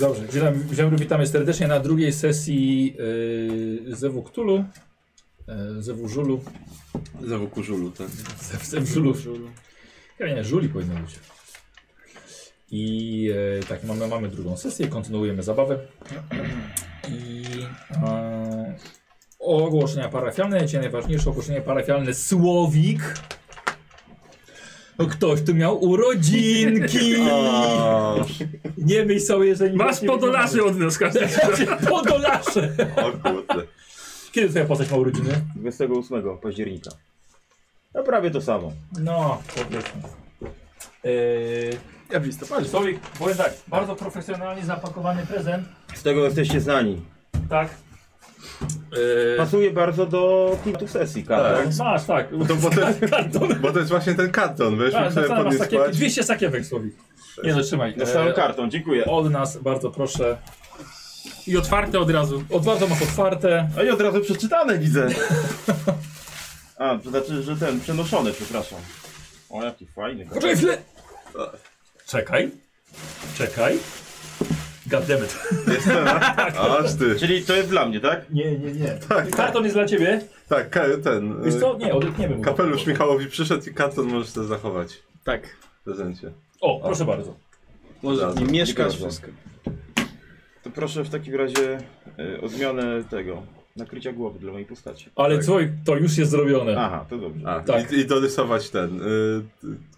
Dobrze, witam, witam, witamy serdecznie na drugiej sesji yy, Zewu Ktulu, yy, Zewu Żulu, Zawo kurzulu, tak. Zew, Zew Żulu. Ja nie, Żuli powinno być. I e, tak, mamy, mamy drugą sesję, kontynuujemy zabawę. I e, ogłoszenia parafialne, dzisiaj najważniejsze ogłoszenie parafialne, Słowik. No ktoś tu miał urodzinki! Nie myśl sobie, że... Masz podolarzy od nas każdy. Podolasze! O kurde. Kiedy twoja postać ma urodziny? 28 października. No prawie to samo. No, powiedzmy. Yy, Ja w listopadzie. Słowik, powiem tak, bardzo profesjonalnie zapakowany prezent, Z tego jesteście znani. tak? Eee, Pasuje bardzo do klimatu sesji, Yy, tak. masz, tak. To bo, to jest, Karton. bo to jest właśnie ten karton, wiesz, A, mógł sobie Tak, masz podnieść takie, spać. 200 sakiewek, Słowik. Nie zatrzymaj. Dostałem kartą, dziękuję. Od nas bardzo proszę. I otwarte od razu. Od bardzo masz otwarte. A i od razu przeczytane widzę. A, to znaczy, że ten, przenoszony, przepraszam. O, jaki fajny. Poczekaj chwilę! Czekaj. Czekaj. Goddammit. Aż ty. Czyli to jest dla mnie, tak? Nie, nie, nie. Karton jest dla ciebie. Tak, ka- ten. Wiesz e, co? Nie, odetniemy mu. Kapelusz Michałowi przyszedł i karton możesz sobie zachować Tak. w prezencie. O, proszę bardzo. Może Dobra, w nim mieszkasz dziękuję wszystko. To proszę w takim razie y, o zmianę tego, nakrycia głowy dla mojej postaci. Ale co, to już jest zrobione. Aha, to dobrze. Tak. A, Tak. i, i dorysować ten. Y,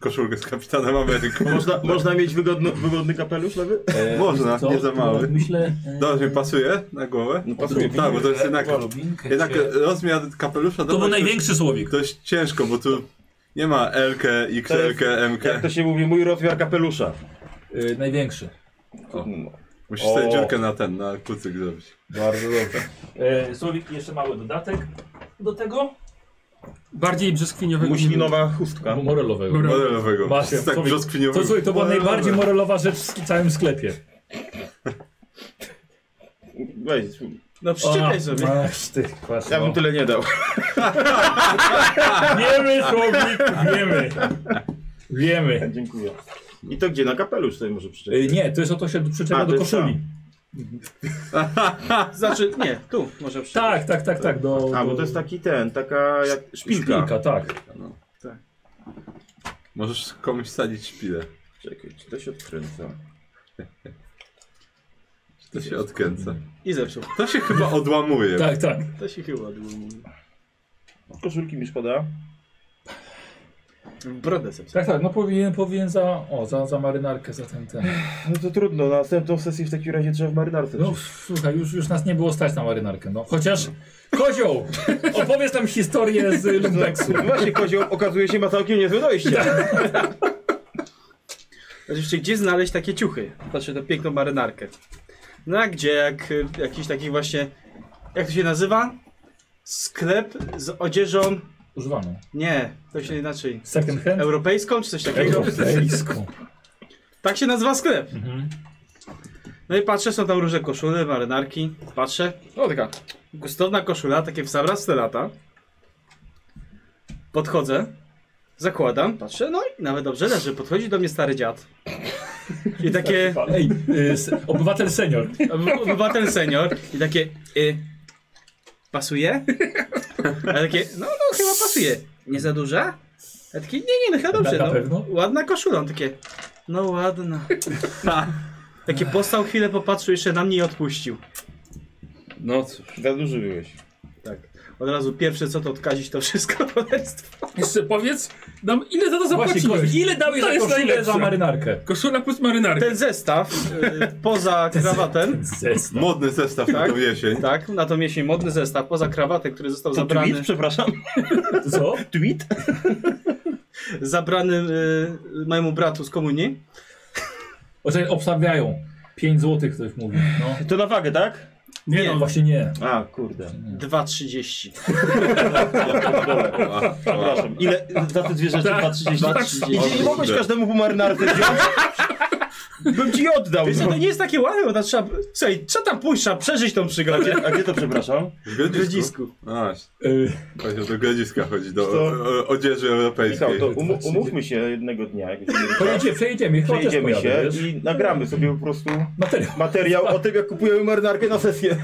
koszulkę z kapitanem Ameryką. Można, można mieć wygodny, wygodny kapelusz lewy? E, Można, Co? nie za mały. Myślę... Dobrze, mi pasuje na głowę? No pasuje. Tak, bo to jest jednak, jednak rozmiar kapelusza To był dobrać największy słowik. dość ciężko, bo tu nie ma LK, XL, MK. Jak to się mówi, mój rozmiar kapelusza. Y, największy. No. Musisz sobie O. dziurkę na ten, na kucyk zrobić. Bardzo dobrze. E, Słowik, jeszcze mały dodatek do tego. Bardziej brzoskwiniowego. Muślinowa chustka. Morelowego. Dobra. Modelowego. Macie, Z tak Słowik, brzoskwiniowym. To, słuchaj, to była Modelowe. najbardziej morelowa rzecz w całym sklepie. Weź, No Ona- przyciekaj sobie. Masz ty, kwasz, ja no. bym tyle nie dał. Wiemy, Słowik, wiemy. Wiemy. Dziękuję. I to gdzie? Na kapelusz sobie może przyczepić. Y, nie, to jest oto się przyczepia A, to do jest koszuli. Znaczy, nie, tu może przyjść. Tak, tak, tak, tak. Do, A, do... bo to jest taki ten, taka jak szpilka. Szpilka, tak. No. Tak. Możesz komuś sadzić szpilę. Czekaj, czy to się odkręca? To się odkręca. I zepsuł. To się chyba odłamuje. Tak, tak. To się chyba długo mówi. Koszulki mi szkoda. Brodę zepsuł. Tak, tak, no powinien, powinien za, o, za, za marynarkę, za ten, ten. No to trudno, na następną sesję w takim razie trzeba w marynarce. No No. słuchaj, już, już nas nie było stać na marynarkę, no. Chociaż, Kozioł, opowiedz nam historię z Lumpeksu. Właśnie kozioł okazuje się ma całkiem niezłe dojście. Oczywiście, Znaczy, gdzie znaleźć takie ciuchy? Znaczy, tę piękną marynarkę. No a gdzie, jak y, jakiś taki właśnie, jak to się nazywa? Sklep z odzieżą, Używaną. nie, to się inaczej, Second hand? europejską czy coś takiego? Europejską. Tak się nazywa sklep. Mhm. No i patrzę, są tam różne koszule, marynarki. Patrzę. O, taka gustowna koszula, takie w sam raz w te lata. Podchodzę, zakładam, patrzę, no i nawet dobrze leży. Podchodzi do mnie stary dziad. I takie, Ej, y, s- obywatel senior. obywatel senior, i takie, y, pasuje? A takie, no, no, chyba pasuje. Nie za duża? A takie, nie, nie, no chyba dobrze. Na- na no, pewno? Ładna koszula, On takie, no ładna. Takie postał chwilę, popatrzył jeszcze na mnie i odpuścił. No cóż. Za duży byłeś. Tak. Od razu pierwsze co to odkazić to wszystko polectwo. Jeszcze powiedz nam, ile za to Właśnie, Kozi, zapłaciłeś? ile dałeś To za jest koszulę najlepsze. za marynarkę? Koszula plus marynarka. Ten zestaw y, poza krawatem. Zestaw. Modny zestaw na Tak? tą jesień. Tak, na to miesień modny zestaw poza krawatem, który został zabrany, Przepraszam. Co? Tweet? zabrany y, mojemu bratu z komunii. Oczekaj, obstawiają. 5 złotych ktoś mówi. No. To na wagę, tak? Nie, No no, właśnie nie. A, kurde. 2,30. Tak. Przepraszam. Ile za te dwie rzeczy? Tak, 2,30? tak, I nie kurde. mogłeś każdemu po marynarce wziąć? Bym ci oddał. Wiesz co, no. to nie jest takie łatwe, bo tam trzeba... Słuchaj, trzeba tam pójść, trzeba przeżyć tą przygodę. A gdzie to, przepraszam? W W grodzisku. A, Y, właśnie do grodziska chodzi, do Co? o- o- odzieży Michał, europejskiej. to um, umówmy się jednego dnia, jak będziemy- Pojedzie, przejedziemy, chyba też przejdziemy pojadę, się wiesz? i nagramy sobie po prostu Materiał. materiał o tym, jak kupujemy marynarkę na sesję.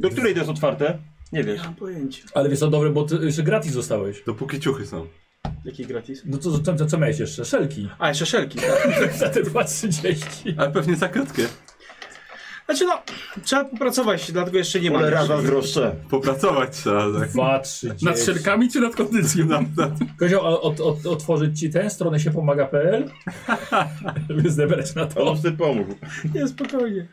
Do której to jest otwarte? Nie wiesz. Nie mam pojęcia. Ale wiesz co, dobre, bo ty jeszcze gratis zostałeś. Dopóki ciuchy są. Jaki gratis? No co, co, co miałeś jeszcze? Szelki. A, jeszcze szelki, tak. Za te 2,30. Ale pewnie za krótkie. Znaczy no, trzeba popracować, dlatego jeszcze nie mam. Cholera zazdroszczę. Popracować trzeba, No, tak. 2,30. Nad szelkami czy nad kondycją? Kozio, a od, od, otworzyć ci tę stronę się pomaga.pl? Żeby zebrać na to. On sobie No, pomógł. Nie, spokojnie.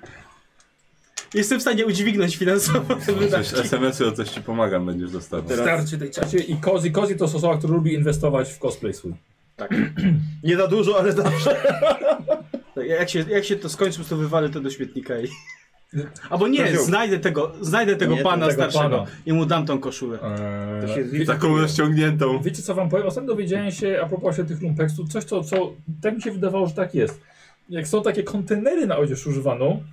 Jestem w stanie udźwignąć finansowo No, te tak. Przecież wydatki. SMS-y o coś ci pomagam będziesz dostawał. Teraz- Starczy tej czasu. Słuchajcie, Znaczy, I Kozi, Kozi to jest osoba, która lubi inwestować w cosplay swój. Nie za dużo, ale zawsze. Tak, Jak się, jak się to skończy, to wywalę to do śmietnika i... Albo nie, Kaziu. znajdę tego, znajdę tego Nie, pana tego starszego pana. i mu dam tą koszulę. Eee, To się zli- Taką rozciągniętą. Wiecie co wam powiem? Ostatnio dowiedziałem się a propos się tych lumpeksów, coś co, co tak mi się wydawało, że tak jest. Jak są takie kontenery na odzież używaną,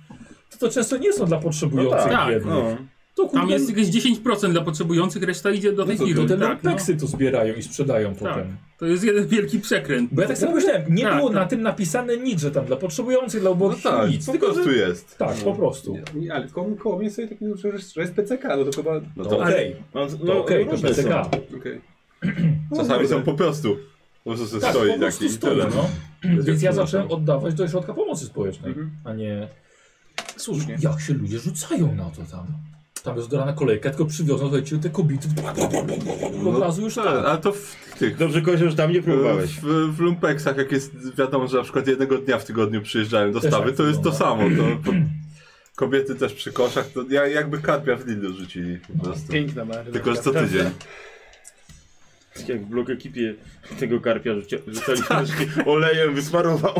to to często nie są dla potrzebujących No tak, biednych. No. To kurde, Tam jest jakieś 10% dla potrzebujących, reszta idzie do tej to to firmy. te Tak, no. Tak. lumpeksy to zbierają i sprzedają potem. To jest jeden wielki przekręt. Bo ja tak sobie myślałem, nie Tak, było tak. na tym napisane nic, że tam dla potrzebujących, dla No ubogich tak, nic. po tylko, prostu że... jest. Tak, po prostu. Nie, ale koło, koło mnie sobie taki że, że jest PCK, no to chyba... No No to okej, No, to no, okej, to różne są. PCK. Okej. czasami są po prostu. Po prostu sobie Tak, stoi po prostu taki i stoi, tyle. no. Więc Będzie ja kurwa. zacząłem oddawać do środka pomocy społecznej, a nie... Słusznie. Jak się ludzie rzucają na to tam. Tam jest dorana kolejka, tylko przywiozą słuchajcie, te kobiety. Od razu już Tak, tak. ale to w tych. Dobrze, Kozio, że tam nie próbowałeś. W, w lumpeksach, jak jest wiadomo, że na przykład jednego dnia w tygodniu przyjeżdżają Też dostawy, tak to jest to wygląda. samo. To, to, kobiety też przy koszach, to ja, jakby kadmia w Lidlu rzucili No, po prostu. Piękna marynarka. Tylko, że co tydzień. Tak Jak w blok ekipie tego karpia rzucia- rzucali troszkę olejem, wysmarował.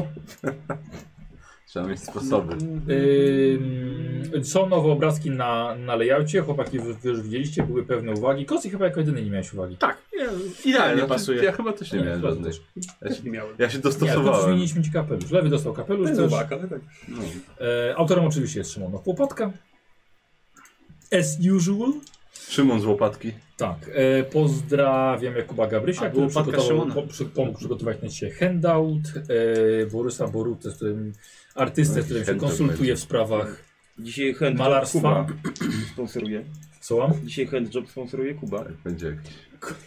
Trzeba mieć sposoby. Ym, są nowe obrazki na, na layoutie, chłopaki wy, wy już widzieliście, były pewne uwagi. Kozy chyba jako jedyny nie miałeś uwagi. Tak, idealnie Ja- pasuje. znaczy, Ja chyba też nie miałem to żadnej. też. Ja się, Nie miałem. ja się Nie, to dostosowałem. zmieniliśmy ci kapelusz. Lewy dostał To kapelusz jest też. uwaga, ale tak. E, autorem oczywiście jest Szymon Łopatka. As usual. Szymon z łopatki. Tak, e, pozdrawiam Jakuba Gabrysia, A, który było Patka przygotował, Szymona. po, przy, pomógł przygotować na dzisiaj handout, e, Borysa Borutę, z którym artystę, No, z którym się jakiś handout konsultuje będzie. w sprawach Dzisiaj hand job malarstwa. Kuba sponsoruje. Co mam? Dzisiaj hand job sponsoruje Kuba. Będzie jakiś.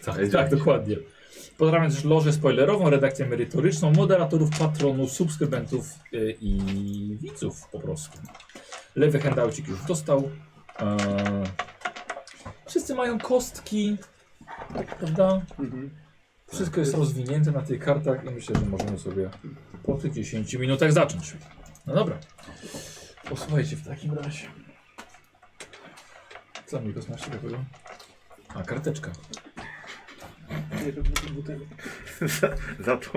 Tak, Będzie. tak, dokładnie. Pozdrawiam też lożę spoilerową, redakcję merytoryczną, moderatorów, patronów, subskrybentów e, i widzów po prostu. Lewy handoucik już dostał. E, wszyscy mają kostki, prawda? Wszystko jest rozwinięte na tych kartach i myślę, że możemy sobie po tych 10 minutach zacząć. No dobra. Posłuchajcie w takim razie. Co mi go znasz takiego? A, karteczka. Za, za to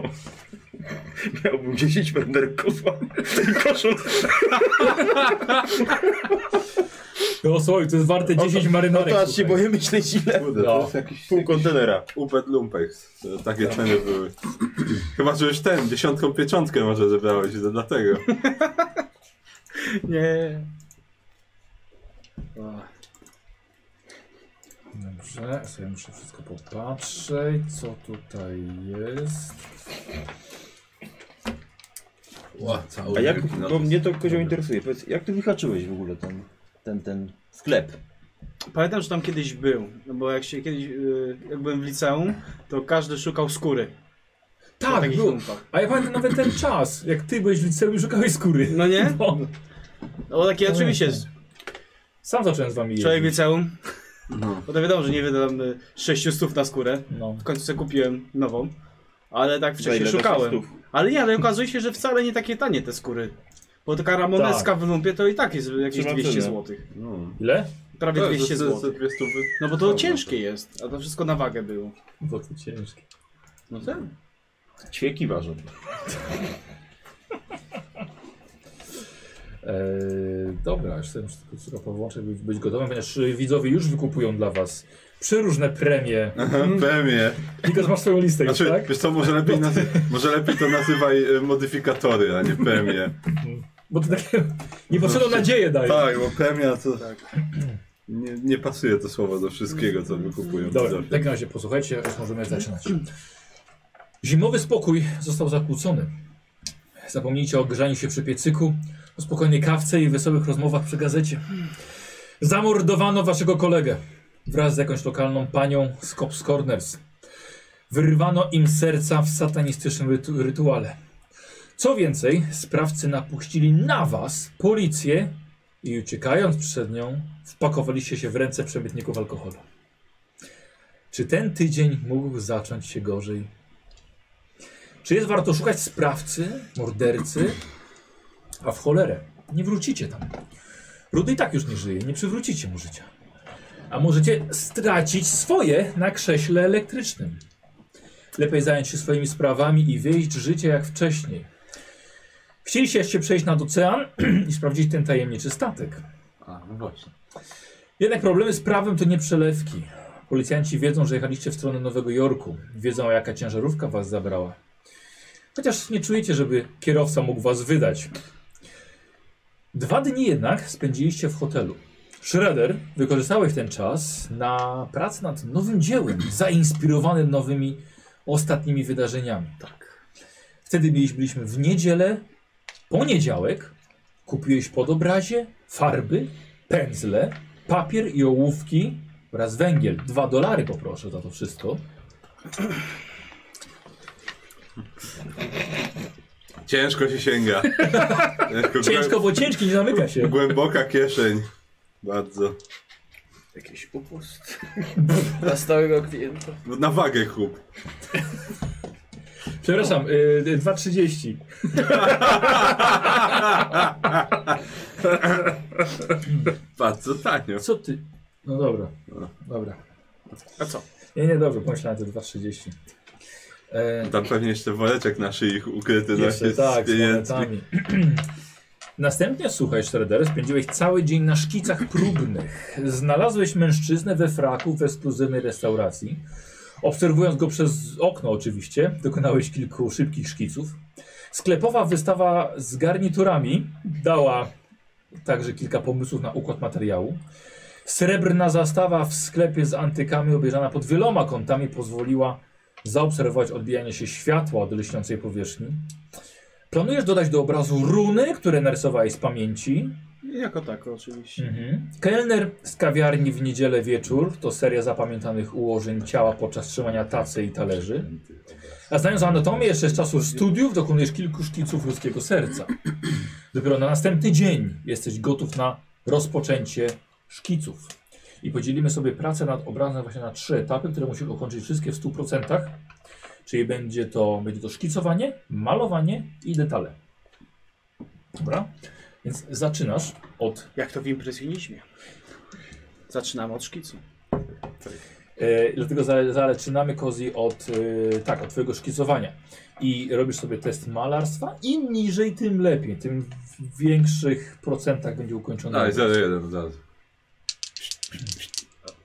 miałbym 10 pender kozła i koszul. No słuchaj, to jest warte 10 marynarek. No to aż się słuchaj. boję myśleć ile. Kurde, No. to jest jakiś Pół kontenera. Upet Lumpex. To Takie ceny były. Chyba, że już ten, dziesiątką pieczątkę może zebrałeś, to dlatego. Nie. Dobrze, ja sobie muszę wszystko popatrzeć, co tutaj jest. Ła, cały A jak, wielki bo notes. mnie to kozioł interesuje, powiedz, jak ty wyhaczyłeś w ogóle ten, ten, ten sklep? Pamiętam, że tam kiedyś był, no bo jak się kiedyś, y, jak byłem w liceum, to każdy szukał skóry. na Tak, takich był. lumpach. A ja pamiętam nawet ten czas, jak ty byłeś w liceum i szukałeś skóry. No nie? No. No bo takie oczywiście, z- Sam zacząłem z wami jeździć. człowiek w liceum, No. bo to wiadomo, że nie wydam y, 600 na skórę. No. W końcu sobie kupiłem nową, ale tak wcześniej Za ile? Za szukałem. 600? Ale nie, ale okazuje się, że wcale nie takie tanie te skóry. Bo taka ramoneska w lumpie to i tak jest jakieś Trzyma cenę. 200 zł. No. Ile? Prawie 200 zł. No bo to Dobra, ciężkie jest, a to wszystko na wagę było. Bo to ciężkie. No tak. Ćwieki ważą. E, Eee, dobra, już sobie muszę tylko wszystko powłączyć, by być gotowym, ponieważ y, widzowie już wykupują dla was przeróżne premie. Premie. Nikos, masz swoją listę już, E. Znaczy, tak? wiesz co, może lepiej, nazy- może lepiej to nazywaj e, modyfikatory, a nie premie. Bo to takie niepotrzebną nadzieję daje. Tak, bo premia to... Nie, nie pasuje to słowo do wszystkiego, co wykupują. Dobra, widzowie. w takim razie posłuchajcie, już możemy zaczynać. Zimowy spokój został zakłócony. Zapomnijcie o grzaniu się przy piecyku, o spokojnej kawce i wesołych rozmowach przy gazecie. Zamordowano waszego kolegę wraz z jakąś lokalną panią z Cops Corners. Wyrwano im serca w satanistycznym rytu rytuale. Co więcej, sprawcy napuścili na was policję i uciekając przed nią, wpakowaliście się w ręce przemytników alkoholu. Czy ten tydzień mógł zacząć się gorzej? Czy jest warto szukać sprawcy, mordercy? A w cholerę, nie wrócicie tam. Rudy i tak już nie żyje, nie przywrócicie mu życia. A możecie stracić swoje na krześle elektrycznym. Lepiej zająć się swoimi sprawami i wyjść życie jak wcześniej. Chcieliście jeszcze przejść nad ocean i sprawdzić ten tajemniczy statek. A, no właśnie. Jednak problemy z prawem to nie przelewki. Policjanci wiedzą, że jechaliście w stronę Nowego Jorku. Wiedzą, jaka ciężarówka was zabrała. Chociaż nie czujecie, żeby kierowca mógł was wydać. Dwa dni jednak spędziliście w hotelu. Schroeder, wykorzystałeś ten czas na pracę nad nowym dziełem, zainspirowany nowymi ostatnimi wydarzeniami. Tak. Wtedy byliś- byliśmy w niedzielę, poniedziałek. Kupiłeś podobrazie, farby, pędzle, papier i ołówki oraz węgiel. Dwa dolary poproszę za to wszystko. Ciężko się sięga. Ciężko, Ciężko, bo ciężki nie zamyka się. Głęboka kieszeń. Bardzo. Jakiś upust. Dla stałego klienta. No, Na wagę kup. Przepraszam, y, y, 2,30. Bardzo tanio. Co ty? No dobra, dobra. A co? Nie, nie, dobrze, pomyślałem te 2,30. E, Tam pewnie jeszcze woreczek na szyi ukryty na jeszcze się tak, z z pieniędzmi. monetami. Następnie, słuchaj, Shredder, spędziłeś cały dzień na szkicach próbnych. Znalazłeś mężczyznę we fraku w ekskluzywnej restauracji. Obserwując go przez okno oczywiście, dokonałeś kilku szybkich szkiców. Sklepowa wystawa z garniturami dała także kilka pomysłów na układ materiału. Srebrna zastawa w sklepie z antykami obejrzana pod wieloma kątami pozwoliła zaobserwować odbijanie się światła od lśniącej powierzchni. Planujesz dodać do obrazu runy, które narysowałeś z pamięci. Jako tako oczywiście. Kelner z kawiarni w niedzielę wieczór to seria zapamiętanych ułożeń ciała podczas trzymania tacy i talerzy. A znając anatomię jeszcze z czasu studiów dokonujesz kilku szkiców ludzkiego serca. Dopiero na następny dzień jesteś gotów na rozpoczęcie szkiców. I podzielimy sobie pracę nad obrazem właśnie na trzy etapy, które musisz ukończyć wszystkie w 100%. Czyli będzie to, będzie to szkicowanie, malowanie i detale. Dobra? Więc zaczynasz od Jak to w impresjonizmie. Zaczynamy od szkicu. E, dlatego za- zaczynamy Kozi od, e, tak, od twojego szkicowania. I robisz sobie test malarstwa. Im niżej, tym lepiej. Tym w większych procentach będzie ukończony. A, i obraz. 0,1 od razu.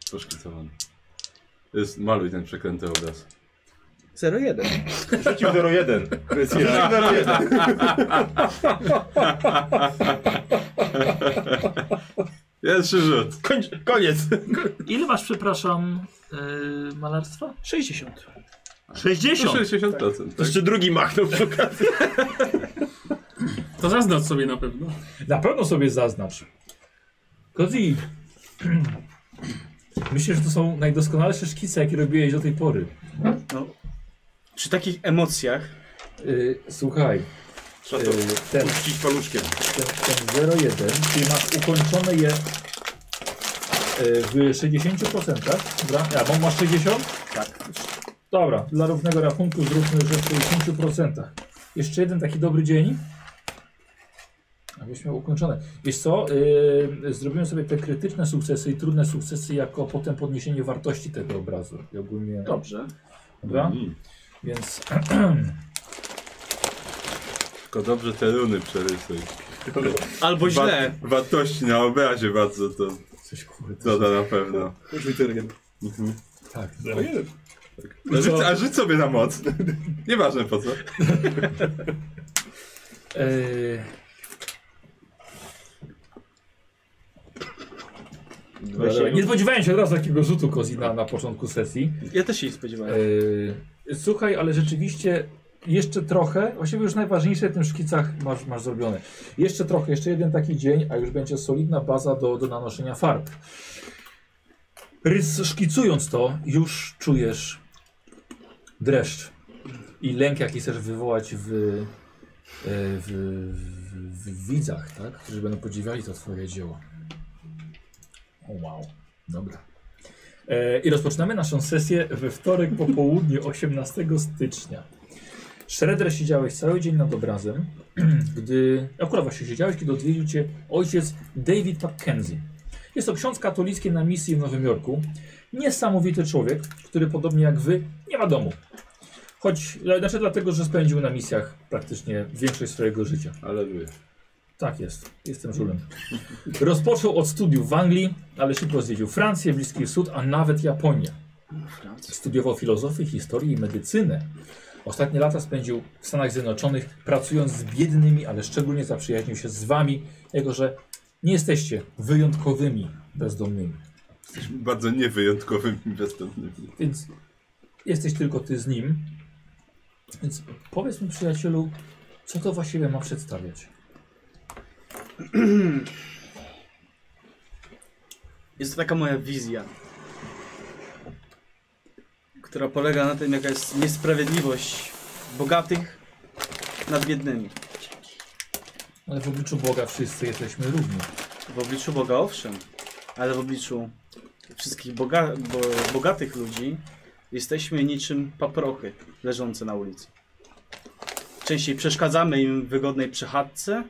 Troszkę cofany. Jest, maluj ten przekręty obraz. 01. Rzucił 01. Rzucił 01. Pierwszy rzut. Kończ, koniec. Ile masz, przepraszam, yy, malarstwa? 60. 60! 60%. To Tak. jeszcze drugi machnął przy okazji. To zaznacz sobie na pewno. Na pewno sobie zaznacz. Kozi. Myślę, że to są najdoskonalsze szkice, jakie robiłeś do tej pory. No. Przy takich emocjach E, słuchaj, Trzeba e, to ten, puścić paluszkiem. ten, ten 01, czyli masz ukończone je e, w 60%, dobra? Ja, bo masz 60? Tak. Dobra, dla równego rachunku zróbmy, że w 60%. Jeszcze jeden taki dobry dzień. Abyś miał ukończone. Wiesz co, yy, zrobimy sobie te krytyczne sukcesy i trudne sukcesy jako potem podniesienie wartości tego obrazu. I ogólnie, Dobrze. dobra? Mm. Więc Tylko dobrze te runy przerysuj. Albo źle. Wa- wartości na obrazie bardzo to coś kurde. doda na pewno. Już mi to jeden. Mhm. Tak. O jeden. Rzuć, a rzuć sobie na moc. Nieważne po co. Yy, nie spodziewałem się od razu takiego rzutu Kozi na, na początku sesji. Ja też się nie spodziewałem. Yy, słuchaj, ale rzeczywiście jeszcze trochę, właściwie już najważniejsze w tym szkicach masz, masz zrobione. Jeszcze trochę, jeszcze jeden taki dzień, a już będzie solidna baza do, do nanoszenia farb. Rys, szkicując to, już czujesz dreszcz i lęk, jaki chcesz wywołać w, e, w, w, w widzach, tak? którzy będą podziwiali to twoje dzieło. O, wow, dobra. E, I rozpoczynamy naszą sesję we wtorek po południu 18 stycznia. Shredder siedziałeś cały dzień nad obrazem, gdy, akurat właśnie siedziałeś, kiedy odwiedził cię ojciec David Mackenzie. Jest to ksiądz katolicki na misji w Nowym Jorku. Niesamowity człowiek, który podobnie jak wy nie ma domu. Choć, znaczy dlatego, że spędził na misjach praktycznie większość swojego życia. Ale lubię. Tak jest, jestem żulem. Rozpoczął od studiów w Anglii, ale szybko zwiedził Francję, Bliski Wschód, a nawet Japonię. Studiował filozofię, historię i medycynę. Ostatnie lata spędził w Stanach Zjednoczonych, pracując z biednymi, ale szczególnie zaprzyjaźnił się z wami, jako że nie jesteście wyjątkowymi bezdomnymi. Jesteśmy bardzo niewyjątkowymi bezdomnymi. Więc jesteś tylko ty z nim. Więc powiedz mi, przyjacielu, co to właściwie ma przedstawiać? Jest to taka moja wizja, która polega na tym, jaka jest niesprawiedliwość bogatych nad biednymi. Ale w obliczu Boga wszyscy jesteśmy równi. W obliczu Boga owszem, ale w obliczu wszystkich boga, bo, bogatych ludzi jesteśmy niczym paprochy leżące na ulicy. Częściej przeszkadzamy im w wygodnej przechadzce,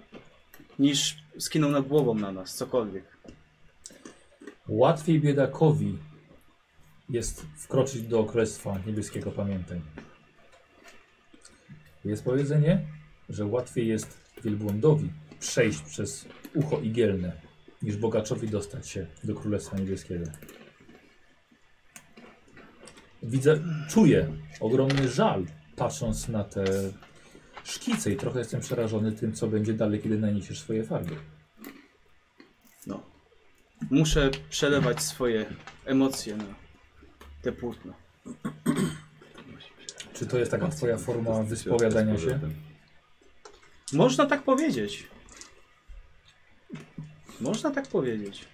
niż skiną nad głową na nas cokolwiek. Łatwiej biedakowi jest wkroczyć do królestwa niebieskiego, pamiętaj. Jest powiedzenie, że łatwiej jest wielbłądowi przejść przez ucho igielne, niż bogaczowi dostać się do królestwa niebieskiego. Widzę, czuję ogromny żal, patrząc na te szkice i trochę jestem przerażony tym, co będzie dalej, kiedy naniesiesz swoje farby. No. Muszę przelewać swoje emocje na te płótno. Czy to jest taka twoja forma wyspowiadania się? Można tak powiedzieć. Można tak powiedzieć.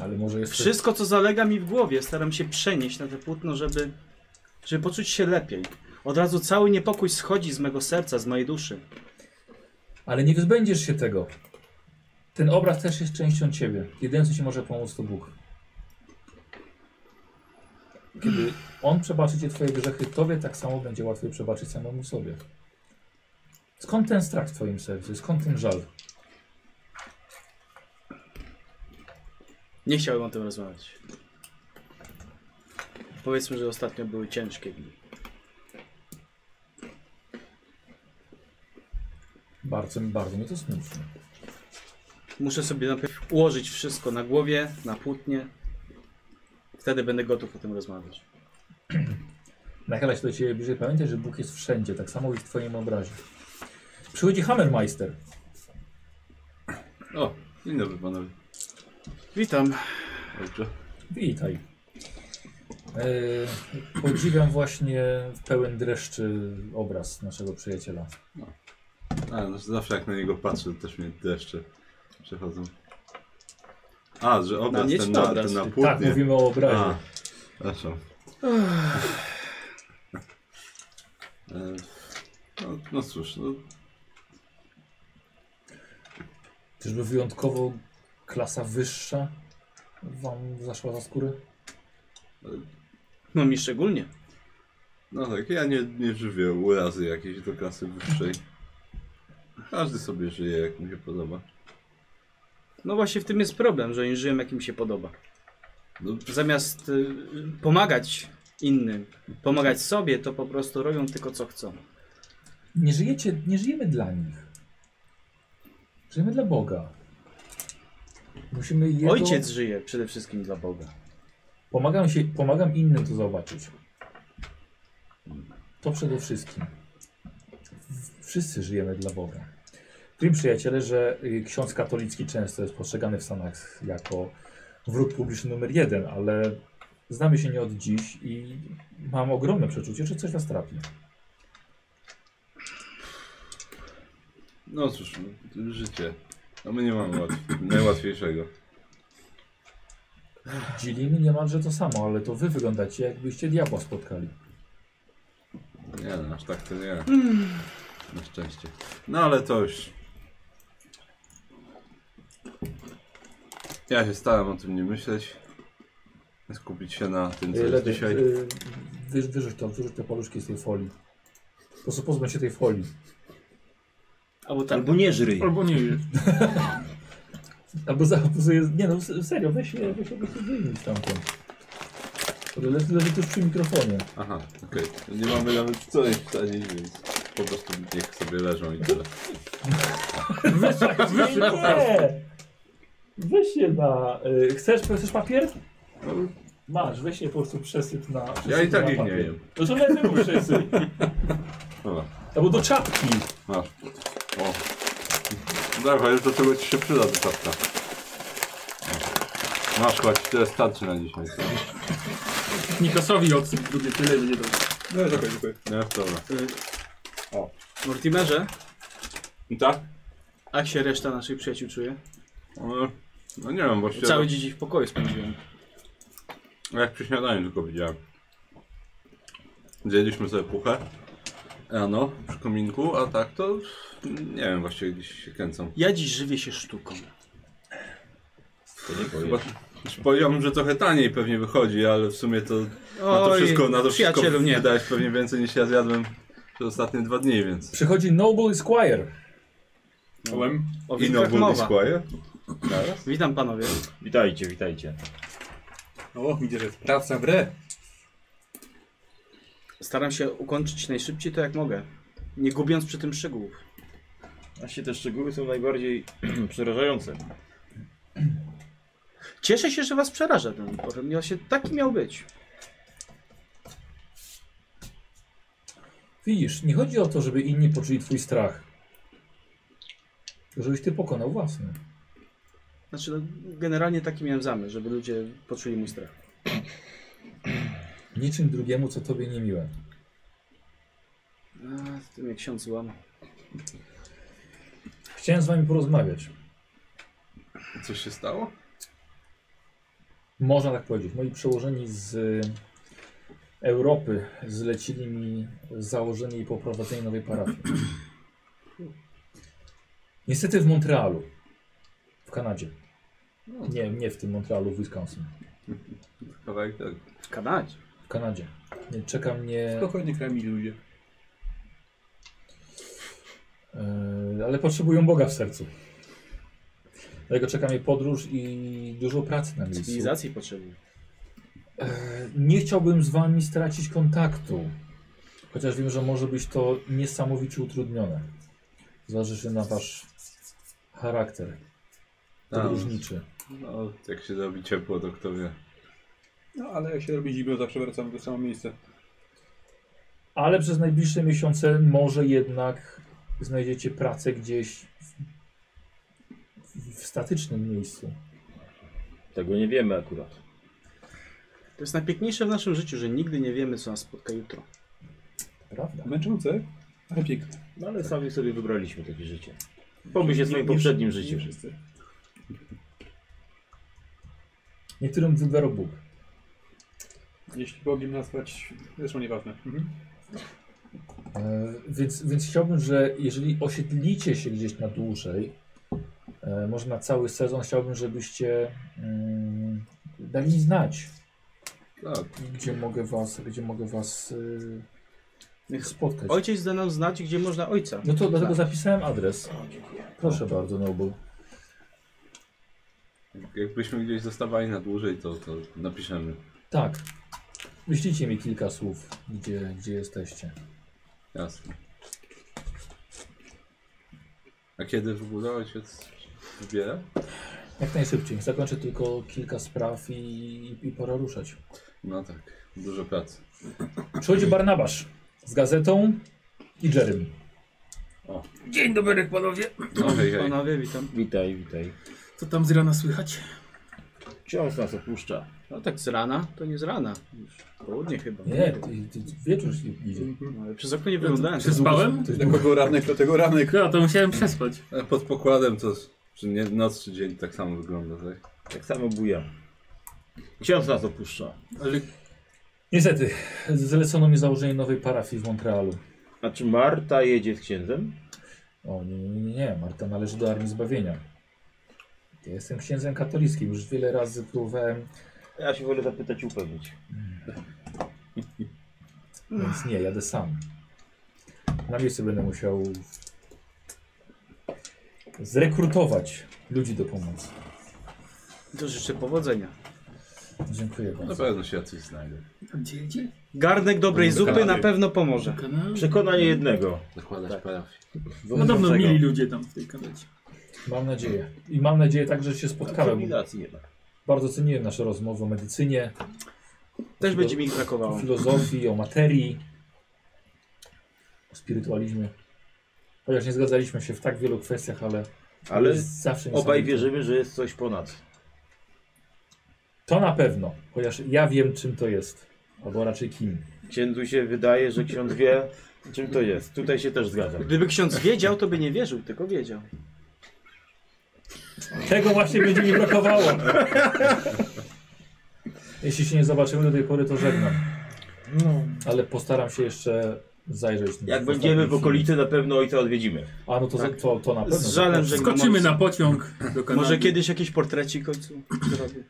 Ale może jest to- Wszystko, co zalega mi w głowie, staram się przenieść na te płótno, żeby, żeby poczuć się lepiej. Od razu cały niepokój schodzi z mego serca, z mojej duszy. Ale nie wyzbędziesz się tego. Ten obraz też jest częścią ciebie. Jedyne, co ci może pomóc, to Bóg. Kiedy On przebaczy ci twoje grzechy, tobie tak samo będzie łatwiej przebaczyć samemu sobie. Skąd ten strach w twoim sercu? Skąd ten żal? Nie chciałem o tym rozmawiać. Powiedzmy, że ostatnio były ciężkie dni. Bardzo, bardzo mnie to smutno. Muszę sobie najpierw ułożyć wszystko na głowie, na płótnie. Wtedy będę gotów o tym rozmawiać. Nachyla się do ciebie bliżej. Pamiętaj, że Bóg jest wszędzie, tak samo i w twoim obrazie. Przychodzi Hammermeister. O, dzień dobry panowie. Witam. Dobrze. Witaj. E, podziwiam właśnie pełen dreszczy obraz naszego przyjaciela. A, no, zawsze jak na niego patrzę, to też mnie deszcze przechodzą. A, że obraz mnie ten czy na, na obraz? ten na Tak, płótnie. mówimy o obrazie. A, przepraszam. E, No, no cóż, no, Czyżby wyjątkowo klasa wyższa wam zaszła za skórę? No mi szczególnie. no tak, ja nie, nie żywię urazy jakiejś do klasy wyższej. Każdy sobie żyje jak mu się podoba. No właśnie w tym jest problem, że oni żyją jak im się podoba. No, Zamiast y, pomagać innym, pomagać sobie, to po prostu robią tylko co chcą. Nie żyjecie, nie żyjemy dla nich. Żyjemy dla Boga. Musimy jego... Ojciec żyje przede wszystkim dla Boga. Pomagam, się, pomagam innym to zobaczyć. To przede wszystkim. W- Wszyscy żyjemy dla Boga. Wiem, przyjaciele, że y, ksiądz katolicki często jest postrzegany w Stanach jako wróg publiczny numer jeden, ale znamy się nie od dziś i mam ogromne przeczucie, że coś nas trapi. No cóż, no, życie. A my nie mamy łatw- najłatwiejszego. Dzielimy niemalże to samo, ale to wy wyglądacie jakbyście diabła spotkali. Nie, no, aż tak to nie. Na szczęście. No ale to już. Ja się starałem o tym nie myśleć. Skupić się na tym, co Y, jest Lewy, dzisiaj. y, wy- wyrzuć to, wyrzuć te paluszki z tej folii. Po prostu pozbądź się tej folii. Albo tak. Albo nie żryj. Albo nie wiem. Albo zachowuje. Nie no, se- serio, weź się, weź się, weź się wyjmij stamtąd. Le, leży tuż przy mikrofonie. Aha, okej. Nie mamy nawet co ich wsadzić, więc po prostu niech sobie leżą i tyle. Tak, Nie, nie! Weź je na. Y, chcesz, chcesz papier? Masz, weź je po prostu przesyp na. No. Ja i przesyp tak na ich nie papier. jem. No to lepiej mu przesyp. Dobra, Albo do czapki. masz. O. Dobra, już do tego ci się przyda ta czapka. O. Masz, chodź, tyle starczy na dzisiaj. co? Nikosowi odsyp drugie tyle będzie dobrze. No dobra, dziękuję. Nie, dobra. Mortimerze, Tak? jak się reszta naszych przyjaciół czuje? No, no nie wiem, właściwie Cały dzień w pokoju spędziłem. jak przy śniadaniu tylko widziałem. Zjedliśmy sobie puchę rano przy kominku, a tak to nie wiem, właściwie gdzieś się kręcą. Ja dziś żywię się sztuką. Chyba, znaczy, powiedziałbym, że trochę taniej pewnie wychodzi, ale w sumie to na to Oj, wszystko, na to wszystko przyjacielu, nie. wydałeś pewnie więcej niż ja zjadłem przez ostatnie dwa dni, więc... Przychodzi Noble Squire. Czołem. O I wilkach Noble mowa. Squire? Zaraz? Witam panowie. Witajcie, witajcie. O, widzę, że jest praca w re. Staram się ukończyć najszybciej to jak mogę. Nie gubiąc przy tym szczegółów. Właśnie te szczegóły są najbardziej przerażające. Cieszę się, że was przeraża ten poziom. Ja się taki miał być. Widzisz, nie chodzi o to, żeby inni poczuli twój strach. Tylko Żebyś ty pokonał własny. Znaczy, no, generalnie taki miałem zamysł, żeby ludzie poczuli mój strach. Niczym drugiemu, co tobie nie miłe. A, z tym jak ksiądz łam. Chciałem z wami porozmawiać. Coś się stało? Można tak powiedzieć. Moi przełożeni z y, Europy zlecili mi założenie i poprowadzenie nowej parafii. Niestety w Montrealu, w Kanadzie. Nie, nie w tym Montrealu, w Wisconsin. Kawałek tak. W Kanadzie. W Kanadzie. Nie, Czeka mnie. Spokojnie krami ludzie. Yy, ale potrzebują Boga w sercu. Dlatego czeka mnie podróż i dużo pracy na miejscu. Cywilizacji potrzebuje. Yy, nie chciałbym z wami stracić kontaktu. Chociaż wiem, że może być to niesamowicie utrudnione. Zważywszy na wasz charakter podróżniczy. No, jak się robi ciepło, to kto wie. No ale jak się robi zimno, zawsze wracamy w to samo miejsce. Ale przez najbliższe miesiące może jednak znajdziecie pracę gdzieś w, w statycznym miejscu. Tego nie wiemy akurat. To jest najpiękniejsze w naszym życiu, że nigdy nie wiemy, co nas spotka jutro. Tak. Prawda? Męczące, ale piękne. No ale sami sobie wybraliśmy takie życie. Pomyśl o swoim poprzednim Mhm. życiu. wszyscy. Niektórym wybrał Bóg. Jeśli Bogiem nazwać, zresztą nieważne. Mhm. E, Więc, więc chciałbym, że jeżeli osiedlicie się gdzieś na dłużej, e, może na cały sezon, chciałbym, żebyście mm, dali mi znać, Tak, gdzie mogę was, gdzie mogę was e, Niech spotkać. Ojciec da nam znać, gdzie można ojca. Tak. No to dlatego zapisałem adres. Proszę bardzo, Noble. jakbyśmy gdzieś zostawali na dłużej, to, to napiszemy. Tak. Wyślijcie mi kilka słów, gdzie, gdzie jesteście. Jasne. A kiedy w ogóle ojciec wybiera? Jak najszybciej. Zakończę tylko kilka spraw i, i pora ruszać. No tak, dużo pracy. Przychodzi Barnabasz z gazetą i Jerem. Dzień dobry, panowie. No hej, hej. Panowie, witam. Witaj, witaj. Co tam z rana słychać? Ksiądz nas opuszcza. No tak z rana, to nie z rana. Już południe chyba. No, Nie, ty, ty, ty, wieczór się idzie. Ale Przez okno nie wyglądałem. Czy spałem? Ktoś Do kogo ranek, do tego ranek. Ja to musiałem przespać. Ale E, Pod pokładem to, czy nie, noc czy dzień tak samo wygląda, tak? Tak samo buja. Ksiądz nas opuszcza. Ale Niestety, zlecono mi założenie nowej parafii w Montrealu. A czy Marta jedzie z księdzem? O nie, nie, nie, nie, Marta należy do Armii Zbawienia. Ja jestem księdzem katolickim, już wiele razy próbowałem, Ja się wolę zapytać i upewnić. więc nie, jadę sam. Na miejscu będę musiał zrekrutować ludzi do pomocy. To życzę powodzenia. Dziękuję Na bardzo. pewno się jacyś znajdę. gdzie idzie? Garnek dobrej zupy na pewno pomoże. No, Kanał? Przekonanie jednego. Zakładać parafię. no, Podobno mili ludzie tam w tej kanecie. Mam nadzieję. I mam nadzieję także, że się spotkamy. Kombinacji nie ma. Bardzo ceniłem nasze rozmowy o medycynie, Też będzie mi ich o brakowało. filozofii, o materii, o spirytualizmie. Chociaż nie zgadzaliśmy się w tak wielu kwestiach, ale, Ale zawsze obaj niesamowite. wierzymy, że jest coś ponad. To na pewno, chociaż ja wiem czym to jest, albo raczej kim. Księdzu się wydaje, że ksiądz wie, czym to jest. Tutaj się też zgadzam. Gdyby ksiądz wiedział, to by nie wierzył, tylko wiedział. Tego właśnie będzie mi brakowało. Jeśli się nie zobaczymy do tej pory, to żegnam. Ale postaram się jeszcze zajrzeć. na Jak ostatni będziemy w film. okolicy, Tak. na pewno ojca odwiedzimy. A no to, za- to, to na pewno. Z żalem, że Skoczymy na pociąg do kanału. Może kiedyś jakiś portrecik ojcu zrobię.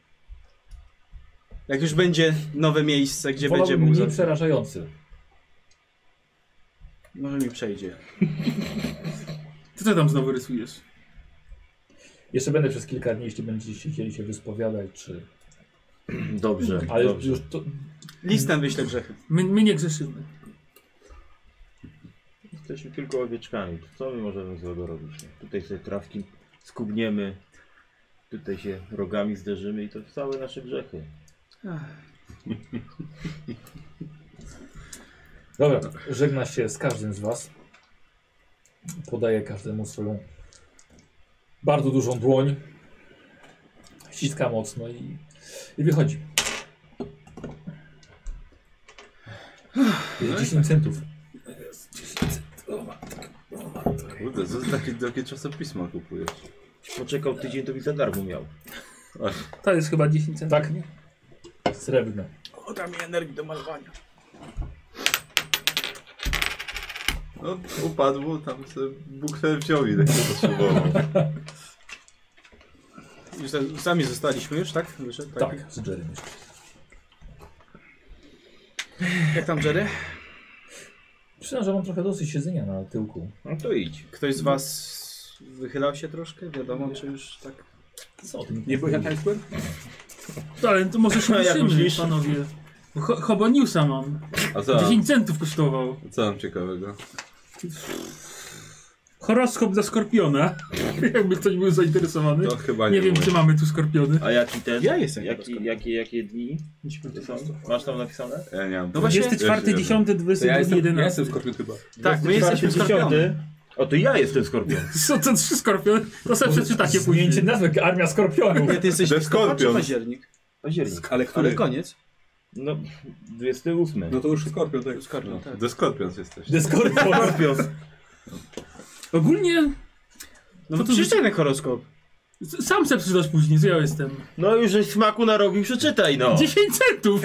Jak już będzie nowe miejsce, gdzie Wolałbym będzie mógł mniej zapisać. przerażający. Może mi przejdzie. Ty co tam znowu rysujesz? Jeszcze będę przez kilka dni, jeśli będziecie chcieli się wyspowiadać, czy... Dobrze, Ale dobrze. już to... Listem wyślę grzechy. My, my nie grzeszymy. Jesteśmy tylko owieczkami. To Co my możemy złego robić? nie? Tutaj sobie trawki skubniemy, tutaj się rogami zderzymy i to całe nasze grzechy. Dobra, żegna się z każdym z was. Podaję każdemu swoją bardzo dużą dłoń. Ściska mocno i, i wychodzi. Jest 10 centów. Kurde, co za takie, takie czasopisma kupujesz? Poczekał tydzień, to mi za darmo miał. To jest chyba 10 centów. Tak? Srebrne. Oda mi energii do malowania. No, upadło, tam sobie bukler wziął ile się potrzebował. Już tam- sami zostaliśmy już, tak? Wyszedł, Tak, z Jerem jeszcze. Jak tam Jerry? Przyznam, że mam trochę dosyć siedzenia na tyłku. No to idź. Ktoś z was wychylał się troszkę? Wiadomo, czy już tak? Co o tym? Nie byłeś na Times Square? No, ale to może się Jak ruszymy, myślisz? panowie. Ho Hoboniusa mam. A co, 10 centów kosztował. co tam ciekawego? Horoskop dla Skorpiona. Jakby ktoś był zainteresowany. To chyba nie Nie wiem, było. czy mamy tu skorpiony. A jaki ten? Ja jestem Jaki, chyba jakie, jakie dni? to są? Masz tam napisane? Ja E, nie mam. No właśnie, Jeszcze jeden. 22, Ja jestem, ja 11. jestem skorpion chyba. tak, my jesteśmy skorpiony. dziesiąty. O, to ja jestem skorpion. Są to trzy skorpiony. To sobie przeczytacie później. Zmieńcie nazwę Armia Skorpionów. Ty jesteś The listopad czy Scorpion. październik? Październik. Ale Ale który? koniec. No, 28. No to już skorpion, tak. Skorpion, tak. Do Skorpion jesteś. The Skorpion. Skorpion. Ogólnie No Co bo to przeczytaj ten horoskop. s- sam se przeczytasz później, co ja jestem. No już żeś smaku narobił, przeczytaj no. 10 centów!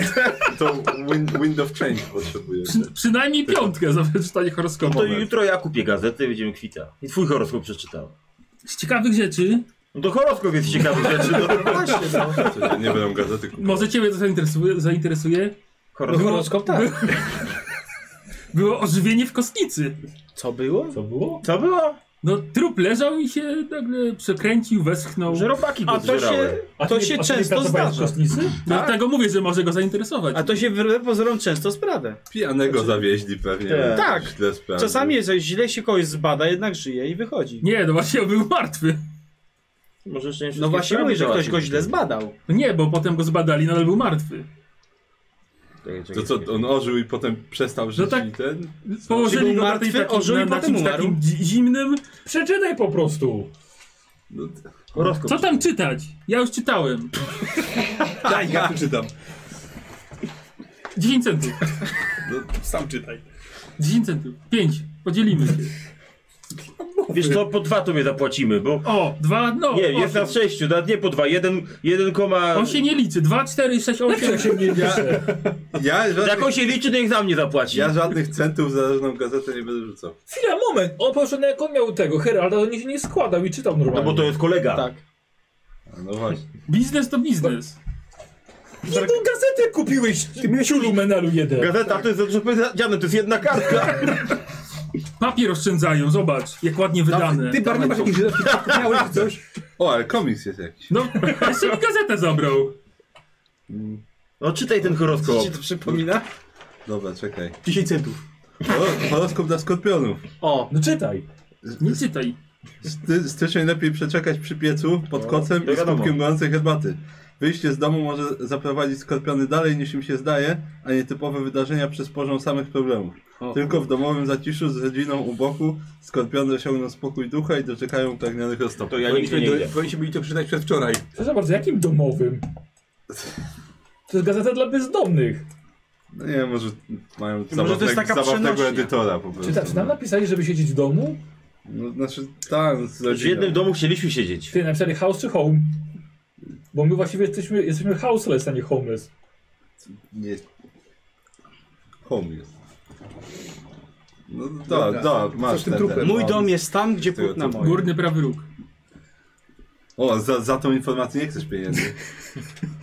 To win, wind of change potrzebuje. Przy, przynajmniej piątkę za przeczytanie horoskopu. No To jutro ja kupię gazetę i będziemy kwita. I twój horoskop przeczytał. Z ciekawych rzeczy, No to horoskop jest ciekawy rzeczy. No. Właśnie, no. Nie będą gazety kupować. może ciebie to zainteresuje, zainteresuje Horoskop. Horoskop tak. było ożywienie w kostnicy. Co było? Co było? Co było? No trup leżał i się nagle przekręcił, weschnął. Że robaki go A to zżerały. się, A to ty- się a ty często pracowałeś w zdarza. kostnicy? Dlatego No, mówię, że może go zainteresować. tak. A to się wbrew pozorom często sprawia. Tak, Znaczy- Pijanego zawieźli pewnie. no, Tak. Tak. Źle sprawdził. Czasami jest, źle się kogoś zbada, jednak żyje i wychodzi. Nie, no właśnie on był martwy. Może jeszcze nie wszystkie No właśnie sprawy mówię, że ktoś załatwił. go źle zbadał. No nie, bo potem go zbadali, nadal był martwy. Czekaj, czekaj, To co, czekaj. on ożył i potem przestał żyć tak. i ten? Położyli Czyli go był martwy, martwy, takim, ożył i na, na potem czymś umarł? takim dzi- zimnym. Przeczytaj po prostu. No, t- Horoskop. Co tam czytać? Ja już czytałem. daj, ja czytam. 10 centów. No, sam czytaj. 10 centów. 5. Podzielimy się. Wiesz co, po dwa tobie zapłacimy, bo... O, 2, no. Nie, jest na osiem. sześciu, nawet nie po dwa, jeden, jeden koma... On się nie liczy. 2, 4, 6, 8. Ja, ja, Jak on żadnych, się liczy, niech za mnie zapłaci. ja żadnych centów za żadną gazetę nie będę rzucał. Chwila, moment. O, proszę, no jak on miał tego Heralda, to nie się nie składał i czytał normalnie. No bo to jest kolega. Tak. A, No właśnie. Biznes to biznes. Jedną gazetę kupiłeś, Miesiulu Menalu jeden. Gazeta to jest dobrze powiedziane, to jest jedna kartka. Papier oszczędzają, zobacz, jak ładnie wydane. Ty bardziej masz jakieś miałeś coś? O, ale komiks jest jakiś. No, jeszcze mi gazetę zabrał. No czytaj ten horoskop. Ci to przypomina? Dobra, czekaj. 10 centów. O, horoskop dla skorpionów. O, No czytaj. Nie czytaj. Sty- Styczeń lepiej przeczekać przy piecu, pod kocem No, to i z wiadomo. kubkiem gorącej herbaty. Wyjście z domu może zaprowadzić skorpiony dalej niż im się zdaje, a nietypowe wydarzenia przysporzą samych problemów. Tylko w domowym zaciszu z rodziną u boku skorpiony osiągną spokój ducha i doczekają pragnionych roztopów. To ja nigdzie nie idę. Powinniśmy byli to przeczytać przedwczoraj. Proszę bardzo, jakim domowym? To jest gazeta dla bezdomnych. No nie wiem, może mają to jest zabawnego, taka zabawnego przenośnia. edytora po prostu. Czy, ta, czy tam no. napisali, żeby siedzieć w domu? No, znaczy, tak, no, z W jednym rodziną. domu chcieliśmy siedzieć. Ty napisali house czy home? Bo my właściwie jesteśmy, jesteśmy houseless, a nie homeless. Nie. Home jest. No da, da, masz z tym ten, trupem? ten. mój dom jest tam, gdzie Tego płótna typu. moja. Górny prawy róg. O, za, za tą informację nie chcesz pieniędzy.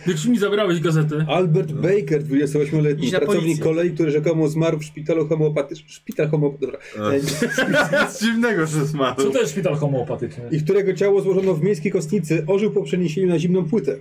Jak mi zabrałeś gazetę. Albert Baker, Idź 28-letni na pracownik policję. kolei, który rzekomo zmarł w szpitalu homeopatycznym. Szpital homeopatyczny. E, Nic dziwnego, że zmarł. Co to jest szpital homeopatyczny? I którego ciało złożono w miejskiej kostnicy, ożył po przeniesieniu na zimną płytę.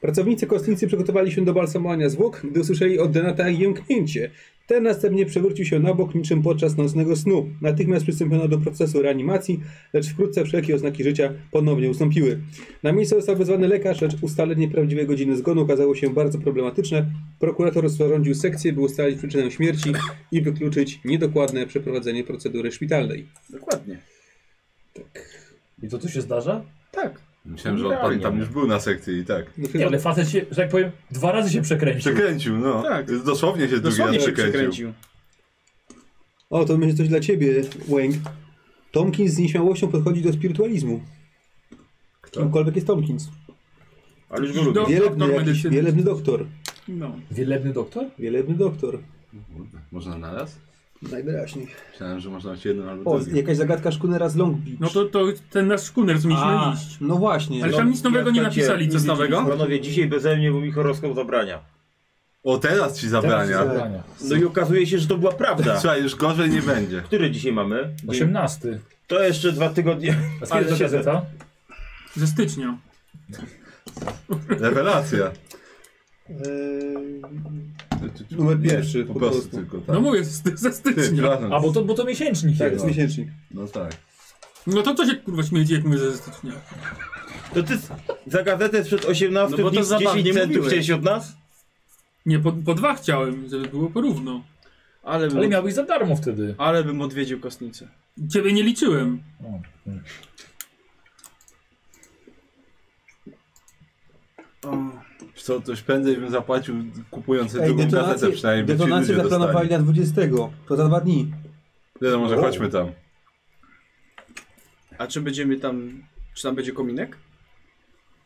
Pracownicy kostnicy przygotowali się do balsamowania zwłok, gdy usłyszeli od Denata jęknięcie. Ten następnie przewrócił się na bok niczym podczas nocnego snu. Natychmiast przystąpiono do procesu reanimacji, lecz wkrótce wszelkie oznaki życia ponownie ustąpiły. Na miejsce został wezwany lekarz, lecz ustalenie prawdziwej godziny zgonu okazało się bardzo problematyczne. Prokurator zarządził sekcję, by ustalić przyczynę śmierci i wykluczyć niedokładne przeprowadzenie procedury szpitalnej. Dokładnie. I to co się zdarza? Tak. Myślałem, że on pan tam już był na sekcji i tak. No, Nie, ale facet się, że tak powiem, dwa razy się przekręcił. Przekręcił, no. Tak. Dosłownie się drugi raz Dosłownie się przekręcił. przekręcił. O, to będzie coś dla ciebie, Wang. Tomkins z nieśmiałością podchodzi do spirytualizmu. Kimkolwiek jest Tomkins. Ale już go lubię. Do- Wielebny, doktor jakiś, medycyny. wielebny doktor. No. Wielebny doktor? Wielebny doktor. Można na raz? Najwyraźniej. Myślałem, że można mieć jedną albo O, drugą. jakaś zagadka Szkunera z Long Beach. No to, to ten nasz szkuner, co mieliśmy A. iść. No właśnie. Ale tam nic nowego nie słuchajcie, napisali, nic co No. nowego? Panowie, dzisiaj beze mnie, bo mi horoskop zabrania. O, teraz ci zabrania. Tak. Teraz Tak, zabrania. No i okazuje się, że to była prawda. Słuchaj, już gorzej nie będzie. Który dzisiaj mamy? 18. To jeszcze dwa tygodnie. A z kiedy to siedzę. gazeta? Ze stycznia. Rewelacja. Numer pierwszy, Po po prostu prostu. tylko tak. No mówię, z- ze Ty, stycznia. przepraszam. A bo to, bo to miesięcznik jest. Tak, jest miesięcznik. No tak. No to co się kurwa śmiejecie, jak mówię ze stycznia? To ty za gazetę sprzed 18 No bo to dni za bank 10 nie centów mówiłeś. chciałeś od nas? Nie, po, po dwa chciałem, żeby było porówno. Ale Ale bym, miałbyś za darmo wtedy. ale bym odwiedził kostnicę. Ciebie nie liczyłem. Wiesz Co, coś prędzej bym zapłacił kupując Ej, drugą gazetę detonację- przynajmniej. by ci Detonację ludzie zaplanowali dostali. na 20. To za dwa dni. No, może chodźmy tam. A czy będziemy tam... Czy tam będzie kominek?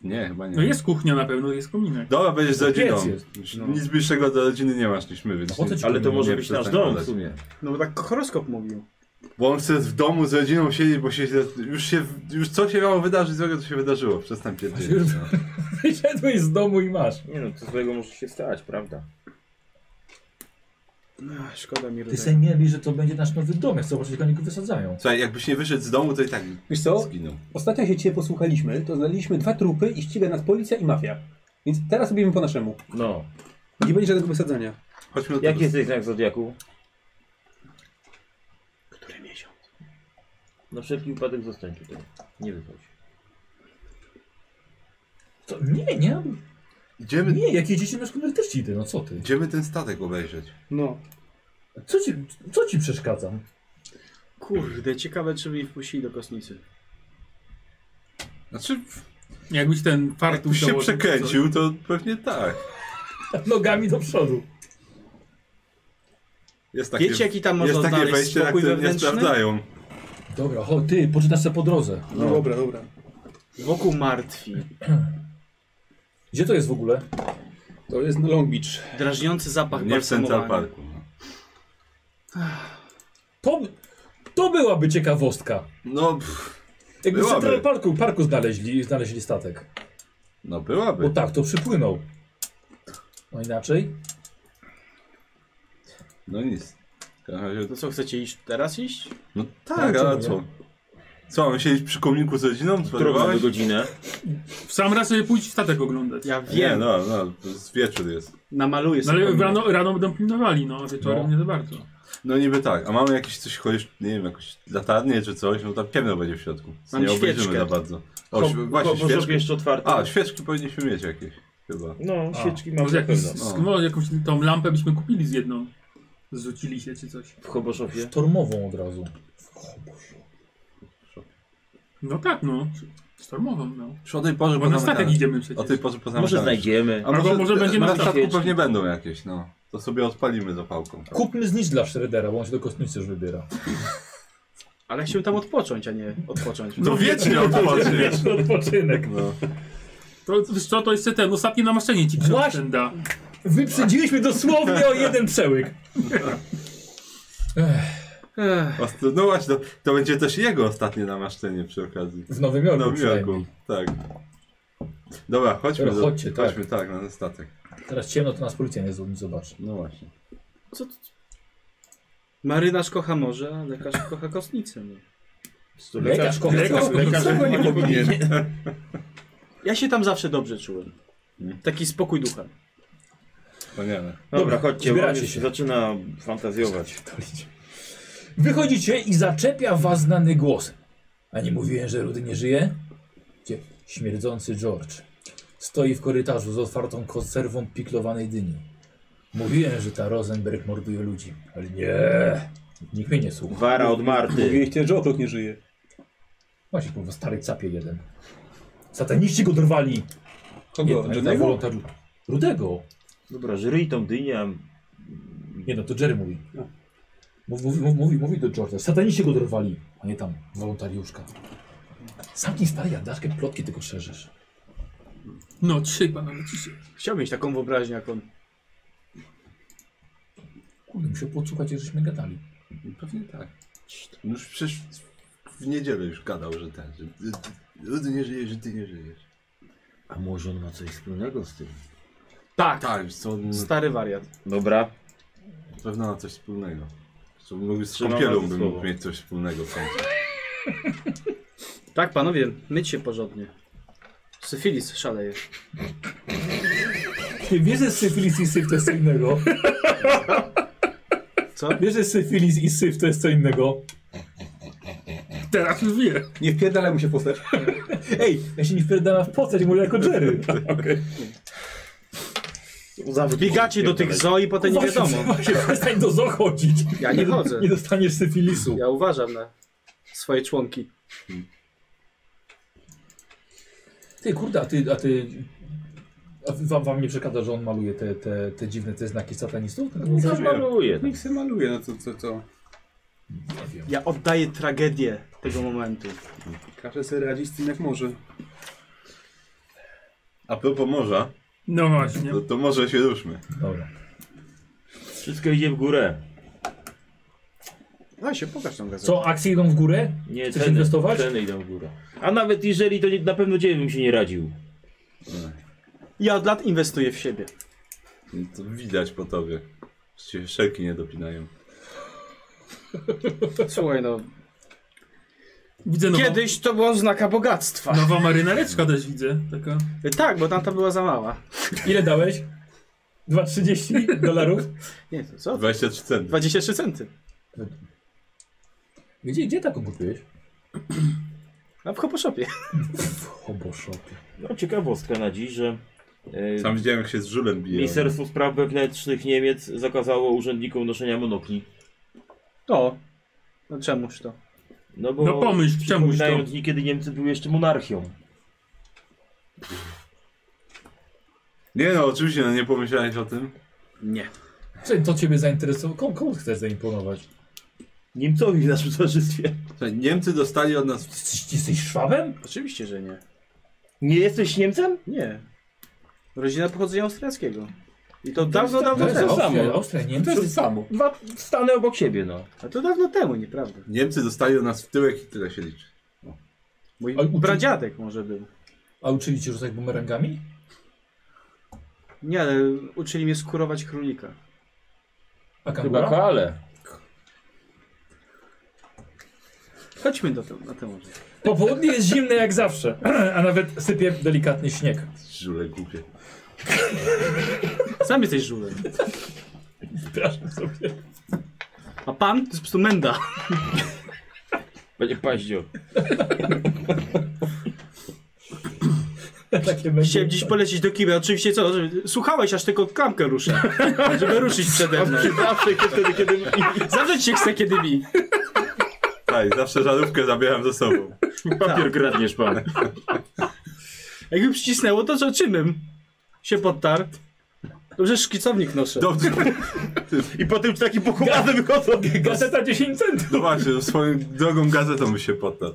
Nie, chyba nie. No jest kuchnia na pewno, jest kominek. Dobra, będziesz z rodziną. No. Piec jest. Nic bliższego do rodziny nie masz niż my, więc po co ci Ale to kominek? może nie być nasz przestań dom gadać. w sumie. No bo tak horoskop mówił. tak Bo on chce w domu z rodziną siedzieć, bo się, źle- już się, już co się miało wydarzyć złego, to się wydarzyło. Przestań pierdzielić. No. Wyszedłeś z domu i masz. Nie no, co złego może się stać, prawda? Ach, No, szkoda mi Ty rodzaju. sobie mieli, że to będzie nasz nowy dom, jak zobaczyć, jak oni go wysadzają. Słuchaj, jakbyś nie wyszedł z domu, to i tak Wiesz co? zginął. Ostatnio się cię posłuchaliśmy, to znaleźliśmy dwa trupy i ściga nas policja i mafia. Więc teraz robimy po naszemu. No. Nie będzie żadnego wysadzania. Chodźmy do Jaki tego. jesteś znak Zodiaku? Który miesiąc? Na wszelki wypadek zostań tutaj. Nie wychodź. To, nie, nie, Idziemy, nie, jak jedziecie na szkodę też ci idę, no co ty? idziemy ten statek obejrzeć. No. Co ci, co ci przeszkadzam? Kurde, ciekawe czy mnie wpuścili do kosnicy. Znaczy, Jakbyś ten fartuch jakbyś się założył, to co? przekręcił, to pewnie tak. Nogami do przodu. Jest takie, Wiecie jaki tam można jest takie znaleźć wejście, na spokój które nie wewnętrzny? sprawdzają. Dobra, chodź, ty, poczytasz sobie po drodze. No, dobra, dobra. Wokół martwi. Gdzie to jest w ogóle? To jest na Long Beach. Drażniący zapach Nie w Central balsamowany. Parku. To, to byłaby ciekawostka. No, pff, Jakby w Byłaby. Central Parku, parku znaleźli, znaleźli statek. no Bo byłaby. tak, to przypłynął. No inaczej? No nic. W każdym razie- No co, chcecie iść teraz iść? No Ale tak, czemu ale nie? co? Co, mam siedzieć przy kominku z rodziną? Którą mamy Sparowałeś? godzinę? W sam raz sobie pójdź statek oglądać. Ja Nie, wiem, no, no, to jest wieczór jest. namaluję No sobie. ale pomnik. rano, rano będą pilnowali, no, a wieczorem No. nie za bardzo. No niby tak, a mamy jakieś coś, chociaż, nie wiem, jakąś latarnię czy coś, no tam ciemno będzie w środku. Więc Mam nie obejrzymy świeczkę. za bardzo. O, świe- właśnie, Kogo zrobię świeczki. jeszcze otwarte? A, świeczki powinniśmy mieć jakieś, chyba. No, A. świeczki mam Może na jakiś, pewno. pewno. sk- no, jakąś tą lampę byśmy kupili z jedną. Zrzucili się czy coś. W Choboszowie. Sztormową od razu. No tak, no. Stormową, no. Już o tej porze Bo na pozamykane. statek idziemy przecież. O tej porze poznamy. Może znajdziemy. A może, Albo może będzie na na statku statku. pewnie będą jakieś, no. To sobie odpalimy zapałką. Kupmy znicz dla Shreddera, bo on się do kostnicy już wybiera. Ale chciałbym tam odpocząć, a nie odpocząć. To wiecznie odpocznie. Wieczny odpoczynek. No. To, wiesz co, to jeszcze ten, ostatnie namaszczenie ci ksiądz Właśnie. ten da. Wyprzedziliśmy dosłownie o jeden przełyk. Ech, Ostro- no właśnie, to, to będzie też jego ostatnie namaszczenie przy okazji. W Nowym Jorku No w przynajmniej. Jorku, tak. Dobra, chodźmy, Dobra, do- chodźcie, tak. chodźmy tak, na ten statek. Teraz ciemno, to nas policja nie z- nie zobaczy. No właśnie. co to? Marynarz kocha morze, a lekarz kocha kosnicę. No. Lekarz, kocha- lekarz- lekarz- kocha- nie powinien. Ja się tam zawsze dobrze czułem. Taki spokój ducha. Wspaniale. Dobra, chodźcie, bo zbieracie już się. zaczyna fantazjować. Wychodzicie i zaczepia was znany głos. A nie mówiłem, że Rudy nie żyje? Gdzie? Śmierdzący George. Stoi w korytarzu z otwartą konserwą piklowanej dyni. Mówiłem, że ta Rosenberg morduje ludzi. Ale nie. Nikt mnie nie słucha. Wara od Marty. Mówiliście, że otok nie żyje. Właśnie, kurwa, stary capie jeden. Sataniści go dorwali. Kogo? Nie, Jednego? Jednego? Rudego. Dobra, żyj tą dynię. a- Nie no, to Jerry mówi. Mówi, mówi, mówi, mówi do George'a. Sataniści go dorwali, a nie tam wolontariuszka. Zamknij stary jadaszkę, plotki tylko szerzysz. No, trzy panowie, ciszy. Chciałbym mieć taką wyobraźnię jak on. Kurde, muszę podsłuchać, jak żeśmy gadali. Pewnie tak. Już przecież w niedzielę już gadał, że ten, że ty- ty- Rudy nie żyje, że ty nie żyjesz. A może on ma coś wspólnego z tym? Tak, Tak, wiesz co, on stary wariat. Dobra. na pewno ma coś wspólnego. Co mówił, z Trzymam kąpielą was za bym słowo. mógł mieć coś wspólnego w końcu. Tak, panowie, myć się porządnie. Syfilis szaleje. Wiesz, że syfilis i syf to jest co innego. Co? Wiesz, że syfilis i syf to jest co innego. Teraz już wie. Nie wpierdalaj mu się w postać. Ej, ja się nie wpierdalam w postać, mówię jako Jerry. Biegacie do tych zoo i potem nie wiadomo. Właśnie, przestań do zoo chodzić. Ja nie chodzę. Nie dostaniesz syfilisu. Ja uważam na swoje członki. Ty, kurde, a ty... A ty... A wam, wam nie przekada, że on maluje te, te, te dziwne te znaki satanistów? Coś maluje. Nikt se maluje, no co, co, co. Nie wiem. Ja oddaję tragedię tego momentu. Każe sobie radzić z tym jak może. A propos morza, No właśnie. to, to może się ruszmy. Dobra. Wszystko idzie w górę. No się pokaż tą gazetę. Co, akcje idą w górę? Nie, Chcesz ceny, inwestować? ceny idą w górę. A nawet jeżeli, to nie, na pewno dziewięć bym się nie radził. Ja od lat inwestuję w siebie. To widać po tobie. Że cię szelki nie dopinają. Słuchaj no, Widzę nową, kiedyś to było znaka bogactwa. nowa marynareczka też widzę. Taka. Tak, bo tamta była za mała. Ile dałeś? 2,30 dolarów? Nie, to co? 23 centy. 23 centy. tak Gdzie, gdzie taką kupiłeś? A w Hoposhopie. W Hoboshopie. No, ciekawostka na dziś, że e, Sam widziałem jak się z żulem bije. Ministerstwo Spraw Wewnętrznych Niemiec zakazało urzędnikom noszenia monokli. To. No czemuż to? No, bo No pomyśl, czemuś to. przypominają dni, kiedy Niemcy były jeszcze monarchią. Nie no, oczywiście, no nie pomyślałeś o tym. Nie. Czy to ciebie zainteresowało? Komu, komu chcesz zaimponować? Niemcowi w naszym towarzystwie. Słuchaj, Niemcy dostali od nas... Jesteś, jesteś szwabem? Oczywiście, że nie. Nie jesteś Niemcem? Nie. Rodzina pochodzenia austriackiego. I to dawno, dawno To jest tak, no. temu. Austria, Austria, Niemcy. To jest samo. Dwa stany obok siebie, no. A to dawno temu, nieprawda. Niemcy dostali od nas w tyłek i tyle się liczy. Mój A uczy- pradziadek może był. A uczyli cię rzucać bumerangami? Nie, ale uczyli mnie skurować królika. A Chyba kangura? koale. Chodźmy do tego, na temat. Popołudnie jest zimne jak zawsze, a nawet sypie delikatny śnieg. Żule głupie. Sam jesteś żulem. Wyobrażam sobie. A pan to jest po prostu menda. Będzie paździo. Takie Chciałem dziś polecieć do kibra. Oczywiście co? że- Słuchałeś, aż tylko klamkę ruszę. Żeby ruszyć przede mną. Zawsze wtedy, kiedy... Zawrzeć się chce, kiedy mi. Tak, zawsze żarówkę zabieram ze sobą. Papier kradniesz pan. Jakby przycisnęło, to co czynem? Się podtarł. Dobrze, szkicownik noszę. Dobrze, I potem z takim pokładem wychodzą. Gazeta 10 centów. no właśnie, swoją drogą gazetą by się poddał.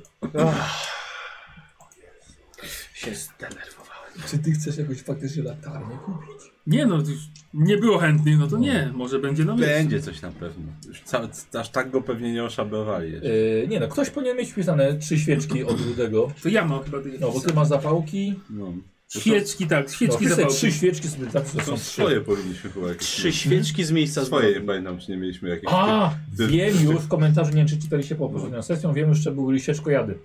Się zdenerwował. Czy ty chcesz jakąś faktycznie latarnię kupić? Nie no, już nie było chętnych, no to nie. Może będzie na miejscu. Będzie coś na pewno. Już ca- aż tak go pewnie nie oszablowali jeszcze. Yy, nie no, ktoś powinien mieć wpisane trzy świeczki od rudego. To ja mam chyba ty. No bo ty masz zapałki. No. Świeczki, tak, No, świeczki wpisaj zapałki. trzy świeczki sobie tak, to są Są trzy. swoje powinniśmy chyba jakieś Trzy świeczki z miejsca Swoje, zbrodni. nie pamiętam, czy nie mieliśmy jakichś... A, Ty- wiem już w komentarzu, nie wiem czy czytaliście po poprzednią sesją, wiem już, że były liścieczko jady.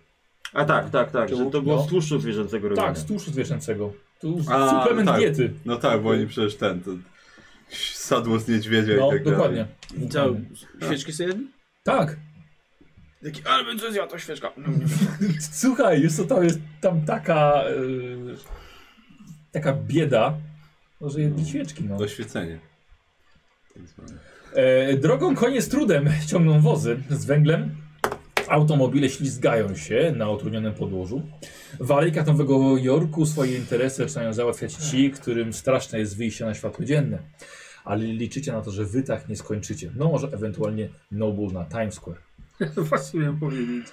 A tak, tak, tak. Że to było No. z tłuszczu zwierzęcego robione. Tak, z tłuszczu zwierzęcego. Tu A, suplement tak. diety. No tak, bo oni przecież ten, to sadło z niedźwiedzia No, i tak dalej. dokładnie. Co? Świeczki sobie jedli? Tak. Taki, ale będzie zjadł to świeczka. Słuchaj, jest to tam, jest tam taka e, taka bieda, no, że jedli świeczki. No. Doświecenie. E, drogą konie z trudem ciągną wozy z węglem. Automobile ślizgają się na utrudnionym podłożu. W alejkach Nowego Jorku swoje interesy zaczynają załatwiać ci, którym straszne jest wyjście na światło dzienne. Ale liczycie na to, że wy tak nie skończycie. No może ewentualnie Noble na Times Square. Właśnie miałem powiedzieć.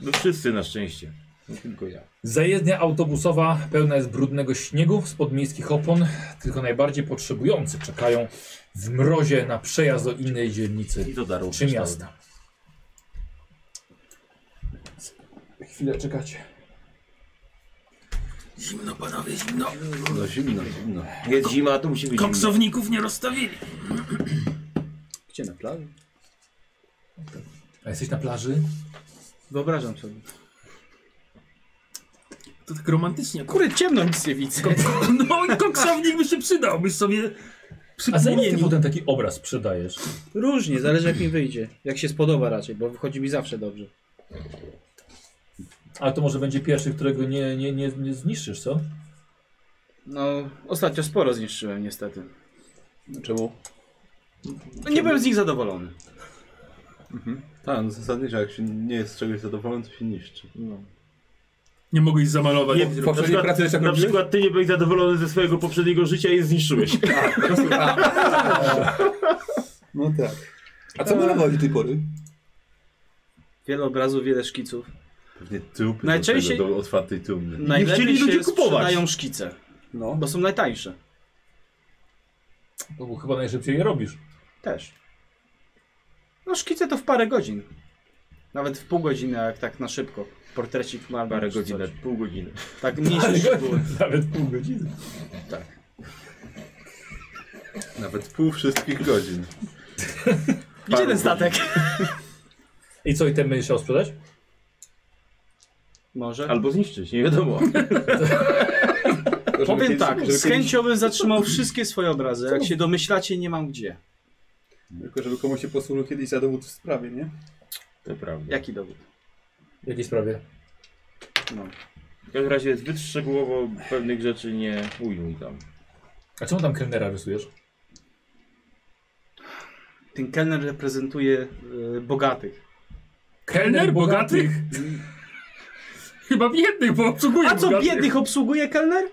No wszyscy na szczęście. No, tylko ja. Zajezdnia autobusowa pełna jest brudnego śniegu spod miejskich opon. Tylko najbardziej potrzebujący czekają w mrozie na przejazd do innej dzielnicy I to darło. czy miasta. Chwilę czekacie. Zimno panowie, zimno. No zimno, zimno. Jest zima, to musi być zimno. Koksowników nie rozstawili. Gdzie na plaży? A jesteś na plaży? Wyobrażam sobie. To tak romantycznie. Kurde, Kurde, ciemno nic nie widzę. no i koksownik by się przydał, byś sobie A za ile ty przypomnieli. potem taki obraz sprzedajesz? Różnie, zależy jak mi wyjdzie. Jak się spodoba raczej, bo wychodzi mi zawsze dobrze. Ale to może będzie pierwszy, którego nie, nie, nie, nie zniszczysz, co? No, ostatnio sporo zniszczyłem niestety. Czemu? No, nie byłem z nich zadowolony. Tak, no zasadniczo, jak się nie jest z czegoś zadowolony, to się niszczy. Nie mogłeś zamalować. Nie, Nie, po- Poprzedniej przykład- pracy też tak Na robiłeś? przykład ty nie byłeś zadowolony ze swojego poprzedniego życia i je zniszczyłeś. No tak. A co malowałeś do tej pory? Wiele obrazów, wiele szkiców. Pewnie trupy Najczęściej- do, tego, do otwartej trumny. Najlepiej chcieli się ludzie kupować. sprzedają szkice, No. bo są najtańsze. No bo chyba najszybciej je robisz. Też. No szkice to w parę godzin. Nawet w pół godziny, jak tak na szybko. Portrecik ma Parę czy coś. godzin, pół godziny. Tak mniejsze szczegóły. Nawet pół godziny. Nawet pół wszystkich godzin. Gdzie ten statek? I co, i ten będziesz chciał sprzedać? Może. Albo zniszczyć, nie wiadomo. Powiem tak, z chęcią bym zatrzymał wszystkie swoje obrazy. Jak się domyślacie, nie mam gdzie. Tylko żeby komuś się posłużył kiedyś za dowód w sprawie, nie? To prawda. Jaki dowód? W jakiej sprawie? No. W każdym razie zbyt szczegółowo pewnych rzeczy nie ujmuj tam. A czemu tam kelnera rysujesz? Ten kelner reprezentuje y, bogatych. Kelner bogatych? Chyba biednych, bo obsługuje A co, bogatych. biednych obsługuje kelner?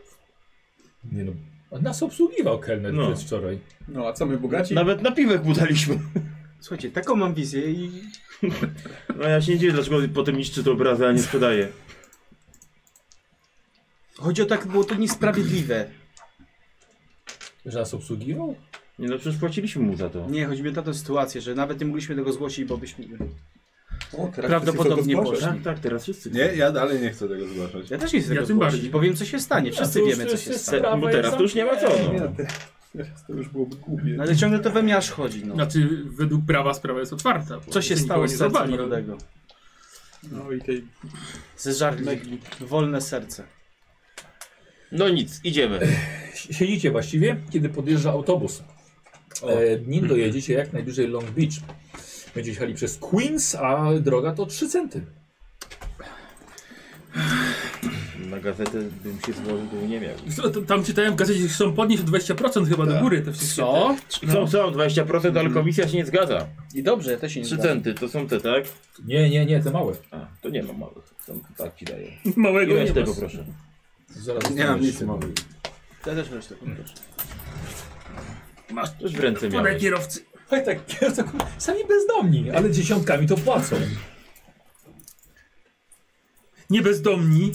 Nie no. a Nas obsługiwał kelner No. przez wczoraj. No a co my bogaci? Nawet na piwek mu daliśmy. Słuchajcie, taką mam wizję i No ja się nie dziwię, dlaczego potem niszczy te obrazy, a nie sprzedaje. chodzi o tak, było to niesprawiedliwe. Że nas obsługiwał? Nie no, przecież płaciliśmy mu za to. Nie, chodzi mi o tę sytuację, że nawet nie mogliśmy tego zgłosić, bo byśmy... O, teraz wszyscy Prawdopodobnie chcą to zgłaszać. poszli. Tak, tak, teraz wszyscy. Nie, ja dalej nie chcę tego zgłaszać. Ja No też nie chcę Ja tego tym zgłosić, bardziej. bo wiem co się stanie, to wszyscy już- wiemy to co już się jest stanie. sprawa Bo teraz to już nie ma co. Nie, no, No. te- teraz to już byłoby głupie. No ale ciągle to we mnie aż chodzi, no. Znaczy, według prawa sprawa jest otwarta. bo Co się nikogo stało z sercem zabali. Rudego? No i tej Zeżarli wolne serce. no nic, idziemy. Siedzicie właściwie, kiedy podjeżdża autobus. E, nim dojedziecie jak najbliżej Long Beach. Będziecie jechali przez Queens, a droga to 3 centy. Na gazetę bym się złożył, to nie miał. Co, to- Tam czytałem w gazecie, że chcą podnieść o 20% chyba do góry te wszystkie. Co? Są, są, 20%, ale komisja się nie zgadza. No. I dobrze, ja też się nie Mhm. Trzy zgadzam. centy, to są te, tak? Nie, nie, nie, te małe. A, to nie ma małych. Tam, tak ci daję. te. Małego Ile nie tego tego. proszę? Zaraz Nie mam dostaniesz nic tego. mowy. Ja też resztę. Masz, też w ręce Podaj miałeś. kierowcy. Tak, tak, to kur- sami bezdomni, ale dziesiątkami to płacą. Nie bezdomni,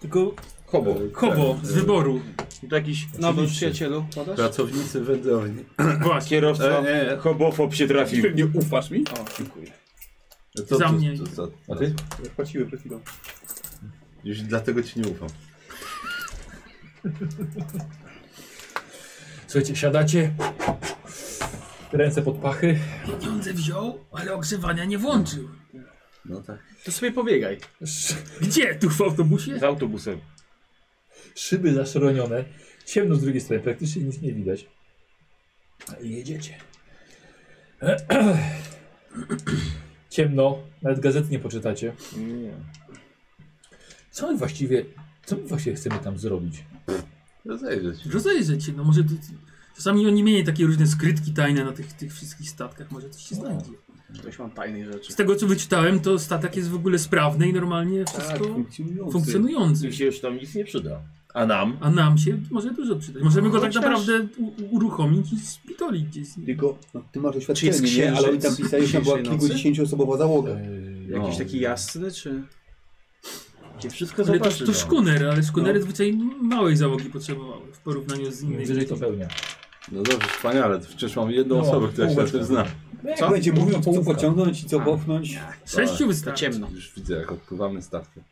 Tylko, Hobo. hobo z wyboru. To jakiś no bo przyjacielu, podasz? Pracownicy wędrowni. Właśnie. E, kierowca nie, nie. hobofob się trafił. Ty nie ufasz mi? O, dziękuję. Co, co, Za mnie. co, co? A ty? Ja Płaciłem przed chwilą. Już dlatego ci nie ufam. Słuchajcie, siadacie, ręce pod pachy. Pieniądze wziął, ale ogrzewania nie włączył. No tak. To sobie pobiegaj. Sz- Gdzie? Tu w autobusie? Z autobusem. Szyby zaszronione, ciemno z drugiej strony, praktycznie nic nie widać. Jedziecie. Ciemno, nawet gazet nie poczytacie. Nie. Co my właściwie, co my właściwie chcemy tam zrobić? Rozejrzeć. Rozejrzeć się, no może tu... Czasami oni mieli takie różne skrytki tajne na tych, tych wszystkich statkach, może coś się znajdzie. Ktoś mam tajnej rzeczy. Z tego co wyczytałem, to statek jest w ogóle sprawny i normalnie Tak, wszystko funkcjonujący. funkcjonujący. Mi się już tam nic nie przyda. A nam? A nam się może dużo przydać. Możemy go tak Chociaż- naprawdę u- u- uruchomić i spitolić gdzieś. Tylko, no, ty masz Czy jest doświadczenie, nie? Ale oni tam księżyc pisali, że tam była dzisiejszej nocy? kilkudziesięcioosobowa załoga. Eee, Jakiś No. taki jasny, czy... Cię wszystko Ale to, zobaczy. to no. szkuner, ale szkunery zwyczaj małej załogi potrzebowały w porównaniu z innymi. Wyżej to pełnia. No dobrze, wspaniale. to Przecież mam jedną No, osobę, która się na półeczka. tym zna. Co? Będzie mówił, co Połówka. pociągnąć i co popchnąć. Sześciu To wystarczy. ciemno. Już widzę, jak odpływamy statkiem.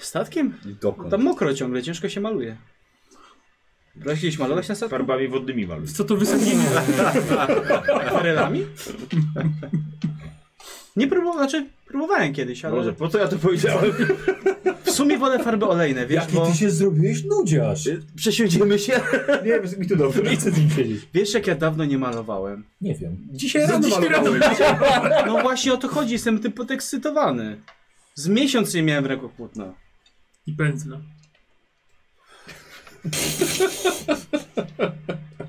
Statkiem? I dokąd. Tam mokro ciągle, ciężko się maluje. Brałeś kiedyś malować na statku? Farbami wodnymi maluj. Co to wysadzenie? Akwarelami? Nie próbowałem, znaczy próbowałem kiedyś, ale Boże, po co ja to powiedziałem? w sumie wolę farby olejne, wiesz, no- Jaki bo ty się zrobiłeś nudziarz? Przesiądziemy się. Nie, mi tu dobrze. Nie chcę z nim siedzieć. wiesz jak ja dawno nie malowałem. Nie wiem. Dzisiaj rano malowałem. No właśnie o to chodzi, jestem tym podekscytowany. Z miesiąc nie miałem w ręku płótna. I pędzla.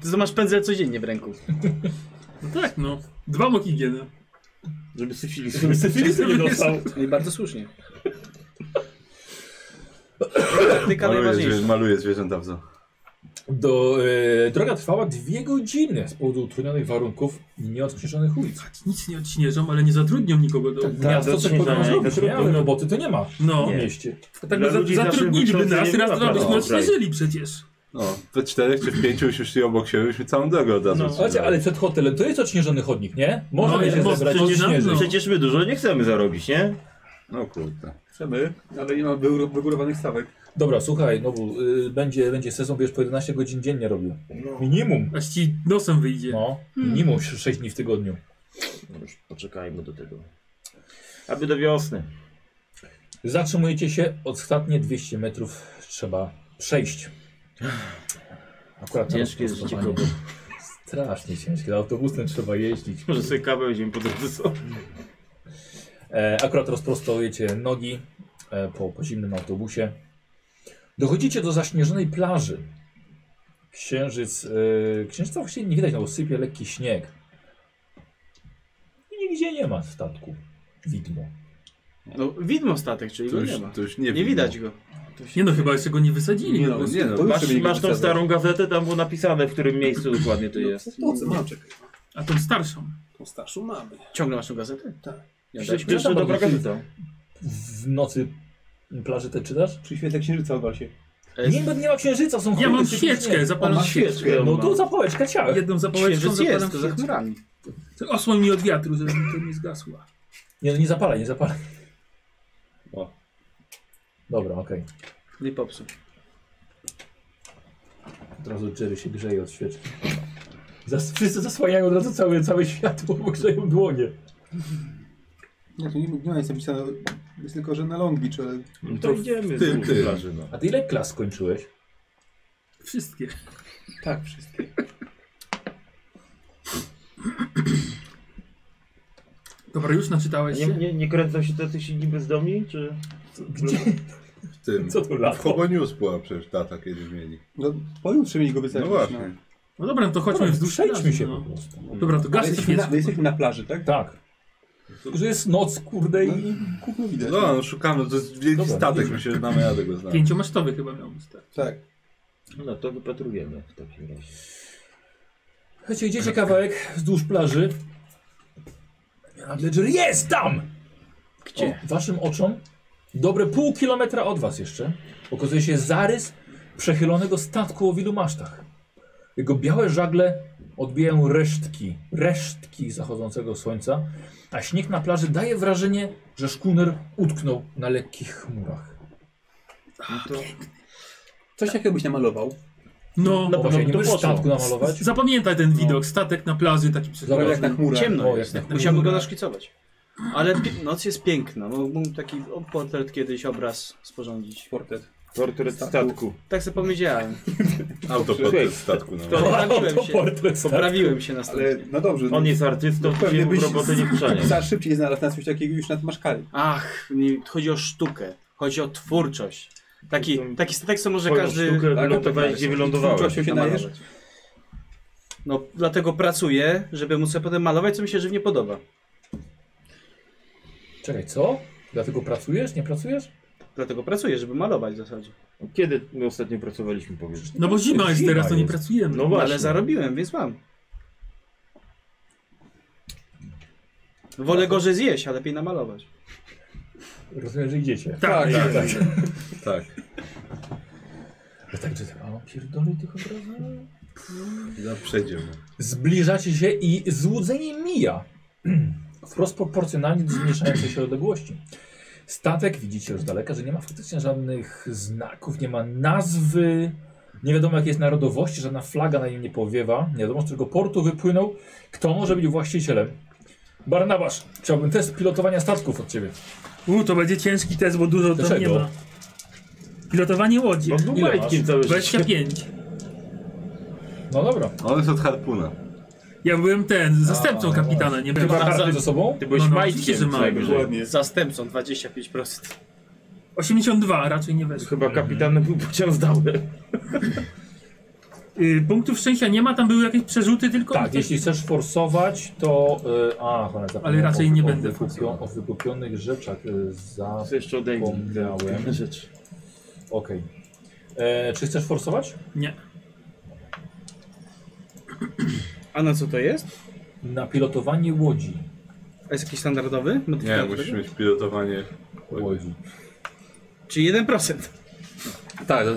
Ty to masz pędzel codziennie w ręku. No tak no. Dwa mokigieny. Żeby syfilis. nie dostał. No i bardzo słusznie. Praktyka Maluję, najważniejsza. zwierzę, maluję zwierzęta w zoo. Do, e, droga trwała dwie godziny z powodu utrudnionych warunków i nieodśnieżonych ulic. Nic nie odśnieżą, ale nie zatrudnią nikogo Tak, do... Miasto coś odśnieżone, powinno nie, zrobić, nie? zatrudnione. Ale roboty to nie ma No. w mieście. To tak Dla by za, ludzi naszych zatrudniliby wiszących nas, nie raz była dwa byśmy prawa. odśnieżyli przecież. No, we czterech czy w pięciu już szli obok siebie, byśmy całą drogę od razu. No. Słuchajcie, ale przed hotelem to jest odśnieżony chodnik, nie? Można No, by się bo zebrać przecież- odśnieżyć. no. Przecież my dużo nie chcemy zarobić, nie? No kurde. Chcemy, ale nie ma wygur- wygórowanych stawek. Dobra, słuchaj, no bo, y, będzie, będzie sezon, wiesz, po 11 godzin dziennie robił. Minimum. Aż ci nosem wyjdzie. No, minimum 6 dni w tygodniu. No Już poczekajmy do tego. Aby do wiosny. Zatrzymujecie się, ostatnie 200 metrów trzeba przejść. Akurat na Ciężkie życie rozprostowanie. kogo. Strasznie ciężkie, autobusem trzeba jeździć. Może sobie kawę weźmiemy pod E, akurat rozprostujecie nogi, e, po, po zimnym autobusie. Dochodzicie do zaśnieżonej plaży. Księżyc, e, księżyca właściwie nie widać, no bo sypie lekki śnieg. I nigdzie nie ma statku. Widmo. No, widmo statek, czyli To go już, nie ma. to już nie, Nie widać go. Nie no, chyba jeszcze go nie wysadzili. Nie po no, prostu. nie no. Masz, sobie nie masz tą wysadzę. starą gazetę, tam było napisane, w którym miejscu dokładnie to jest. No, To co mam, czekaj. A tą starszą. Tą starszą mamy. Ciągle masz tą gazetę? Tak. Ja Przecież tak. wiesz, Pierwsza Przeczytam dobra odnośnie- gazeta. W nocy plaży te czytasz? Przy świetle księżyca odwal się. E, Nie, ma- nie ma księżyca, są Ja chmury, mam się świeczkę, nie- zapalam świeczkę. Świeczkę. No to zapałeczka ciała. Jedną zapałeczką Księżyc zapalam jest, to za świeczkę. chmurami. Osłoń mi od wiatru, żeby to nie zgasła. Nie, no nie zapalaj, nie zapalaj. Dobra, okej. Nie popsuł. Od razu Jerry się grzeje od świeczki. Zas wszyscy zasłaniają od razu całe, całe światło, bo grzeją dłonie. Nie, tu nie, nie ma nic napisane, jest tylko, że na Long Beach, ale... No to idziemy w- Ty, w ty. plaży, no. A ty ile klas skończyłeś? Wszystkie. Tak, wszystkie. Dobra, już naczytałeś Nie, się? nie, nie kręcą się tacy inni bezdomni, czy... Gdzie? W tym. Co to W lato? Hobo News była przecież tata kiedyś mieli. No, pojutrze mieli go No wysadzić. właśnie. No dobra, no to chodźmy Dobra, wzdłuż Przejdźmy plaży, się po no. prostu. Dobra, to Ale gasy jesteśmy, na, świecą. my jesteśmy na plaży, tak? Tak. Tylko, że jest noc, kurde No i... i kupno widać. No, no szukamy, to jest wielki Dobra, statek, dobrze. my się damy radę go znaleźć. Pięciomasztowy chyba miał być, tak. Tak. No to wypatrujemy w takim razie. Chodźcie, idziecie kawałek wzdłuż plaży. Ledger jest tam! Gdzie? O, waszym oczom, dobre pół kilometra od was jeszcze, okazuje się zarys przechylonego statku o wielu masztach. Jego białe żagle odbijają resztki, resztki zachodzącego słońca, a śnieg na plaży daje wrażenie, że szkuner utknął na lekkich chmurach. Coś takiego byś Tak. namalował. No, No właśnie, no, nie to możesz poszło. statku namalować? Zapamiętaj ten widok, statek na plaży, taki przez... Dobra, Prawie Tak, jak na chmurach. Ciemno O, jest. jak na No, Musiałbym go chmurach. naszkicować. Ale pi- noc jest piękna. Mo- Mógł taki o- portret kiedyś, obraz sporządzić. Portret. Portret statku. Tak sobie powiedziałem. Autoportret statku na To poprawiłem tak się. Autoportret statku. Poprawiłem się Ale następnie. no dobrze. On no, jest artystą, No to pewnie się mu byś- roboty nie przenia. za szybciej znalazł nas coś takiego już nad maszkali. Ach, nie, chodzi o sztukę. Chodzi o twórczość. Taki, taki statek, co może Twoją każdy sztukę tak, wylądowałeś, tak, gdzie tak. wylądowałeś. Czosiu się namalować. dajesz? No, dlatego pracuję, żeby móc sobie potem malować, co mi się żywnie podoba. Czekaj, co? Dlatego pracujesz, nie pracujesz? Dlatego pracuję, żeby malować w zasadzie. Kiedy my ostatnio pracowaliśmy, powiedz? No bo zima jest Zima teraz, to nie jest. pracujemy. No No, właśnie. ale zarobiłem, więc mam. Wolę gorzej zjeść, a lepiej namalować. Rozumiem, że idziecie. Tak, tak. tak. Tak. Ja tak, że tak, a pierdolę tych obrazów. No, przejdziemy. Zbliżacie się i złudzenie mija. Wprost proporcjonalnie do zmniejszającej się odległości. Statek widzicie już z daleka, że nie ma faktycznie żadnych znaków, nie ma nazwy, nie wiadomo jakiej jest narodowości, żadna flaga na nim nie powiewa, nie wiadomo z którego portu wypłynął, kto może być właścicielem. Barnabasz, chciałbym test pilotowania statków od ciebie. U, to będzie ciężki test, bo dużo tam nie Dlaczego? no ma. Pilotowanie łodzi. Bo był Ile majtkiem całe życie. 25. No dobra. On jest od harpuna. Ja byłem ten, zastępcą A, kapitana, nie byłem Chyba razem. razem ze sobą? Ty byłeś No, no, oczywiście, że majtkiem mam. całego życia. Ładnie. Zastępcą 25%. 82 raczej nie weszło. Chyba kapitanem był pociąg zdałem. Y, punktów szczęścia nie ma, tam były jakieś przerzuty tylko. Tak, jeśli chcesz forsować, to. Yy, a, cholera, zapomniałem Ale raczej o, nie o będę Wykupio, forsował. o wykupionych rzeczach y, za. Co jeszcze odejmę? Pomniałem. Te rzeczy. Okej. E, Czy chcesz forsować? Nie. A na co to jest? Na pilotowanie łodzi. A jest jakiś standardowy? tak? Nie, Modyfikant musisz tego? mieć pilotowanie. łodzi. Czyli 1%. Tak,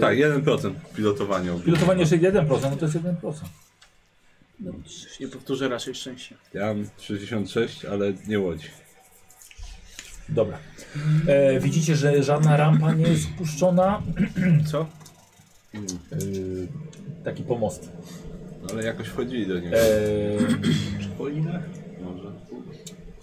tak, 1% pilotowanie. ogólnie. Pilotowanie jeszcze 1%, no to jest 1%. Nie powtórzę raczej szczęścia. Ja mam 66, ale nie łodzi. Dobra. E, widzicie, że żadna rampa nie jest spuszczona. Co? E, taki pomost. Ale jakoś wchodzili do niego. E, Może.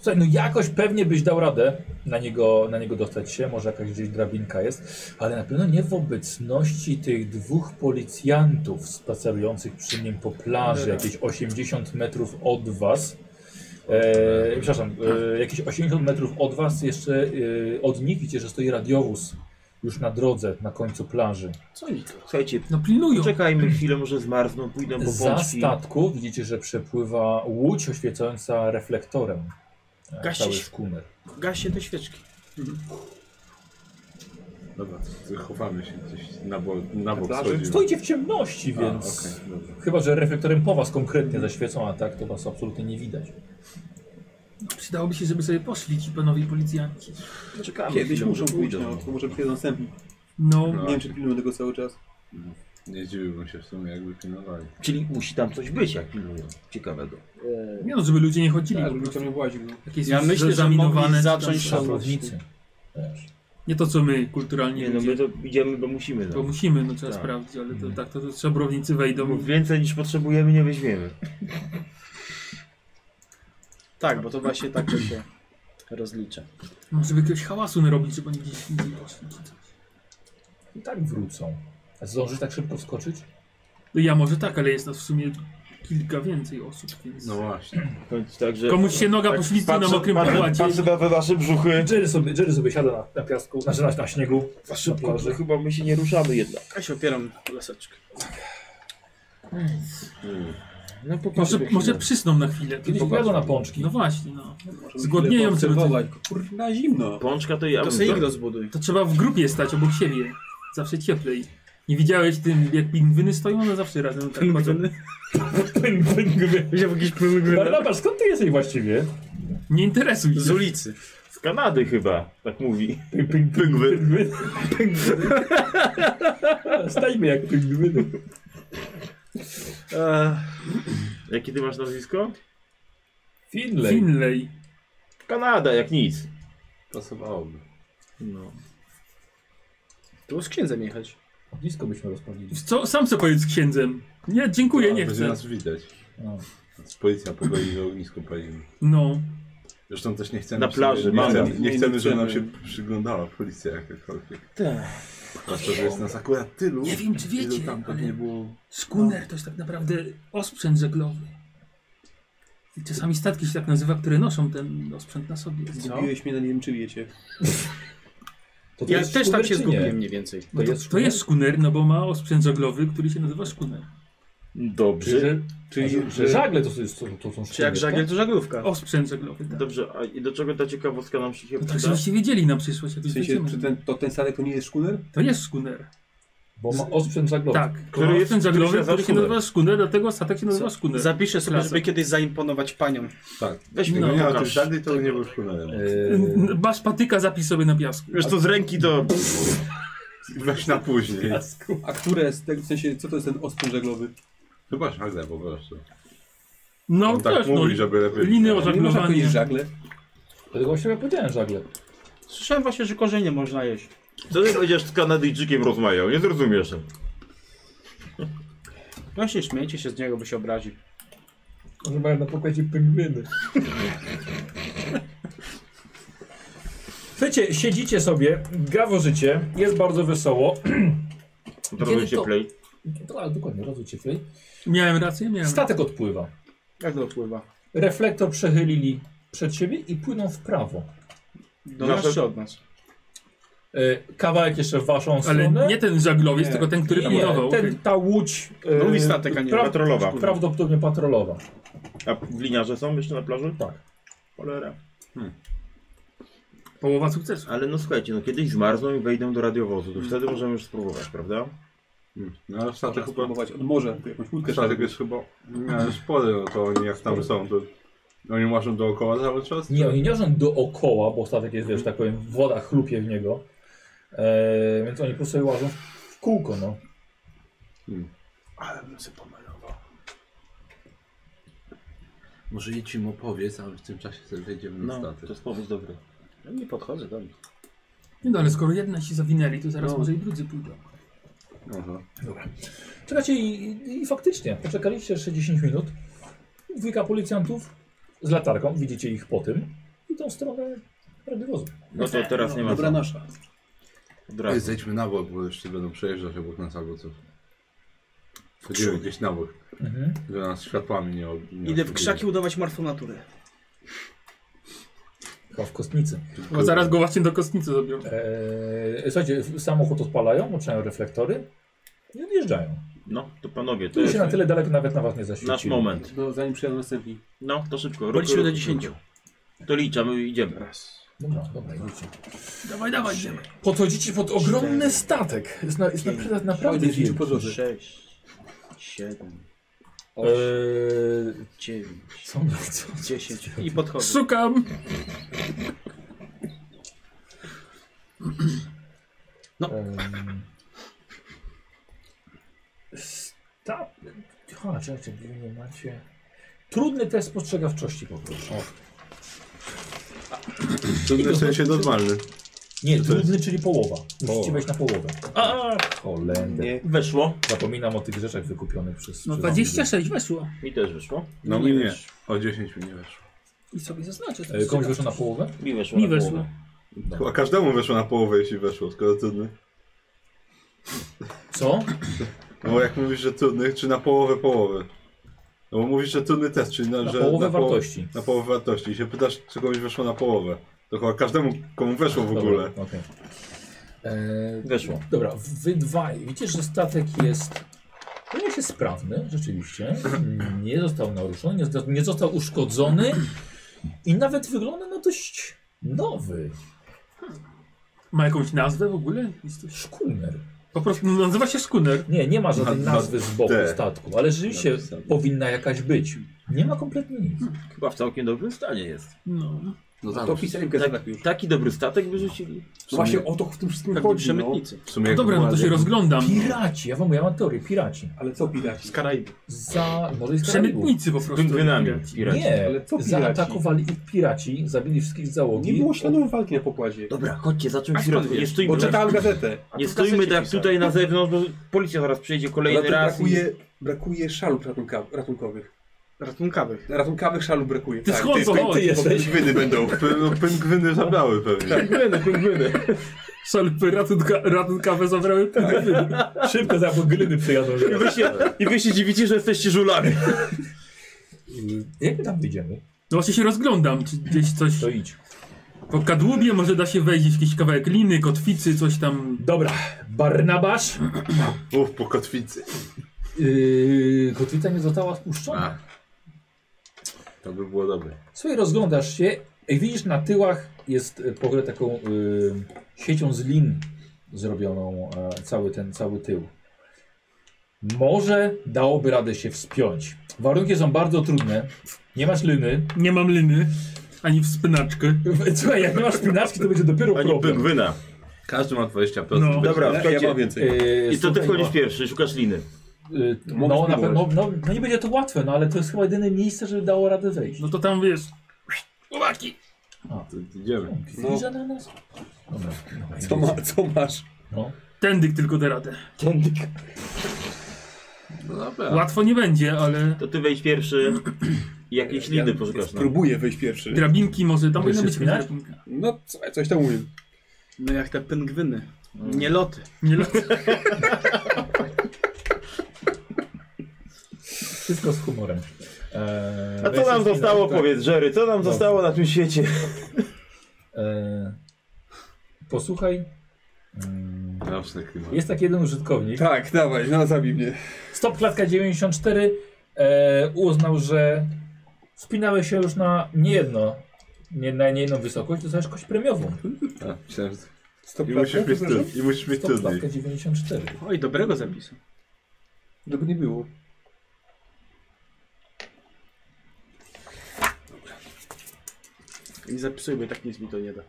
Słuchaj, no jakoś pewnie byś dał radę na niego, na niego dostać się, może jakaś gdzieś drabinka jest, ale na pewno nie w obecności tych dwóch policjantów spacerujących przy nim po plaży, jakieś 80 metrów od was. E, przepraszam, e, jakieś 80 metrów od was jeszcze e, od nich widzicie, że stoi radiowóz już na drodze, na końcu plaży. Co oni tu? Słuchajcie, No pilnują. czekajmy chwilę, może zmarzną, pójdę po Za bączki. statku widzicie, że przepływa łódź oświecająca reflektorem e, Gasi cały się. szkuner. Gaśnie te świeczki. Dobra, chowamy się gdzieś na, bo, na bok plaży? schodzimy. Stoicie w ciemności, A, więc okej, dobra. chyba, że reflektorem po was konkretnie zaświecą, a tak to was absolutnie nie widać. Przydałoby się, żeby sobie poszli ci panowie policjanci. Czekamy Tak, Kiedyś chwilę, muszą może pójść, pójdą. no, to może przyjdą następni. No, No. Nie wiem, czy pilnują tego cały czas. Tak, Nie zdziwiłbym się w sumie, jakby pilnowali. Czyli musi tam coś być, jak pilnują. Ciekawego. nie no, żeby ludzie nie chodzili. Tak, po żeby prostu. tam nie właził. no. Jakieś Ja myślę, że zaminowane mogli czy tam zacząć coś. szaleć. Szafrownicy. Też. Nie to co my kulturalnie Nie no, ludzie, my to idziemy, bo musimy. bo No. musimy, no trzeba Tak. sprawdzić, ale to tak, to, to szabrownicy wejdą. Więcej niż potrzebujemy, nie weźmiemy. Tak, bo to właśnie tak to się rozlicza. Może by jakiegoś hałasu narobić, żeby oni gdzieś indziej poszli. czy coś. I tak wrócą. A zdążysz tak szybko wskoczyć? No ja może tak, ale jest nas w sumie kilka więcej osób, więc... No właśnie. W końcu Także, Komuś się noga poślizgnie tak na patrzę- mokrym patrzę- płacie. Patrzę na te nasze brzuchy. Jerry sobie, Jerry sobie siada na, na piasku, znaczy na, na śniegu. Za szybko, plaży. że chyba my się nie ruszamy jednak. Ja się opieram o laseczkę. No popatrzmy Może, chwilę. może przysną na chwilę. Kiedyś tylko- pojadą na pączki. No właśnie, no. Możemy Zgłodnieją chwilę sobie poobserwować. Kurna No. zimno. Pączka to ja To bym sobie za- ich rozbuduj. To trzeba w grupie stać obok siebie. Zawsze cieplej. Nie widziałeś tym, jak pingwiny stoją? One zawsze razem tak chodzą. Widział jakieś pingwiny? Barnabasz, skąd ty jesteś właściwie? Nie interesuj Z się. ulicy. Z Kanady chyba, tak mówi. Pingwyn. Stajmy jak pingwiny. Eee, Jakie ty masz nazwisko? Finlay. Finlay. Kanada, jak nic. Pasowałoby. No. tu z księdzem jechać. Blisko byśmy rozpalili. Co, sam sobie powiedz z księdzem. Nie, dziękuję, Ale nie Tak, Będzie chcę. nas widać. No. Więc Policja pogoi, że ognisko palimy. No. Zresztą też nie chcemy... Na żeby- plaży, nie, mamy. chcemy, nie Nie chcemy, żeby nam się chcemy. przyglądała policja jakakolwiek. Tak. Zwłaszcza, że jest nas akurat tylu. Nie wiem, czy ilu wiecie, tam pewnie ale było... skuner to jest tak naprawdę osprzęt żeglowy. I czasami statki się tak nazywa, które noszą ten osprzęt na sobie. Zgubiłeś mnie, no nie wiem, czy wiecie. To to Ja jest też tam szkuner, się czy nie? zgubiłem mniej więcej. No to, to jest skuner, no bo ma osprzęt żeglowy, który się nazywa szkuner. Czyli, Dobrze. że, czyli że żagle to, jest, to, to są Czy szkunery, jak żagiel, to żaglówka. Osprzęt żeglowy, tak. Dobrze, a i do czego ta ciekawostka nam się No chyba tak, żebyście wiedzieli na przyszłość, jak W już sensie, będziemy. czy ten, to ten statek to nie jest szkuner? To jest skuner. tak? Bo ma osprzęt żaglowy. Tak, który który jest- jest ten który się żaglowy, nazywa który się skuner. nazywa skuner, dlatego statek się nazywa Co? skuner. Zapiszę sobie, Klasa. żeby kiedyś zaimponować panią. Tak. Weźmy no Gdyby go, nie ma tych pokaż. żadnej, to by nie był szkunerem. E, Yy, Masz patyka, zapisz sobie na piasku. Wiesz to z ręki to... Weź na później. A które z tego, w sensie, co to jest ten osprzęt żeglowy? Chyba żagle po prostu. No On tak też, mówi, no. żeby lepiej... Liny o Nie można powiedzieć żaglowanie. żagle. dlatego właśnie ja powiedziałem żagle. Słyszałem właśnie, że korzenie można jeść. Co ty będziesz z Kanadyjczykiem rozmawiał? Nie zrozumiesz. Właśnie śmiejcie się z niego, bo się obrazi. Może mają na pokładzie pingwiny. Słuchajcie, siedzicie sobie, gaworzycie, jest bardzo wesoło. Trochę Kiedy to- cieplej. To, ale dokładnie, razu cieplej. Miałem rację, miałem. Statek odpływa. Jak to wpływa? Reflektor przechylili przed siebie i płyną w prawo. Do Nasze- nas czy od nas? E, Kawałek jeszcze w waszą Ale stronę. nie ten żaglowiec, Nie. tylko ten, który Nie, budował. ten, okej. ta łódź. e, Drugi statek, a nie pra- Patrolowa. Prawdopodobnie patrolowa. A gliniarze są jeszcze na plaży? Tak. Cholera. Połowa sukcesu. Ale no słuchajcie, no kiedyś zmarzną i wejdą do radiowozu, to wtedy możemy już spróbować, prawda? Hmm. No ale Można statek chyba... spróbować od morza, tu jakąś łódkę. Statek jest chyba... No, spory, no to oni jak tam są, to... Oni marzą dookoła cały czas? Nie, oni nie rząd dookoła, bo statek jest, wiesz, tak powiem, woda chlupie w niego. E, więc oni po prostu sobie łażą w kółko, no. Ale bym sobie pomalował. Może idź im opowiedz, a w tym czasie sobie wejdziemy No, na statek. to jest pomysł dobry. No nie podchodzę do nich. Nie No ale skoro jedna się zawinęli, to zaraz może i drudzy pójdą. Aha. Czekacie i, i faktycznie, poczekaliście jeszcze 10 minut. Dwójka policjantów z latarką, widzicie ich po tym. I tą stronę radiowozu. No to teraz nie ma Dobra co. nasza. Od Tak. Ej, razu. zejdźmy na bok, bo jeszcze będą przejeżdżać obok nas albo coś. Chodzimy gdzieś na bok, Mhm. żeby nas światłami nie ob... nie Idę w oświetliło. krzaki udawać martwą naturę. Chyba w kostnicy. Bo zaraz go właśnie do kostnicy zabiorą. Eee, słuchajcie, w- samochód odpalają, włączają reflektory i odjeżdżają. No, to panowie, to Tu jest się na tyle daleko nawet na was nie zaświeciło. nasz moment. No, zanim przyjadą następni. No, to szybko. Ruch, Policzymy ruch, do ruch. 10. To liczamy i idziemy. Dobra, dobra, idźcie. Dawaj, dawaj, idziemy. Podchodzicie pod ogromny statek. Jest, na, jest naprawdę, naprawdę Ojciec liczył wielki. po drodze. 6, 7, Eee, 9, co, co, 10 i podchodzę. Szukam. Em, Sta... Ha, czekajcie, wy nie macie... Trudny test spostrzegawczości poproszę. Trudny w sensie normalny. Nie, to trudny, czyli połowa. Musicie Połowa. wejść na połowę. A, Holender. Nie. weszło. Zapominam o tych rzeczach wykupionych przez... No przez 26 weszło. Mi też weszło. No mi nie. O 10 mi nie weszło. I sobie zaznaczę. Anglików. E, Komuś wyszło na połowę? Mi weszło. Mi na weszło. połowę. A każdemu weszło na połowę, jeśli weszło, skoro trudny. Co? No bo jak mówisz, że trudny, czy na połowę połowy? No bo mówisz, że trudny test, czyli na, Na że połowę na poł- wartości. Na połowę wartości. I się pytasz, czy komuś weszło na połowę. To chyba każdemu, komu weszło w ogóle. Dobra, okej. E, Weszło. Dobra, wy dwaj. Widzicie, że statek jest. To jest sprawny, rzeczywiście. Nie został naruszony, nie został, nie został uszkodzony i nawet wygląda na dość nowy. Ma jakąś nazwę w ogóle? Jest to sz- Szkuner. Po prostu no, nazywa się Skuner. Nie, nie ma żadnej Na- na nazwy z boku D. statku, ale rzeczywiście Napisane. powinna jakaś być. Nie ma kompletnie nic. Chyba w całkiem dobrym stanie jest. Tak- No. No to pisałem gazetach już. Taki dobry statek wyrzucili. No właśnie o to w tym wszystkim Jakby chodzi, no. Tak, przemytnicy. W sumie No jak dobra, no to się rozglądam. Piraci, ja wam ja mam teorię, piraci. Ale co piraci? Z Karaiby. Za. Może i z Karaibów. Przemytnicy po prostu. Pingwinami. Piraci. Nie, Ale co piraci? zaatakowali ich piraci, zabili wszystkich z załogi. Nie było śladów walki na pokładzie. Dobra, chodźcie, zacząć A w skąd środku. Nie wiesz? stójmy, Bo czytałem gazetę. nie w stójmy gazecie tak pisali. tutaj na zewnątrz, bo policja zaraz przyjdzie kolejny Brakuje, raz. I... brakuje, brakuje szalub ratunka, ratunkowych. Ratunkowych. Ratunkowych szalub brakuje. Tak, Ty skąd ty- to ty- chodzi? ty jesteś. Pingwiny będą. P- no, Pingwiny zabrały pewnie. Pingwiny, pingwiny. Szalpy ratunka, ratunkowe zabrały pingwiny. Szybko za gliny przyjadą. I wy, się, I wy się dziwicie, że jesteście żulami. Jak my tam wyjdziemy? No właśnie się rozglądam, czy gdzieś coś... To idź. Po kadłubie może da się wejść jakiś kawałek liny, kotwicy, coś tam... Dobra, Barnabasz. Uff, po kotwicy. Yy, kotwica nie została spuszczona. A. To by było dobre. Słuchaj, rozglądasz się i widzisz na tyłach jest e, w ogóle taką yy, siecią z lin zrobioną e, cały ten, cały tył. Może dałoby radę się wspiąć. Warunki są bardzo trudne. Nie masz liny. Nie mam liny, ani wspinaczkę. Słuchaj, jak nie masz spinaczki, to będzie dopiero Ani problem. pingwina. Każdy ma 20%. No. Dobra, ja, ja słuchajcie. mam więcej. Yy, I co ty słuchaj, wchodzisz pierwszy? Szukasz liny. Y, mogę No, na pewno, spróbować. no, no nie będzie to łatwe, no ale to jest chyba jedyne miejsce, żeby dało radę wejść. No to tam wiesz... Chłopaki! To idziemy. No. na nas? Dobra, no, Co, ma, co masz? no. Tędyk tylko da radę. No dobra. Łatwo nie będzie, ale... To ty wejdź pierwszy i jakieś liny poszukasz. no. nam. Spróbuję wejść pierwszy. Drabinki może, tam Możesz powinna być się wspinać? drabinka. No, co- coś tam umiem. No jak te pingwiny. Mm. Nie loty. Nie lat... Wszystko z humorem. Eee, A co nam zostało, powiedz, Jerry, co nam Dobrze. zostało na tym świecie? Eee, posłuchaj. Mm, Zawsze klimat. Jest taki jeden użytkownik. Tak, dawaj, no zabij mnie. Stop klatka 94 eee, uznał, że wspinałeś się już na niejedno, nie, na niejedną wysokość, dostałeś kość premiową. A, Tak, myślałem, że... Stop I musisz mieć, przepraszam. trud, i musisz mieć Stop trudniej. klatka 94. Oj, dobrego zapisu. Żeby nie było. Nie zapisuję, bo i tak nic mi to nie da.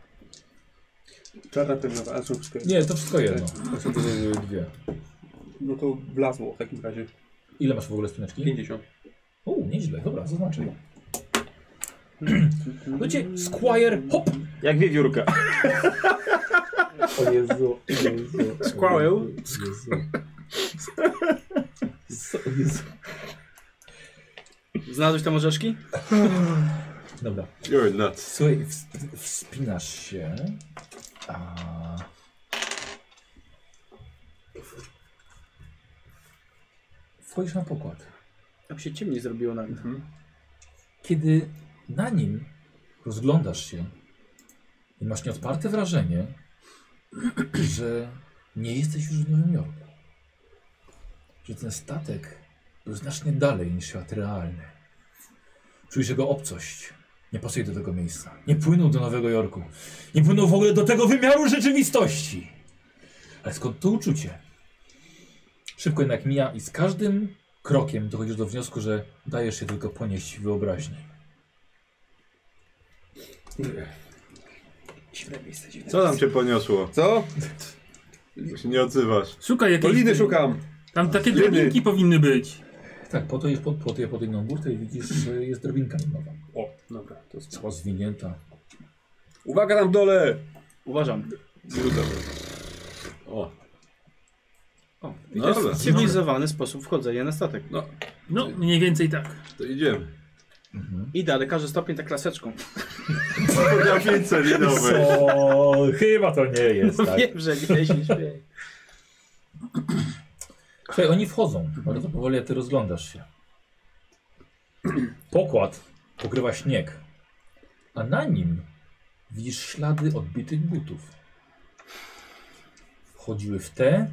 Czarna pewna, ale są wszystko jedno. Nie, to wszystko jedno. To Tak. są były dwie. No to wlazło w takim razie. Ile masz w ogóle spineczki? 50. O, nieźle, dobra, zaznaczę. Ludzie, Squire, hop! Jak wiewiórka. O Jezu, Squirrel. Znalazłeś tam orzeszki? Dobra, You're nuts. słuchaj, ws- wspinasz się. A... Wchodzisz na pokład. Mhm. Tam się ciemniej zrobiło nagle. Kiedy na nim Rozglądasz się i masz nieodparte wrażenie, że nie jesteś już w Nowym Jorku. Że ten statek był znacznie dalej niż świat realny. Czujesz jego obcość. Nie pasuje do tego miejsca. Nie płynął do Nowego Jorku. Nie płynął w ogóle do tego wymiaru rzeczywistości. Ale skąd to uczucie? Szybko jednak mija i z każdym krokiem dochodzisz do wniosku, że dajesz się tylko ponieść wyobraźni. Co tam cię poniosło? Co? Się nie odzywasz. Szukaj jakiejś... Poliny szukam. Tam takie Liny. drobinki powinny być. Tak, po to jest pod, pod, pod inną górkę i widzisz, że jest drobinka nowa. Dobra, to jest... Cała zwinięta. Uwaga tam w dole! Uważam. O. O, i No to dobra. jest no. cywilizowany sposób wchodzenia na statek. No, mniej więcej tak. To idziemy. Idę, ale każdy stopień tak laseczką. Na 500 linowy. O, chyba to nie jest, tak. Wiem, że nie się śmieje. Słuchaj, oni wchodzą, bardzo powoli, a ty rozglądasz się. Pokład pokrywa śnieg, a na nim widzisz ślady odbitych butów. Wchodziły w te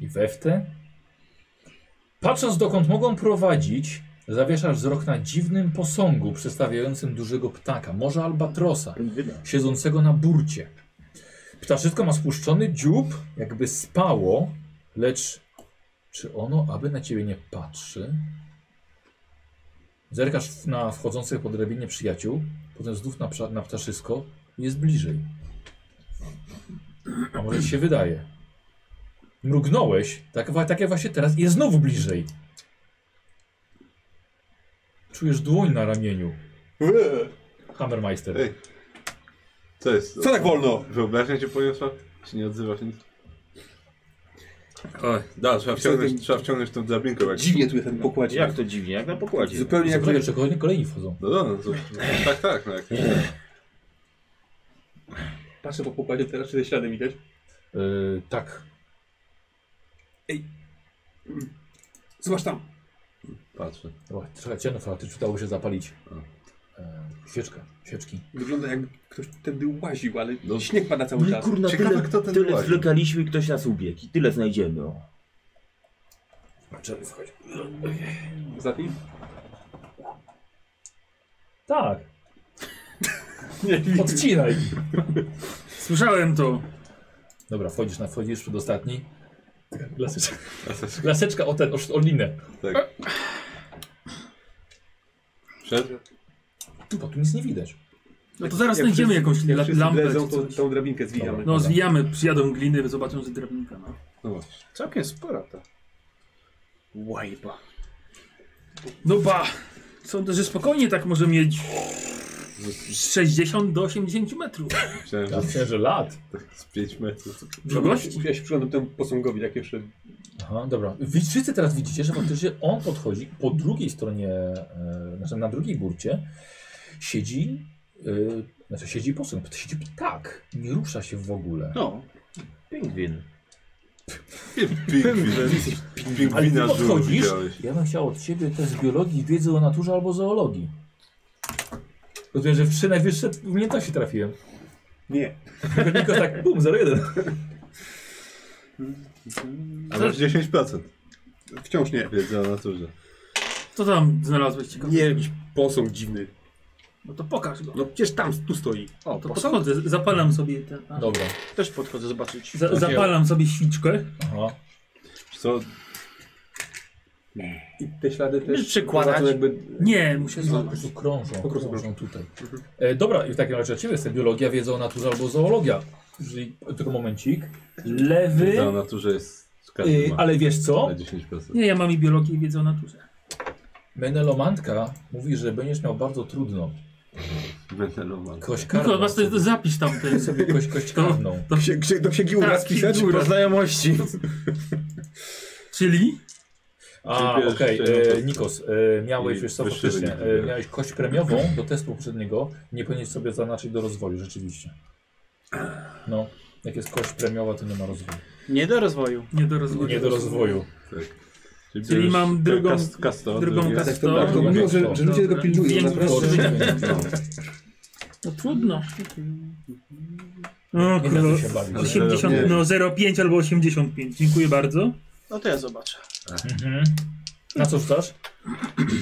i we w te. Patrząc dokąd mogą prowadzić, zawieszasz wzrok na dziwnym posągu przedstawiającym dużego ptaka, może albatrosa, siedzącego na burcie. Ptaszysko ma spuszczony dziób, jakby spało, lecz czy ono aby na ciebie nie patrzy? Zerkasz w- na wchodzących po drabinie przyjaciół, potem znów na, psza- na ptaszysko i jest bliżej. A może ci się wydaje. Mrugnąłeś, tak, wa- tak jak właśnie teraz, i jest znowu bliżej. Czujesz dłoń na ramieniu. Eee, Hammermeister. Ej. Co jest? Co tak wolno? Wyobraźnia cię poniosła? Czy nie odzywasz nic? Oj, da, trzeba wciągnąć- wciągnąć, trzeba wciągnąć tą drabinkę. Jak... Dziwnie tu jest ten pokładzie. Jak to dziwnie, jak na pokładzie. Zupełnie jak... Zaczekaj, czy kolejni, kolejni wchodzą. No, no, no, to, tak, tak. No, jak... Patrzę po pokładzie teraz, czy te ślady widać. Yy, tak. Zobacz tam. Patrzę. Dobra, trochę ciemno, ale ty przydało się zapalić. A. Yy, świeczkę, świeczki. Wygląda jakby ktoś tędy łaził, ale No. śnieg pada cały czas. kurna, Ciekawe, tyle, kto ten tyle właśnie. zwlekaliśmy i ktoś nas ubiegł. I tyle znajdziemy. O. Zaczęły wchodzić. Ostatni? Tak. Podcinaj. Słyszałem No to. Dobra, wchodzisz na wchodzisz przed ostatni. Laseczka, laseczka o ten, o, sz- o linę. Tak. Wszedł? Tu, bo tu nic nie widać. No to zaraz Jak znajdziemy wszyscy- jakąś jak la- wszyscy lampę lezą, czy to, coś. tą drabinkę zwijamy. Dobra. No zwijamy, przyjadą gliny, zobaczą, że drabinka. No. No właśnie. Całkiem spora ta. Łajba. no ba! Sądzę, że spokojnie tak może mieć 60 do 80 metrów Myślałem, Ja że myślę, że lat. tak z 5 metrów. długości. Ja się przyglądam temu posągowi, jak jeszcze... Aha, dobra. Wy wszyscy teraz widzicie, że faktycznie on podchodzi po drugiej stronie, e, znaczy na drugiej burcie siedzi, e, znaczy siedzi posąg, siedzi ptak. Nie rusza się w ogóle. No, Pingwin. Ale ty Pingwina żółw podchodzisz, widziałeś. ja bym chciał od ciebie też z biologii, wiedzy o naturze albo zoologii. Rozumiem, że w trzy najwyższe umiejętności trafiłem. Nie. Tylko tak, bum, 01. A masz 10% Wciąż nie. wiedzy o naturze. Co tam znalazłeś ciekawe? Nie, jakiś posąg dziwny. No to pokaż go. No No przecież tam, tu stoi. o, To to podchodzę, zapalam sobie ten. a, Dobra. też podchodzę zobaczyć. Za, zapalam sobie świczkę. Aha. Co? I te ślady też... Będziesz przekładać? prowadzą jakby... Nie, muszę Po złapać. prostu krążą, Po prostu krążą tutaj. E, dobra, i w takim razie od ciebie jest biologia, wiedza o naturze albo zoologia. Jeżeli, tylko momencik. Lewy, Wiedza o naturze jest... Każdy y, ma. ale wiesz co? Na 10%. Nie, ja mam i biologię i wiedzę o naturze. Menelomantka mówi, że będziesz miał bardzo trudno. Meneloman. Kość Tylko karną. was No to zapisz tam ten. Sobie kość, kość To- karną. Do, księ, księ, do księgi uraz Tak, pisać? księgi uraz. znajomości. Czyli? A, Dziękuję, okej, życzę e, miłego Nikos, e, miałeś, I wiesz co, wyższy faktycznie, wynik wybiorę. e, miałeś kość premiową do testu poprzedniego, nie powinieneś sobie zaznaczyć do rozwoju, rzeczywiście. No, jak jest kość premiowa, to nie ma rozwoju. Nie do rozwoju. Nie do rozwoju. Nie do rozwoju. Czyli już mam drugą- kas- kasto, drugą drugie. kas- Tak, to, tak, to mimo, że, że ludzie tego pilnują, Dobra. naprawdę. Kość Życie. premiowa. No trudno. Nie O, da król. się się bawić. 80, no 0,5 albo 85. Dziękuję bardzo. No to ja zobaczę. Mhm. Na co rzucasz?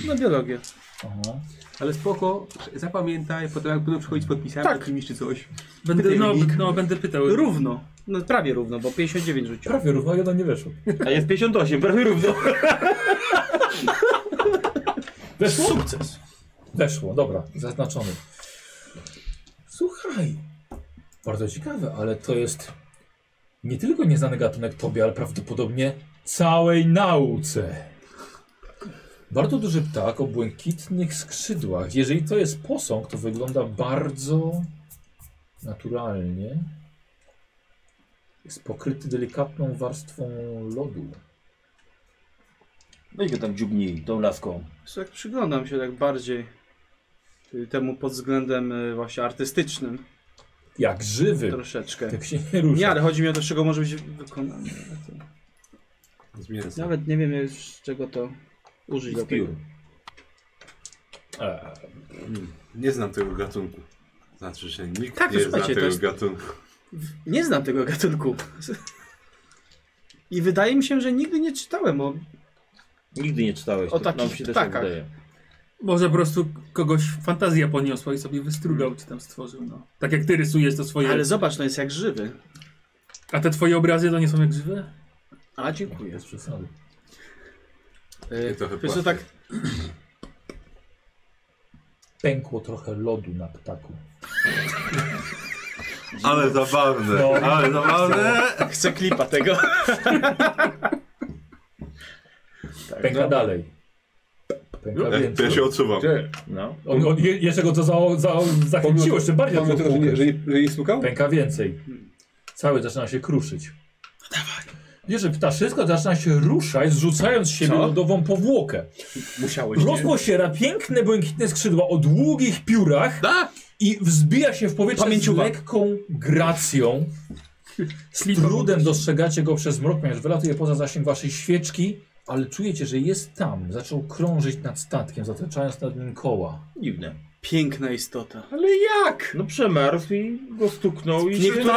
Na biologię. Aha. Ale spoko, zapamiętaj, potem jak będą przychodzić z podpisami Tak. jakimiś czy coś. Będę, no, Wynik. no, będę pytał. Równo. No prawie równo, bo 59 rzuciłem. Prawie równo, jeden nie wyszło. A jest 58, prawie równo. Weszło? Sukces. Weszło, dobra, zaznaczony. Słuchaj, bardzo ciekawe, ale to jest nie tylko nieznany gatunek tobie, ale prawdopodobnie całej nauce. Bardzo duży ptak o błękitnych skrzydłach. Jeżeli to jest posąg, to wygląda bardzo naturalnie. Jest pokryty delikatną warstwą lodu. Weź go tam dziubnij tą laską. Wiesz, Tak przyglądam się tak bardziej y, temu pod względem y, właśnie artystycznym Jak żywy. troszeczkę. Jak się nie rusza. Nie, ale chodzi mi o to, z czego może być wykonane. Z mięsa. Nawet nie wiem już z czego to użyć do tego. Eee, Nie znam tego gatunku. Znaczy, że nikt Tak, nie zna słuchajcie, to tego jest- gatunku. Nie znam tego gatunku. I wydaje mi się, że nigdy nie czytałem o... Nigdy nie czytałeś. O to takich nam się też ptakach. tak wydaje. Może po prostu kogoś fantazja poniosła i sobie wystrugał, czy tam stworzył. No. Tak jak ty rysujesz to swoje. Ale zobacz, no jest jak żywy. A te twoje obrazy to nie są jak żywe? A, dziękuję. bez przesady. Y, trochę Wiesz, to płaszczę. tak... pękło trochę lodu na ptaku. Ale zabawne, No. ale zabawne. Chcę klipa tego. Pęka dalej. Pęka Ja, więcej. ja się odsuwam. Że, No. On, on, je- jeszcze go to za, za, zachęciło, jeszcze bardziej pomimo to tego, że, nie, płukę. że, nie, że jej stukał? Pęka więcej. Cały zaczyna się kruszyć. No Bierze ptaszysko, zaczyna się ruszać, zrzucając z siebie Co? lodową powłokę. Musiałeś. Rozposiera piękne, błękitne skrzydła o długich piórach i wzbija się w powietrze z Pamięciówek. lekką gracją. Z trudem dostrzegacie go przez mrok, ponieważ wylatuje poza zasięg waszej świeczki, ale czujecie, że jest tam. Zaczął krążyć nad statkiem, zataczając nad nim koła. Dziwne. Piękna istota. Ale jak? No przemarzł i go stuknął i się... Niektóre,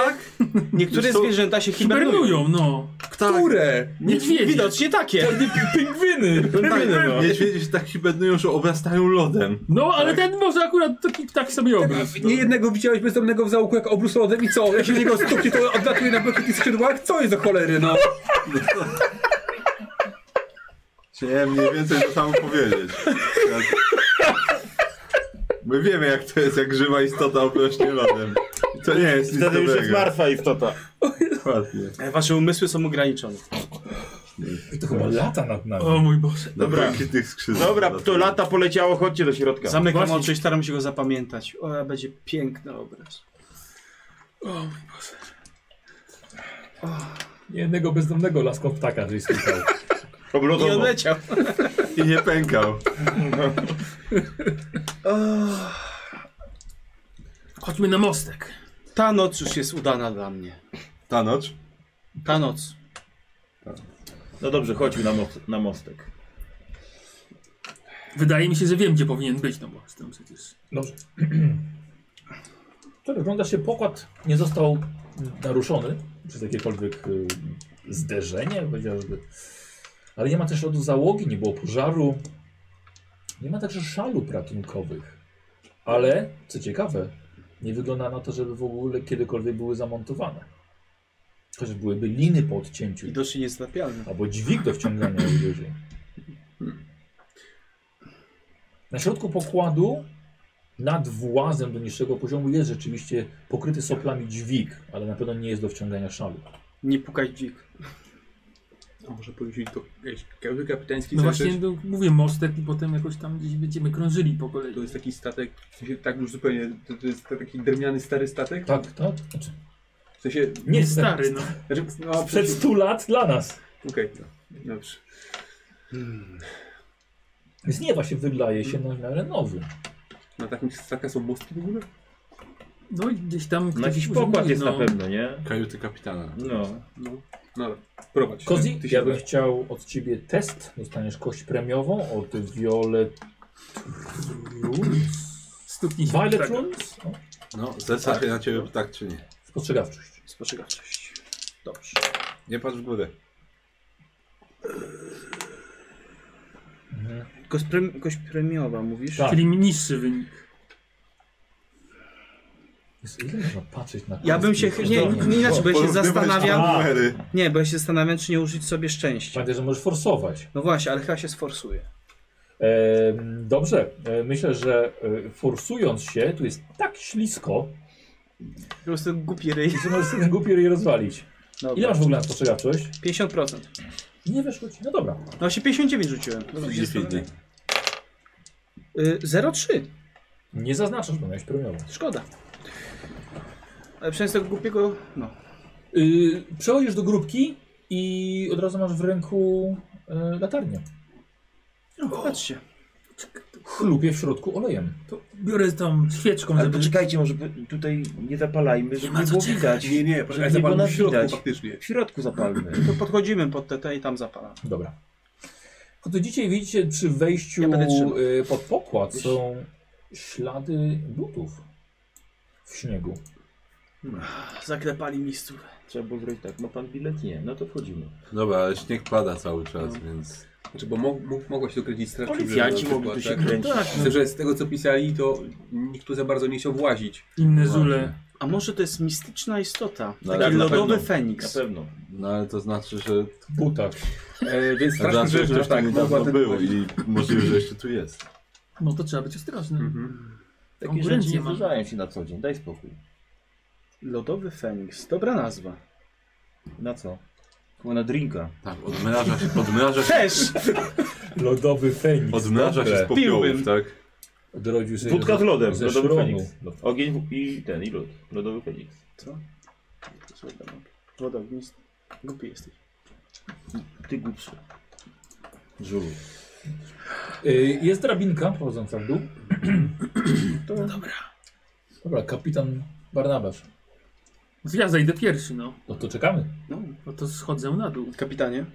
niektóre zwierzęta się hibernują. Hibernują, no. Tak. Które? Niedźwiedzie. Widocznie takie. Pingwiny! Tak, niedźwiedzie się tak hibernują, że obrastają lodem. No, ale ten może akurat taki ptak Tak, sobie obraz. Tak. Nie jednego widziałeś bezdomnego w załuku jak obrus lodem i co? Jak się w niego stuknie, to odlatuje na błękitnych skrzydłach? Co jest do cholery, no? Chciałem mniej więcej to samo powiedzieć. My wiemy jak to jest, jak żywa istota obrośnie lodem. To nie jest nic Wtedy już jest dobrego. martwa istota. Dokładnie. Wasze umysły są ograniczone. I to chyba lata nad nami. O mój Boże. Dobra. Błękitnych skrzydłach. Dobra, to lata poleciało, chodźcie do środka. Zamykam oczy i staram się go zapamiętać. O, będzie piękny obraz. Jednego bezdomnego laską ptaka, jeżeli słyszał. I Oblotowo. odleciał. I nie pękał. Chodźmy na mostek. Ta noc już jest udana dla mnie. Ta noc. Ta noc. No dobrze, chodźmy na, most, na mostek. Wydaje mi się, że wiem, gdzie powinien być, no bo jestem przecież. Dobrze. To wygląda się, pokład nie został naruszony przez jakiekolwiek y, zderzenie, chociażby. Ale nie ma też lodu załogi, nie było pożaru. Nie ma także szalub ratunkowych. Ale, co ciekawe, nie wygląda na to, żeby w ogóle kiedykolwiek były zamontowane. Chociaż byłyby liny po odcięciu. I dosyć niezatapialny. Albo dźwig do wciągania wyżej. Na środku pokładu, nad włazem do niższego poziomu, jest rzeczywiście pokryty soplami dźwig, ale na pewno nie jest do wciągania szalu. Nie pukaj dzik. A może porzucić to jakieś kawałek kapitański No znaczy, właśnie, no, mówię mostek i potem jakoś tam gdzieś będziemy krążyli po kolei. To jest taki statek, w sensie tak już zupełnie, to, to jest taki drewniany stary statek? Tak, tak? Znaczy, W sensie, nie Stary, no. znaczy no Przed 100 lat dla nas. Okej, no, dobrze. Więc nie, właśnie wydaje się na miarę nowy. Na takim statkach są mostki w ogóle? No i gdzieś tam. No ktoś jakiś używa, pokład jest no. na pewno, nie? Kajuty kapitana. No. No. No, prowadź. Kozi, Ty się ja bym znasz. chciał od ciebie test. Dostaniesz kość premiową od Violet... Stuknij się. Violet Tak. Runes? O, No, zesa się na ciebie tak czy nie. Spostrzegawczość. Spostrzegawczość. Dobrze. Nie patrz w górę. Kość, prem, kość premiowa, mówisz? Tak. Czyli niższy wynik. Jezu, ile można patrzeć na Ja bym się... kostki? Nie, Zdolnie. nie inaczej, bo ja się Porównywać zastanawiam... numery. Nie, bo ja się zastanawiam, czy nie użyć sobie szczęścia. Pamiętaj, że możesz forsować. No właśnie, ale chyba się sforsuję. Em, dobrze, E, myślę, że e, forsując się, tu jest tak ślisko, Po prostu głupi ryj. że możesz sobie ten głupi ryj rozwalić. Ile Dobra. masz w ogóle na spostrzegawczość? 50%. Nie weszło ci. No dobra. No właśnie 59 rzuciłem. No, Dziwnie. Y, 0,3. Nie zaznaczasz, bo miałeś premiową. Szkoda. Ale przez tego głupiego... No. Yy, przechodzisz do grupki i od razu masz w ręku e, latarnię. no patrzcie. Chlupie w środku olejem. To biorę tą świeczką, Ale żeby... poczekajcie, może by- tutaj nie zapalajmy, żeby ma nie co było czekać. widać. Nie, nie, żeby poczekaj, nie było zapalmy nas w środku widać. faktycznie. W środku zapalmy. To podchodzimy pod TT i tam zapalam. Dobra. No To dzisiaj widzicie przy wejściu Ja będę trzymał. y, pod pokład są ślady butów w śniegu. Zaklepali mistrzów. Trzeba było zrobić tak. Ma pan bilet? Nie. No to wchodzimy. Dobra, ale śnieg pada cały czas, więc... Znaczy, bo mo- mo- mogło się tu kręcić strasznie. Policjanci dużo, mogli tu się tak? kręcić. no. Myślę, że z tego co pisali, to nikt tu za bardzo nie chciał włazić. Inne żule. A może to jest mistyczna istota? No, Taki ale na lodowy pewno. Na feniks. pewno. No ale to znaczy, że W butach. E, więc straszne znaczy, rzeczy, że że już tak tak, mogła niedawno ten... było i możliwe, że jeszcze tu jest. No to trzeba być ostrożnym. Hmm. Mhm. Takie rzeczy Konkurencję nie mamy. zdarzają się na co dzień. Daj spokój. Lodowy Feniks. Dobra nazwa. Na co? Chyba na drinka. Tak, odmraża się, odmraża się, Też! Lodowy feniks. odmraża się z popiołów, Piłbym. tak? Odrodził się Wódka z lodem. ze Lodowy szronu. Feniks. Ogień i ten, i lód. Lodowy Feniks. Co? Woda ognisty. Głupi jesteś. Ty głupszy. Żulu. Y, Jest drabinka prowadząca w dół. Dobra. Dobra, kapitan Barnabasz. No to ja zajdę pierwszy, no. No to czekamy. No, No to schodzę na dół. kapitanie.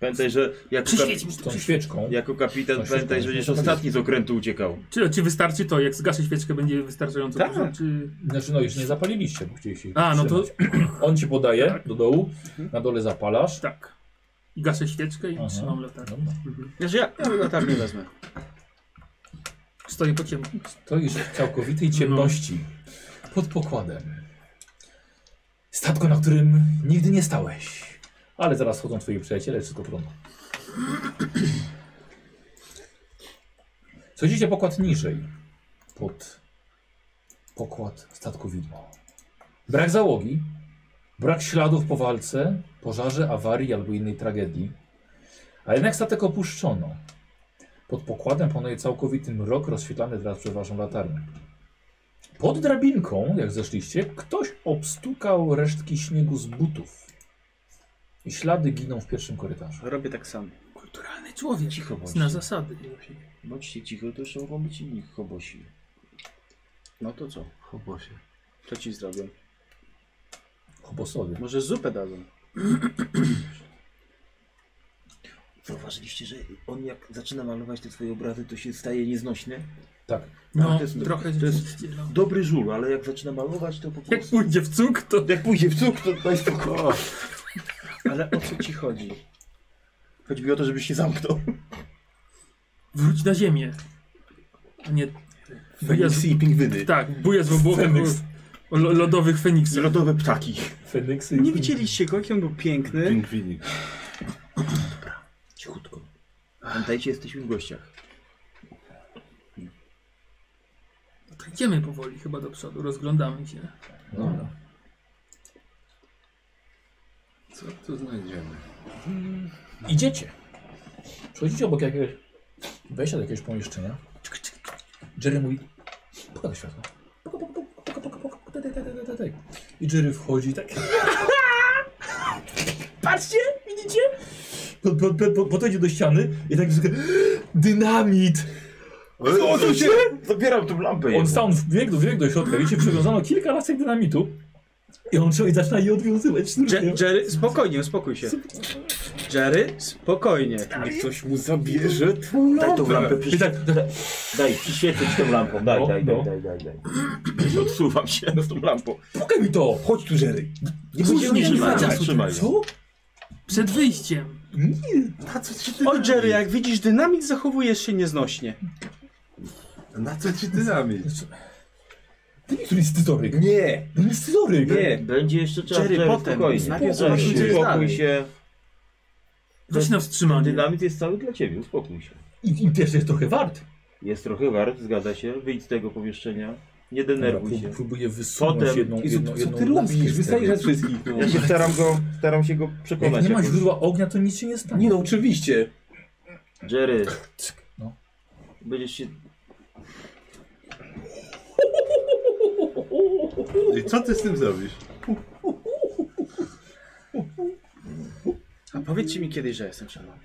Pamiętaj, że jako, Przyświeć mi kap- Z tu. tą świeczką. jako kapitan Właśnie pamiętaj, że tak. będziesz ostatni z okrętu uciekał. Czy, czy wystarczy to, jak zgaszę świeczkę, będzie wystarczająco Tak. dużo, czy... Znaczy no już nie zapaliliście, bo chcieliście ich A, no to- Mhm. wstrzymać. On ci podaje do dołu, na dole zapalasz. No, Tak. I gaszę świeczkę i Aha. trzymam latarnię. Dobra. Znaczy ja, ja latarnię wezmę. Stoję po ciemku. To już w całkowitej ciemności. Pod pokładem. Statko, na którym nigdy nie stałeś. Ale zaraz chodzą twoi przyjaciele, wszystko trudno. Schodzicie pokład niżej. Pod pokład statku widmo. Brak załogi, brak śladów po walce, pożarze, awarii albo innej tragedii. A jednak statek opuszczono. Pod pokładem panuje całkowity mrok, rozświetlany teraz przez waszą latarnię. Pod drabinką, jak zeszliście, ktoś obstukał resztki śniegu z butów. I ślady giną w pierwszym korytarzu. Robię tak samo. Kulturalny człowiek. Cicho bądź. No, Zna zasady. Bądźcie cicho, to jeszcze mogą być inni chobosi. No to co? Chobosie. Co ci zrobią? Chobosowie. Może zupę dadzą. Zauważyliście, że on jak zaczyna malować te swoje obrazy, to się staje nieznośny? Tak. No, to jest- trochę to jest- rzeczywiście, no. Dobry żul, ale jak zaczyna malować, to po prostu... Jak pójdzie w cuk, to... Jak pójdzie w cuk, to daj spokój. Ale o co ci chodzi? Chodzi mi o to, żebyś się zamknął. Wróć na ziemię. A nie... Buja z... Feniksy i pingwyny. Tak, buja z obłokiem Feniks. o, o lo- lodowych I feniksach. lodowe ptaki. Feniksy. Nie widzieliście go, jaki on był piękny. Pingwinik. Cichutko. Pamiętajcie, jesteśmy w gościach. To idziemy powoli chyba do przodu, rozglądamy się. Dobra. Co tu znajdziemy? Idziecie. Przechodzicie obok jakiegoś wejścia do jakiegoś pomieszczenia. Czekaj, czekaj. Jerry mówi, pokaż światło. Puka, puka, puka, puka, puka, puka, daj, daj, daj, daj, daj, daj. tak, I Jerry wchodzi tak. Patrzcie, widzicie? Po- po- po- po- Podejdzie do ściany i tak wszystko- dynamit. Co tu się... Zabieram tą lampę. On jemu. sam wbiegł do, wbiegł do środka, widzicie, przywiązano kilka lasek dynamitu i on człowiek zaczyna je odwiązywać. Je- Jerry, spokojnie, uspokój się. Jerry, spokojnie. Niech ktoś mu zabierze twój Daj tą lampę, lampę. przyświeć. tak, Daj, przyświecić tą lampą, daj, No, daj, no. daj, daj, daj, daj. Odsuwam się z tą lampą. Pukaj mi to! Chodź tu, Jerry. Nie będziemy mieli trzymaj, czasu. trzymaj. Co? Przed wyjściem. Na co ci ty Oj Jerry, jak widzisz dynamit, zachowujesz się nieznośnie. Na co ci dynamit? Ty mi tu scyzoryk. Nie, Nie scyzoryk. nie. Będzie jeszcze czas, Jerry, Jerry, potem. spokojnie. Najpierw Weź zobaczymy, co się, jest Uspokój dalej. się. Weź na wstrzymanie. Dynamit jest cały dla ciebie, uspokój się. I, I też jest trochę wart. Jest trochę wart, zgadza się. Wyjdź z tego pomieszczenia. Nie denerwuj się. Prób, próbuję wysunąć Potem- jedną, I co, jedną, co jedną ty laskę robisz? z Wystajesz tego. nas wszystkich. No. Ja się staram go, staram się go Jak przekonać. nie ma jakoś. źródła ognia, to nic się nie stanie. Nie no, oczywiście. Jerry, Cyk, No. będziesz się... I co ty z tym zrobisz? A powiedzcie mi kiedyś, że jestem szalony.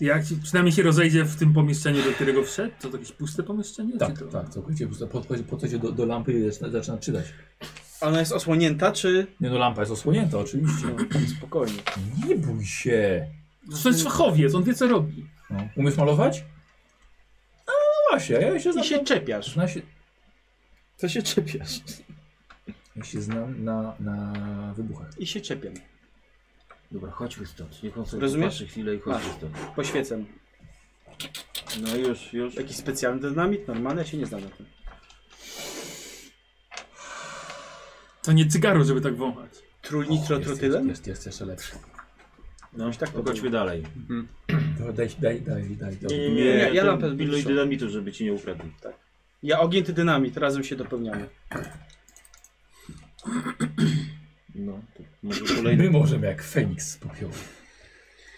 Jak się- przynajmniej się rozejdzie w tym pomieszczeniu, do którego wszedł? To jakieś puste pomieszczenie? Tak, czy to? tak, całkowicie. po prostu Podchodzi, podchodzi do, do lampy i zaczyna, zaczyna czytać. Ona jest osłonięta, czy... Nie no, lampa jest osłonięta oczywiście. Spokojnie. No. Nie bój się. To jest fachowiec, on wie co robi. No. Umiesz malować? No właśnie, ja się znam. I się czepiasz. na, się, To się czepiasz. ja się znam na, na wybuchach. I się czepiam. Dobra, chodźmy stąd. Niech on sobie Rozumiesz? popatrzy chwilę i chodźmy Masz. stąd. Poświecę. No już, już. Jakiś specjalny dynamit? Normalny? Ja się nie znam na tym. To nie cygaro, żeby tak wąchać. Trójnitrotrotylem? Jest, jest jeszcze lepszy. No i tak To to chodźmy dalej. Daj, daj, daj, daj. daj, Nie, daj. nie, nie. Nie, ja ja to lampę pilnuj zbliżam. dynamitu, żeby ci nie ukradli. Ja ogień, ty dynamit. Razem się dopełniamy. No, to może My kolejny możemy jak Feniks z popiołu.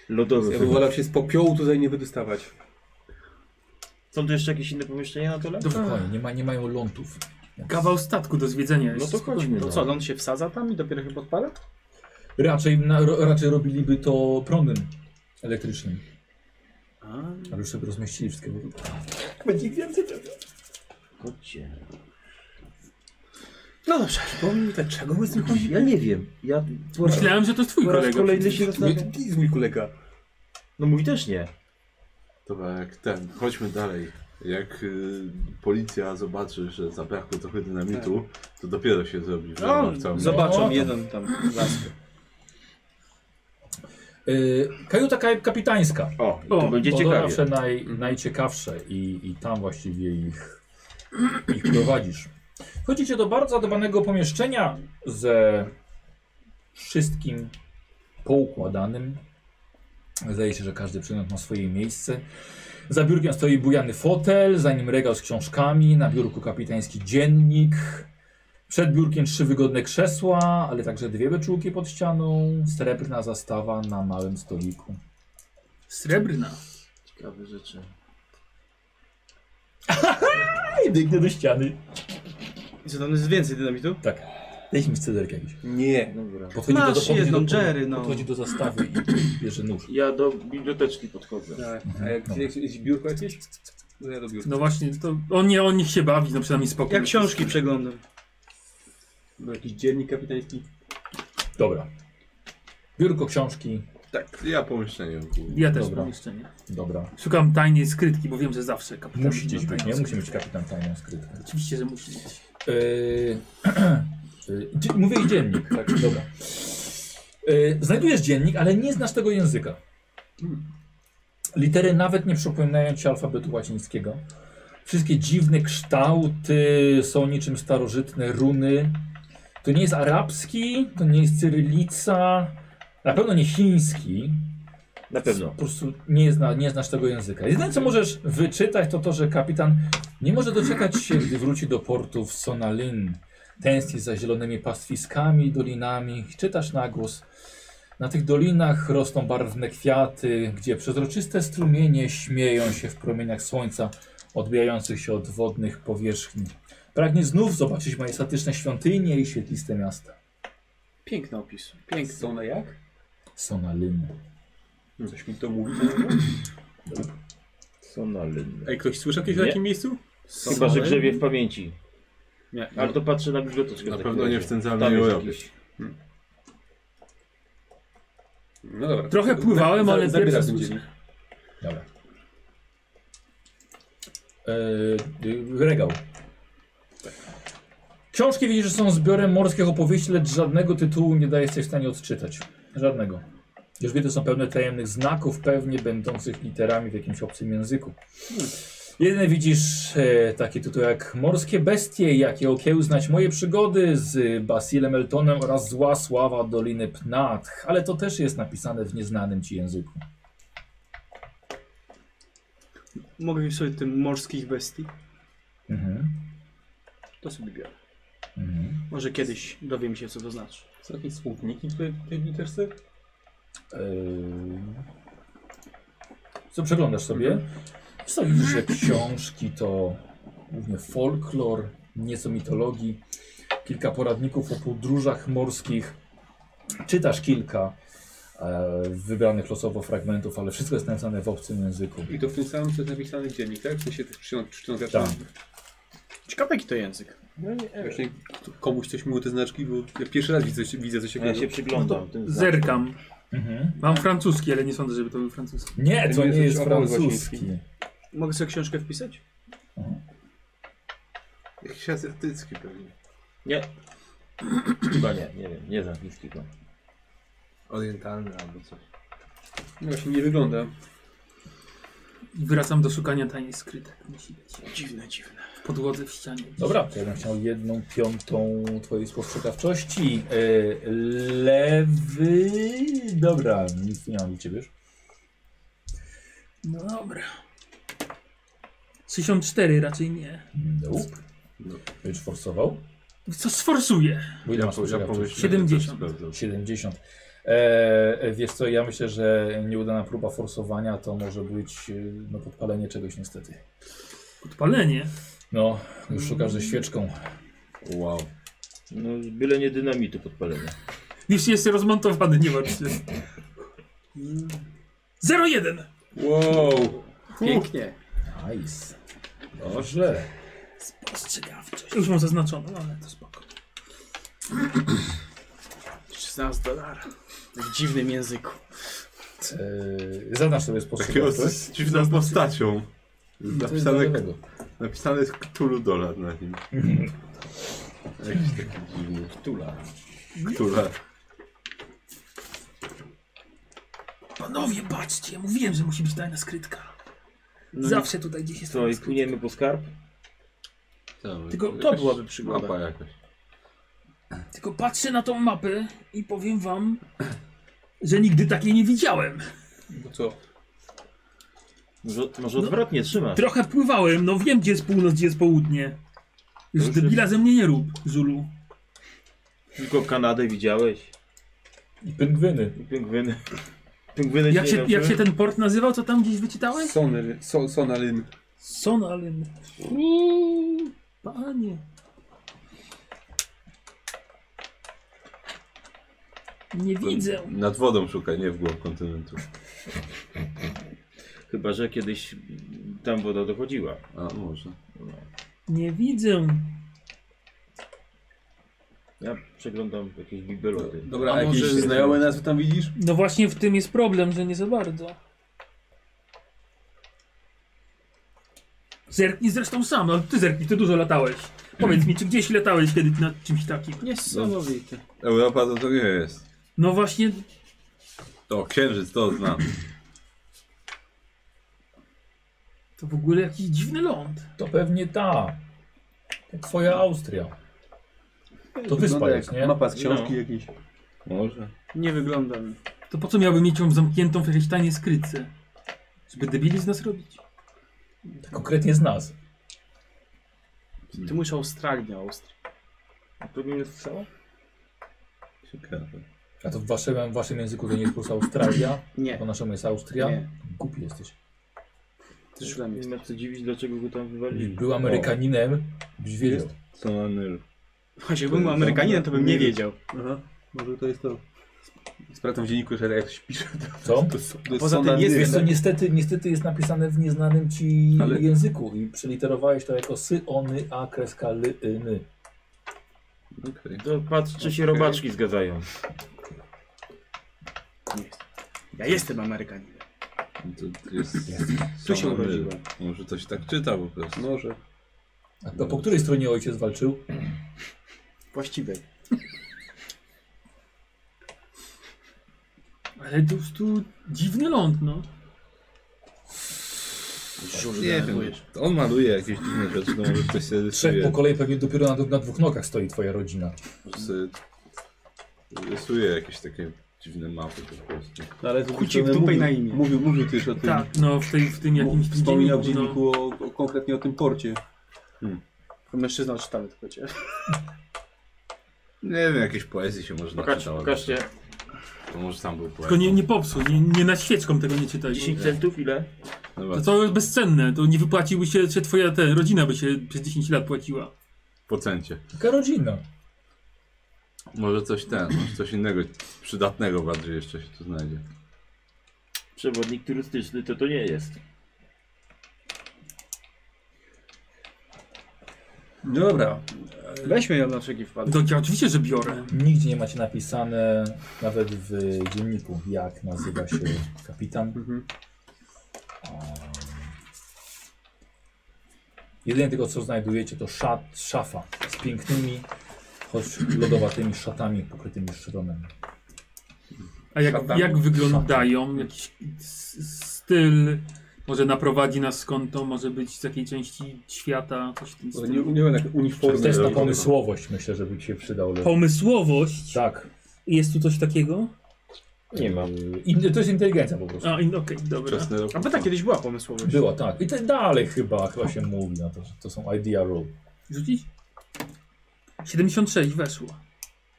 lodowy. Ja bym chyba. wolał się z popiołu tutaj nie wydostawać. Są tu jeszcze jakieś inne pomieszczenia na dole? Dokładnie, nie, ma, nie mają lądów. Kawał statku do zwiedzenia No jest. to chodźmy. To dalej. co, ląd się wsadza tam i dopiero się podpala? Raczej, na, ro, raczej robiliby to prądem elektrycznym. Ale już sobie rozmieścili wszystkie. Będzie ich więcej. Chodźcie. No dobrze. Powiem mi, tak, dlaczego my z tym chodzimy? Ja nie wiem. Ja po raz, Myślałem, że to jest twój po raz kolega. kolejny się zastanawiam. Jaki jest mój kolega? No mój też nie. Dobra, jak ten, chodźmy dalej. Jak y, policja zobaczy, że zabrakło trochę dynamitu, to dopiero się zrobi. No, wrona w całym- zobaczą No, jeden tam laskę. Yy, kajuta ka- kapitańska. O, i to O, będzie Bo To ciekawie. zawsze naj, najciekawsze i, i tam właściwie ich, ich prowadzisz. Wchodzicie do bardzo zadbanego pomieszczenia ze wszystkim poukładanym. Zdaje się, że każdy przedmiot ma swoje miejsce. Za biurkiem stoi bujany fotel, za nim regał z książkami, na biurku kapitański dziennik. Przed biurkiem trzy wygodne krzesła, ale także dwie beczułki pod ścianą, srebrna zastawa na małym stoliku. Srebrna. Ciekawe rzeczy. I biegnę do ściany. I co, tam jest więcej dynamitu? Tak. Dajcie mi scyzoryk jakiś. Nie. Dobra. Podchodzi Masz podchodzi jedną, do, Jerry, no. Podchodzi do zastawy i bierze nóż. Ja do biblioteczki podchodzę. tak. A jak gdzie jest biurko jakieś? No ja do biurka. No właśnie, to on nie, on niech się bawi, no przynajmniej spokojnie. Ja książki przeglądam. No, jakiś dziennik kapitański. Dobra. Biurko książki. Tak, ja pomieszczenie. Ja też Dobra. pomieszczenie. Dobra. Szukam tajnej skrytki, bo wiem, że zawsze kapitan. Musi gdzieś ma być, tajną nie? Musi być skrytkę. kapitan tajną skrytkę. Oczywiście, że musi być. Yy, yy, dzie- mówię i dziennik. Tak, dobra. Yy, znajdujesz dziennik, ale nie znasz tego języka. Litery nawet nie przypominają ci alfabetu łacińskiego. Wszystkie dziwne kształty są niczym starożytne runy. To nie jest arabski, to nie jest cyrylica, na pewno nie chiński. Na Po pewno. prostu nie, zna, nie znasz tego języka. Jedyne co możesz wyczytać to to, że kapitan nie może doczekać się, gdy wróci do portu w Sonalin. Tęskni za zielonymi pastwiskami i dolinami. Czytasz na głos. Na tych dolinach rosną barwne kwiaty, gdzie przezroczyste strumienie śmieją się w promieniach słońca odbijających się od wodnych powierzchni. Pragnie znów zobaczyć majestatyczne świątynie i świetliste miasta. Piękny opis. Piękny. Są na jak? Sonalin. Coś mi to mówi. Są na lynne. Ej, ktoś słyszał kiedyś o Nie. takim miejscu? Chyba, że grzebie w pamięci. Nie. Ale to patrzę na biblioteczkę. Na takim pewno razie. nie w centralnej Tam jest Europie. jakiś- No dobra. Trochę Tak, pływałem, Za- ale zabiera pierwszy ten słyszę. dziennik. Dobra. Yy, yy, regał. Książki widzisz, że są zbiorem morskich opowieści, lecz żadnego tytułu nie dajesz się w stanie odczytać. Żadnego. Drzwi to są pełne tajemnych znaków, pewnie będących literami w jakimś obcym języku. Jeden widzisz e, takie tytuły jak Morskie bestie, jakie okiełznać moje przygody z Basilem Eltonem oraz Zła Sława Doliny Pnatch, ale to też jest napisane w nieznanym ci języku. Mogę wziąć sobie tym morskich bestii? Mhm. To sobie biorę. Mhm. Może kiedyś dowiem się, co to znaczy. Są jakieś słowniki w tej- tej literce? Eee, Co przeglądasz sobie? Mhm. Co widzisz, że książki to głównie folklor, nieco mitologii, kilka poradników o podróżach morskich. Czytasz kilka e, wybranych losowo fragmentów, ale wszystko jest napisane w obcym języku. I to w tym samym, co jest napisane w dziennik, tak? W sensie tych przycią- przyciągaczy. Tak. Ciekawe, jaki to język. Wiesz, nie- Tak. Komuś coś mówił te znaczki, bo ja pierwszy raz widzę, widzę coś A Ja takiego. się przyglądam. tym znakom. Zerkam. Mhm. Mam francuski, ale nie sądzę, żeby to był francuski. Nie, to To nie nie jest jest obóz francuski. łaciński. Mogę sobie książkę wpisać? Jakiś azjatycki pewnie. Nie. Chyba nie, nie wiem, nie znam chińskiego. Orientalny albo coś. No Właśnie nie wygląda. I wracam do szukania taniej skrytek. Musi być. Dziwne, dziwne. W podłodze, w ścianie. Dobra, to ja bym chciał jedną piątą twojej spostrzegawczości. Yy, lewy... Dobra, nic nie mam u ciebie już. No dobra. 64 raczej nie. Nope. No. Będziesz forsował? Co sforsuję? Bo ile masz spostrzegawczości? 70. 70. Eee, wiesz co, ja myślę, że nieudana próba forsowania to może być yy, no, podpalenie czegoś niestety. Podpalenie. No, już szukasz ze świeczką. Wow. No, byle nie dynamitu podpalenia. Już jest rozmontowany, nie martw się. 01! Wow! Pięknie. Nice. Dobrze. Spostrzegawczość. Już mam zaznaczoną, ale to spoko. 16 dolarów. W dziwnym języku. Eee, zadasz sobie Takiego spostrzegawczość. z dziwną postacią. Napisane, napisane jest Cthulhu Dolar na nim. Jakiś taki dziwny. Tula. Cthulhu. Panowie, patrzcie, ja mówiłem, że musi być tajna skrytka. No Zawsze. Zawsze tutaj gdzieś jest Co, tajna i skrytka. płyniemy po skarb? Tylko to Jakaś byłaby przygoda. Mapa jakaś. Tylko patrzę na tą mapę i powiem wam, że nigdy takiej nie widziałem. No co? Może, może odwrotnie trzymasz. Trochę pływałem, no wiem gdzie jest północ, gdzie jest południe. Już debila ze mnie nie rób, Żulu. Tylko Kanadę widziałeś. I pingwiny. I pingwiny. Pingwiny Jak nie się, wiem, jak czy- się ten port nazywał, co tam gdzieś wyczytałeś? Soner, so, sonalyn. Sonalyn. Panie. Nie widzę. Nad wodą szukaj, nie w głąb kontynentu. Chyba, że kiedyś tam woda dochodziła. A, może. Nie widzę. Ja przeglądam jakieś bibeloty. No, Dobra, A a jakieś może- znajome nazwy tam widzisz? No właśnie w tym jest problem, że nie za bardzo. Zerknij zresztą sam, no ty zerknij, ty dużo latałeś. Powiedz mi, czy gdzieś latałeś kiedy nad czymś takim? Niesamowite. Europa to to nie jest. No właśnie, To księżyc, to znam. to w ogóle jakiś dziwny ląd. To pewnie ta. To Twoja Austria. To wyspa Wygląda jest, jak nie? Mapa z książki No. jakiejś. Może. Nie wygląda mi. To po co miałbym mieć ją zamkniętą w jakiejś tajnej skrytce? Żeby debili z nas robić? Konkretnie z nas. Ty mówisz Australię, Austrię. To bym nie strzał? Ciekawe. A to w waszym, w waszym języku to nie jest po prostu Australia, Nie. po naszemu jest Austria. Nie. Głupi jesteś. Ty źle Nie jest. ma co dziwić, dlaczego go tam wywalili. Gdybyś był Amerykaninem, byś wiedział. Są Anyl. Właśnie, jakbym był Amerykaninem, to bym nie wiedział. Aha, może to jest to. Sprawdzam w dzienniku, że jak ktoś pisze, to Co? to, są- to jest Poza tym sonalyn. jest Wiesz co, niestety, niestety jest napisane w nieznanym ci Ale- języku i przeliterowałeś to jako sy, ony, a, kreska, ly, y, ny. To patrz, czy się robaczki zgadzają. Ja jestem Amerykaninem. To jest... Tu się urodziłem. Może to się tak czyta po prostu. Może. A to po której stronie ojciec walczył? Właściwej. Ale tu, tu dziwny ląd, no. Nie wiem, to on maluje jakieś dziwne rzeczy, no może ktoś się Trzech po rysuje, kolei pewnie dopiero na, na dwóch nogach stoi twoja rodzina. może sobie rysuje jakieś takie dziwne mapy po prostu. No, Ale Kuci w dupę i na imię. Mówił, mówił też o tym. Tak, no w, tej, w tym jakimś Mów- Wspominał w dzienniku, no. dzienniku o, o, konkretnie o tym porcie. Mężczyzna odczytamy tylko cię. Nie wiem, jakieś poezji się może Pokaż, naczytało. pokażcie. To może tam był poeta. Tylko nie, nie popsuł, nie, nie na świeczką tego nie czytaj. 10 centów ile? Dobra, To to jest bezcenne, to nie wypłaciłby się, czy twoja te, rodzina by się przez 10 lat płaciła. po cencie. Taka rodzina. Może coś ten, może coś innego, przydatnego bardziej jeszcze się tu znajdzie. Przewodnik turystyczny to to nie jest. Dobra. Weźmy ją na wszelki wypadek. No To ja oczywiście, że biorę. Nigdzie nie macie napisane, nawet w dzienniku, jak nazywa się kapitan. Um, Jedynie tego, co znajdujecie, to szat, szafa z pięknymi, choć lodowatymi szatami pokrytymi szronem. A jak, Szatami. jak wyglądają? Jakiś s- styl może naprowadzi nas skąd to może być z jakiej części świata, coś w tym Może No, Nie, stylu. nie wiem, jak uniformy. Test na pomysłowość myślę, że by ci się przydał. Ale... Pomysłowość? Tak. Jest tu coś takiego? Nie ma. In, to jest inteligencja po prostu. A, in- okej, dobra. Wczesny rok. A bo tak kiedyś była pomysłowość. Była, tak. I te dalej chyba, chyba się mówi na to, że to są idea rule. Rzucić? 76 weszło.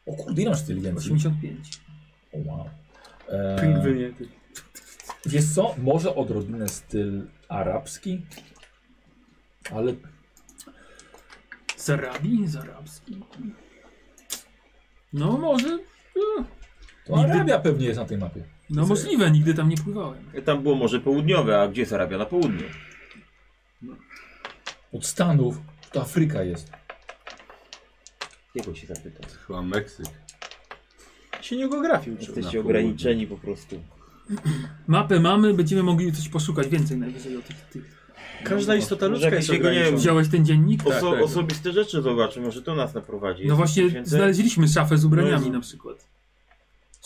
O kurde, ile masz inteligencji? 85. O, wow. E, Pingwynie. ty. Wiesz co, może odrobinę styl arabski, ale Zarabi? Zarabski? No może, to Arabia pewnie jest na tej mapie. no możliwe, nigdy tam nie pływałem. Tam było Morze Południowe, a gdzie jest Arabia? Na południu. Od Stanów to Afryka jest. Jego się zapytał. Chyba Meksyk. Się nie geografii uczył. Na Jesteście ograniczeni po prostu. Mapę mamy, będziemy mogli coś poszukać więcej najwyżej o tych... tych. Każda istota Może ludzka jakieś jest jego, nie wiem, ograniczona. Wziąłeś ten dziennik? Oso tak. Osobiste rzeczy zobaczy, może to nas naprowadzi. No właśnie, Więcej? znaleźliśmy szafę z No ubraniami Jezu. na przykład.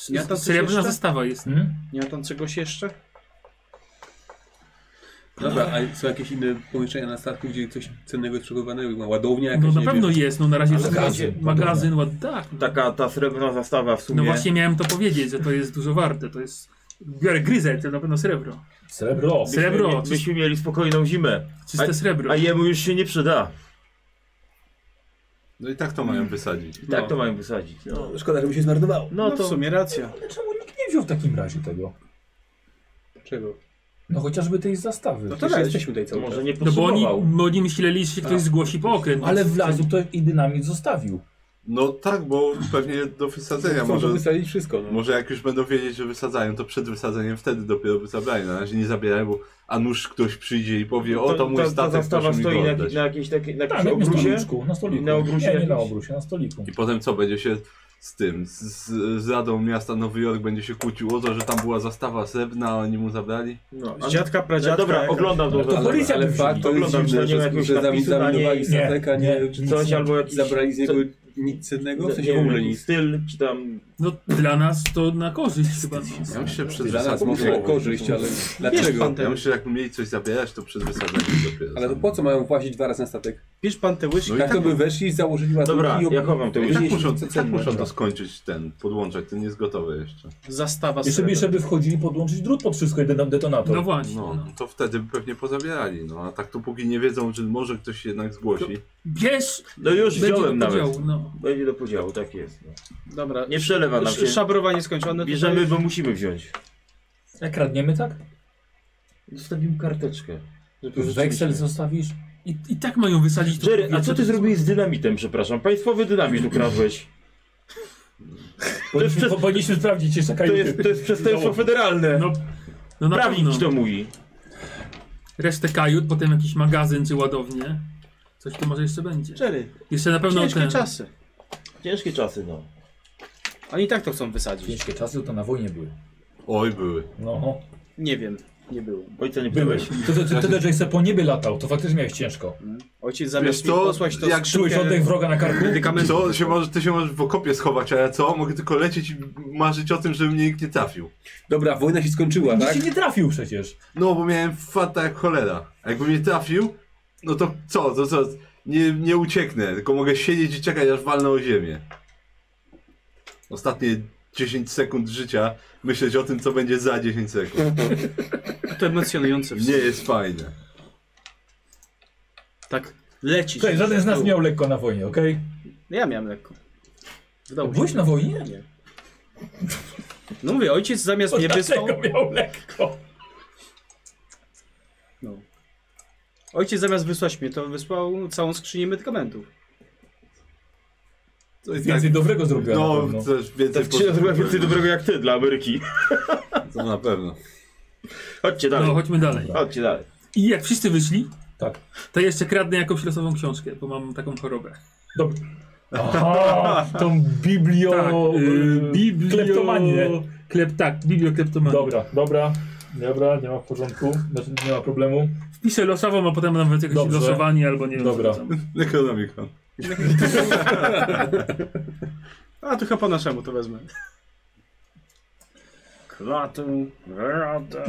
Ja tam coś Srebrna jeszcze? zestawa jest. Hmm? Nie ma tam czegoś jeszcze? Dobra, a są jakieś inne pomieszczenia na statku, gdzie coś cennego jest przechowywane? Jak ma Ładownia jakaś? No na nie pewno wiem. jest, no na razie Ale jest magazyn, magazyn, magazyn ład, tak. no. Taka ta srebrna zastawa w sumie. No właśnie miałem to powiedzieć, że to jest dużo warte, to jest... Biorę gryzę, to na pewno srebro. Srebro. Byśmy srebro, mie- czyst- Byśmy mieli spokojną zimę, Czyste srebro. a jemu już się nie przyda. No i tak to mają wysadzić. I tak to mają wysadzić. No, Szkoda, żeby się zmarnowało. No, no to... w to sumie racja. Ale czemu nikt nie wziął w takim razie tego? Czego? No chociażby tej zastawy. No to Przecież weź. jesteśmy tutaj cały czas. może nie No bo oni, potrzebował. bo oni myśleli, że się ktoś zgłosi po okręt. Ale wlazł to i dynamit zostawił. No tak, bo pewnie do wysadzenia Chcą to może... wysadzić wszystko. No. Może jak już będą wiedzieć, że wysadzają, to przed wysadzeniem wtedy dopiero by zabrali. Na razie nie zabierają, bo a nuż ktoś przyjdzie i powie, o to mój ta, ta statek, zastawa proszę mi stoi go na, oddać. na jakiejś takiej na Tak, jakimś na jakimś obrusie. stoliczku, na stoliku. Na obrusie nie, nie na jakimś. obrusie, na stoliku. I potem co, będzie się z tym, z, z- z Radą Miasta Nowy Jork będzie się kłócił o to, że tam była zastawa srebrna, a oni mu zabrali? No, Z dziadka, ale, pradziadka. dobra, jakaś. oglądam to. Ale to zaraz. policja Ale by fakt to jest Oglądam, czy dziwne, nie ma że, jakiegoś że zami- napisu na zaminowali niej. statek, a nie, Nie, nic Coś nie- albo jakiś- zabrali z niego co- nic cennego, w Nie sensie w wiem, ogóle jakiś nic. styl, czy tam... No dla nas to na korzyść chyba. Ja No. myślę, że przed Dla nas może wysadzeniem. korzyść, ale dlaczego? Ja myślę, że jakby mieli coś zabierać, to przed wysadzeniem dopiero. Ale to po co mają włazić dwa razy na statek? Bierz pan te łyżki. No i Tak to by weszli, założyli ładunki Dobra, i ob- ja chowam to I już. tak Jeśli muszą, chce tak cenność. muszą to skończyć ten, podłączać, ten jest gotowy jeszcze. Zastawa Jeszcze by, jeszcze by wchodzili podłączyć drut pod wszystko i deton- detonator. no właśnie. No, No. no to wtedy by pewnie pozabierali, no a tak to póki nie wiedzą, czy może ktoś się jednak zgłosi. Bierz! No już będzie wziąłem do nawet. podziału, no. Będzie do podziału, tak jest. No. Dobra. Nie przelewa nam się. Sz- Szabrowanie skończone. Bierzemy, bo musimy wziąć. Jak kradniemy, tak? Zostawimy karteczkę. Weksel zostawisz? I, I tak mają wysadzić to Jerry, a powietrze. co ty zrobiłeś z dynamitem, przepraszam? Państwowy dynamit ukradłeś. Powinniśmy, przez- po- powinniśmy sprawdzić jeszcze To kajuty. jest, to jest przestępstwo federalne. No, no na Prawnik pewno. ci to mówi. Resztę kajut, potem jakiś magazyn czy ładownię. Coś tu może jeszcze będzie. Cztery. Jeszcze na pewno Ciężkie ten. czasy. Ciężkie czasy, no. Oni i tak to chcą wysadzić. Ciężkie czasy to na wojnie były. Oj, były. No. Nie wiem, nie było. Ojca nie Byłeś. Ty, ty, ty, ty też, jak sobie po niebie latał, to faktycznie miałeś ciężko. Ojciec zamiast Wiesz mi co, posłać to jak Czułeś oddech wroga na karku? Co? Się może, ty się możesz w okopie schować, a ja co? Mogę tylko lecieć i marzyć o tym, żeby mnie nikt nie trafił. Dobra, wojna się skończyła, Nikt tak? ci nie trafił przecież. No, bo miałem fata jak cholera. A jakby mnie trafił, no to co? To co? Nie, nie ucieknę, tylko mogę siedzieć i czekać, aż walnę o ziemię. Ostatnie 10 sekund życia myśleć o tym, co będzie za 10 sekund. To emocjonujące. w Nie sumie. jest fajne. Tak, lecisz. Słuchaj, żaden z nas Tu. nie miał lekko na wojnie, okej? Ja miałem lekko. Wydało mi się. Byłeś na wojnie? Nie. No mówię, ojciec zamiast mnie wysłał... Dlaczego miał lekko? No. Ojciec zamiast wysłać mnie, to wysłał całą skrzynię medykamentów. To Tak. jest Więcej dobrego zrobiłem na no, pewno. Tak też więcej Czy ja zrobiłem więcej pozytywnego. dobrego jak ty dla Ameryki. To na pewno. Chodźcie dalej. No, chodźmy dalej. Chodźcie dalej. I jak wszyscy wyszli, Tak. to jeszcze kradnę jakąś losową książkę, bo mam taką chorobę. Dobra. Aha, tą biblio... Tak, y, biblio... Kleptomanię. Klep, tak, bibliokleptomanię. Dobra, dobra. Dobra, nie ma w porządku. Znaczy, nie ma problemu. Wpiszę losową, a potem nawet jakieś Dobrze. losowanie albo nie wiem. Dobra. co tam. Necronomicon. A to chyba po naszemu to wezmę. Klatę, ratę.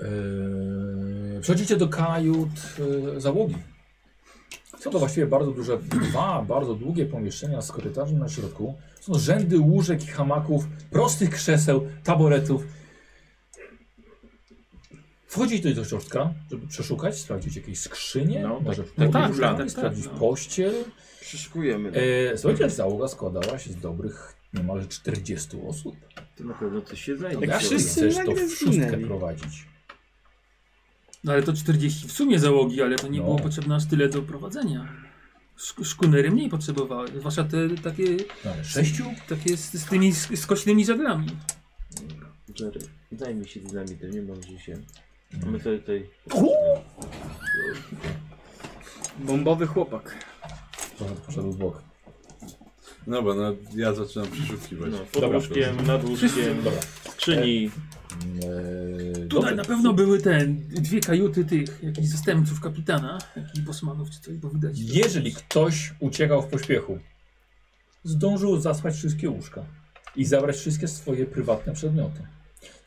Yy, przechodzicie do kajut yy, załogi. Są to właściwie bardzo duże, dwa bardzo długie pomieszczenia z korytarzem na środku. Są rzędy łóżek i hamaków, prostych krzeseł, taboretów. Wchodzić do do środka, żeby przeszukać, sprawdzić jakieś skrzynie, No, może tak, podłóż, tak, tak, tak, sprawdzić no. pościel. Przyszykujemy. E, słuchajcie, załoga składała się z dobrych niemalże 40 osób. To na pewno coś się znajdzie. Jak wszyscy chcesz to nagle w szóstkę zginęli. prowadzić. No ale to 40 w sumie załogi, ale to nie No. było potrzebne aż tyle do prowadzenia. Szk- szkunery mniej potrzebowały, zwłaszcza te takie, No, ale sześciu? takie z, z tymi sk- skośnymi żaglami. Jerry, daj mi się dynamitem, nie mądrzy się. A my sobie tutaj... Bombowy chłopak. Trochę poszedł w bok. No bo no, ja zaczynam przeszukiwać. No, pod łóżkiem, nad łóżkiem, Dobra. skrzyni. Eee, Tutaj dobrze. na pewno były te dwie kajuty tych, jakichś zastępców kapitana, jakichś bosmanów czy coś, bo widać. Jeżeli ktoś uciekał w pośpiechu, zdążył zasłać wszystkie łóżka i zabrać wszystkie swoje prywatne przedmioty.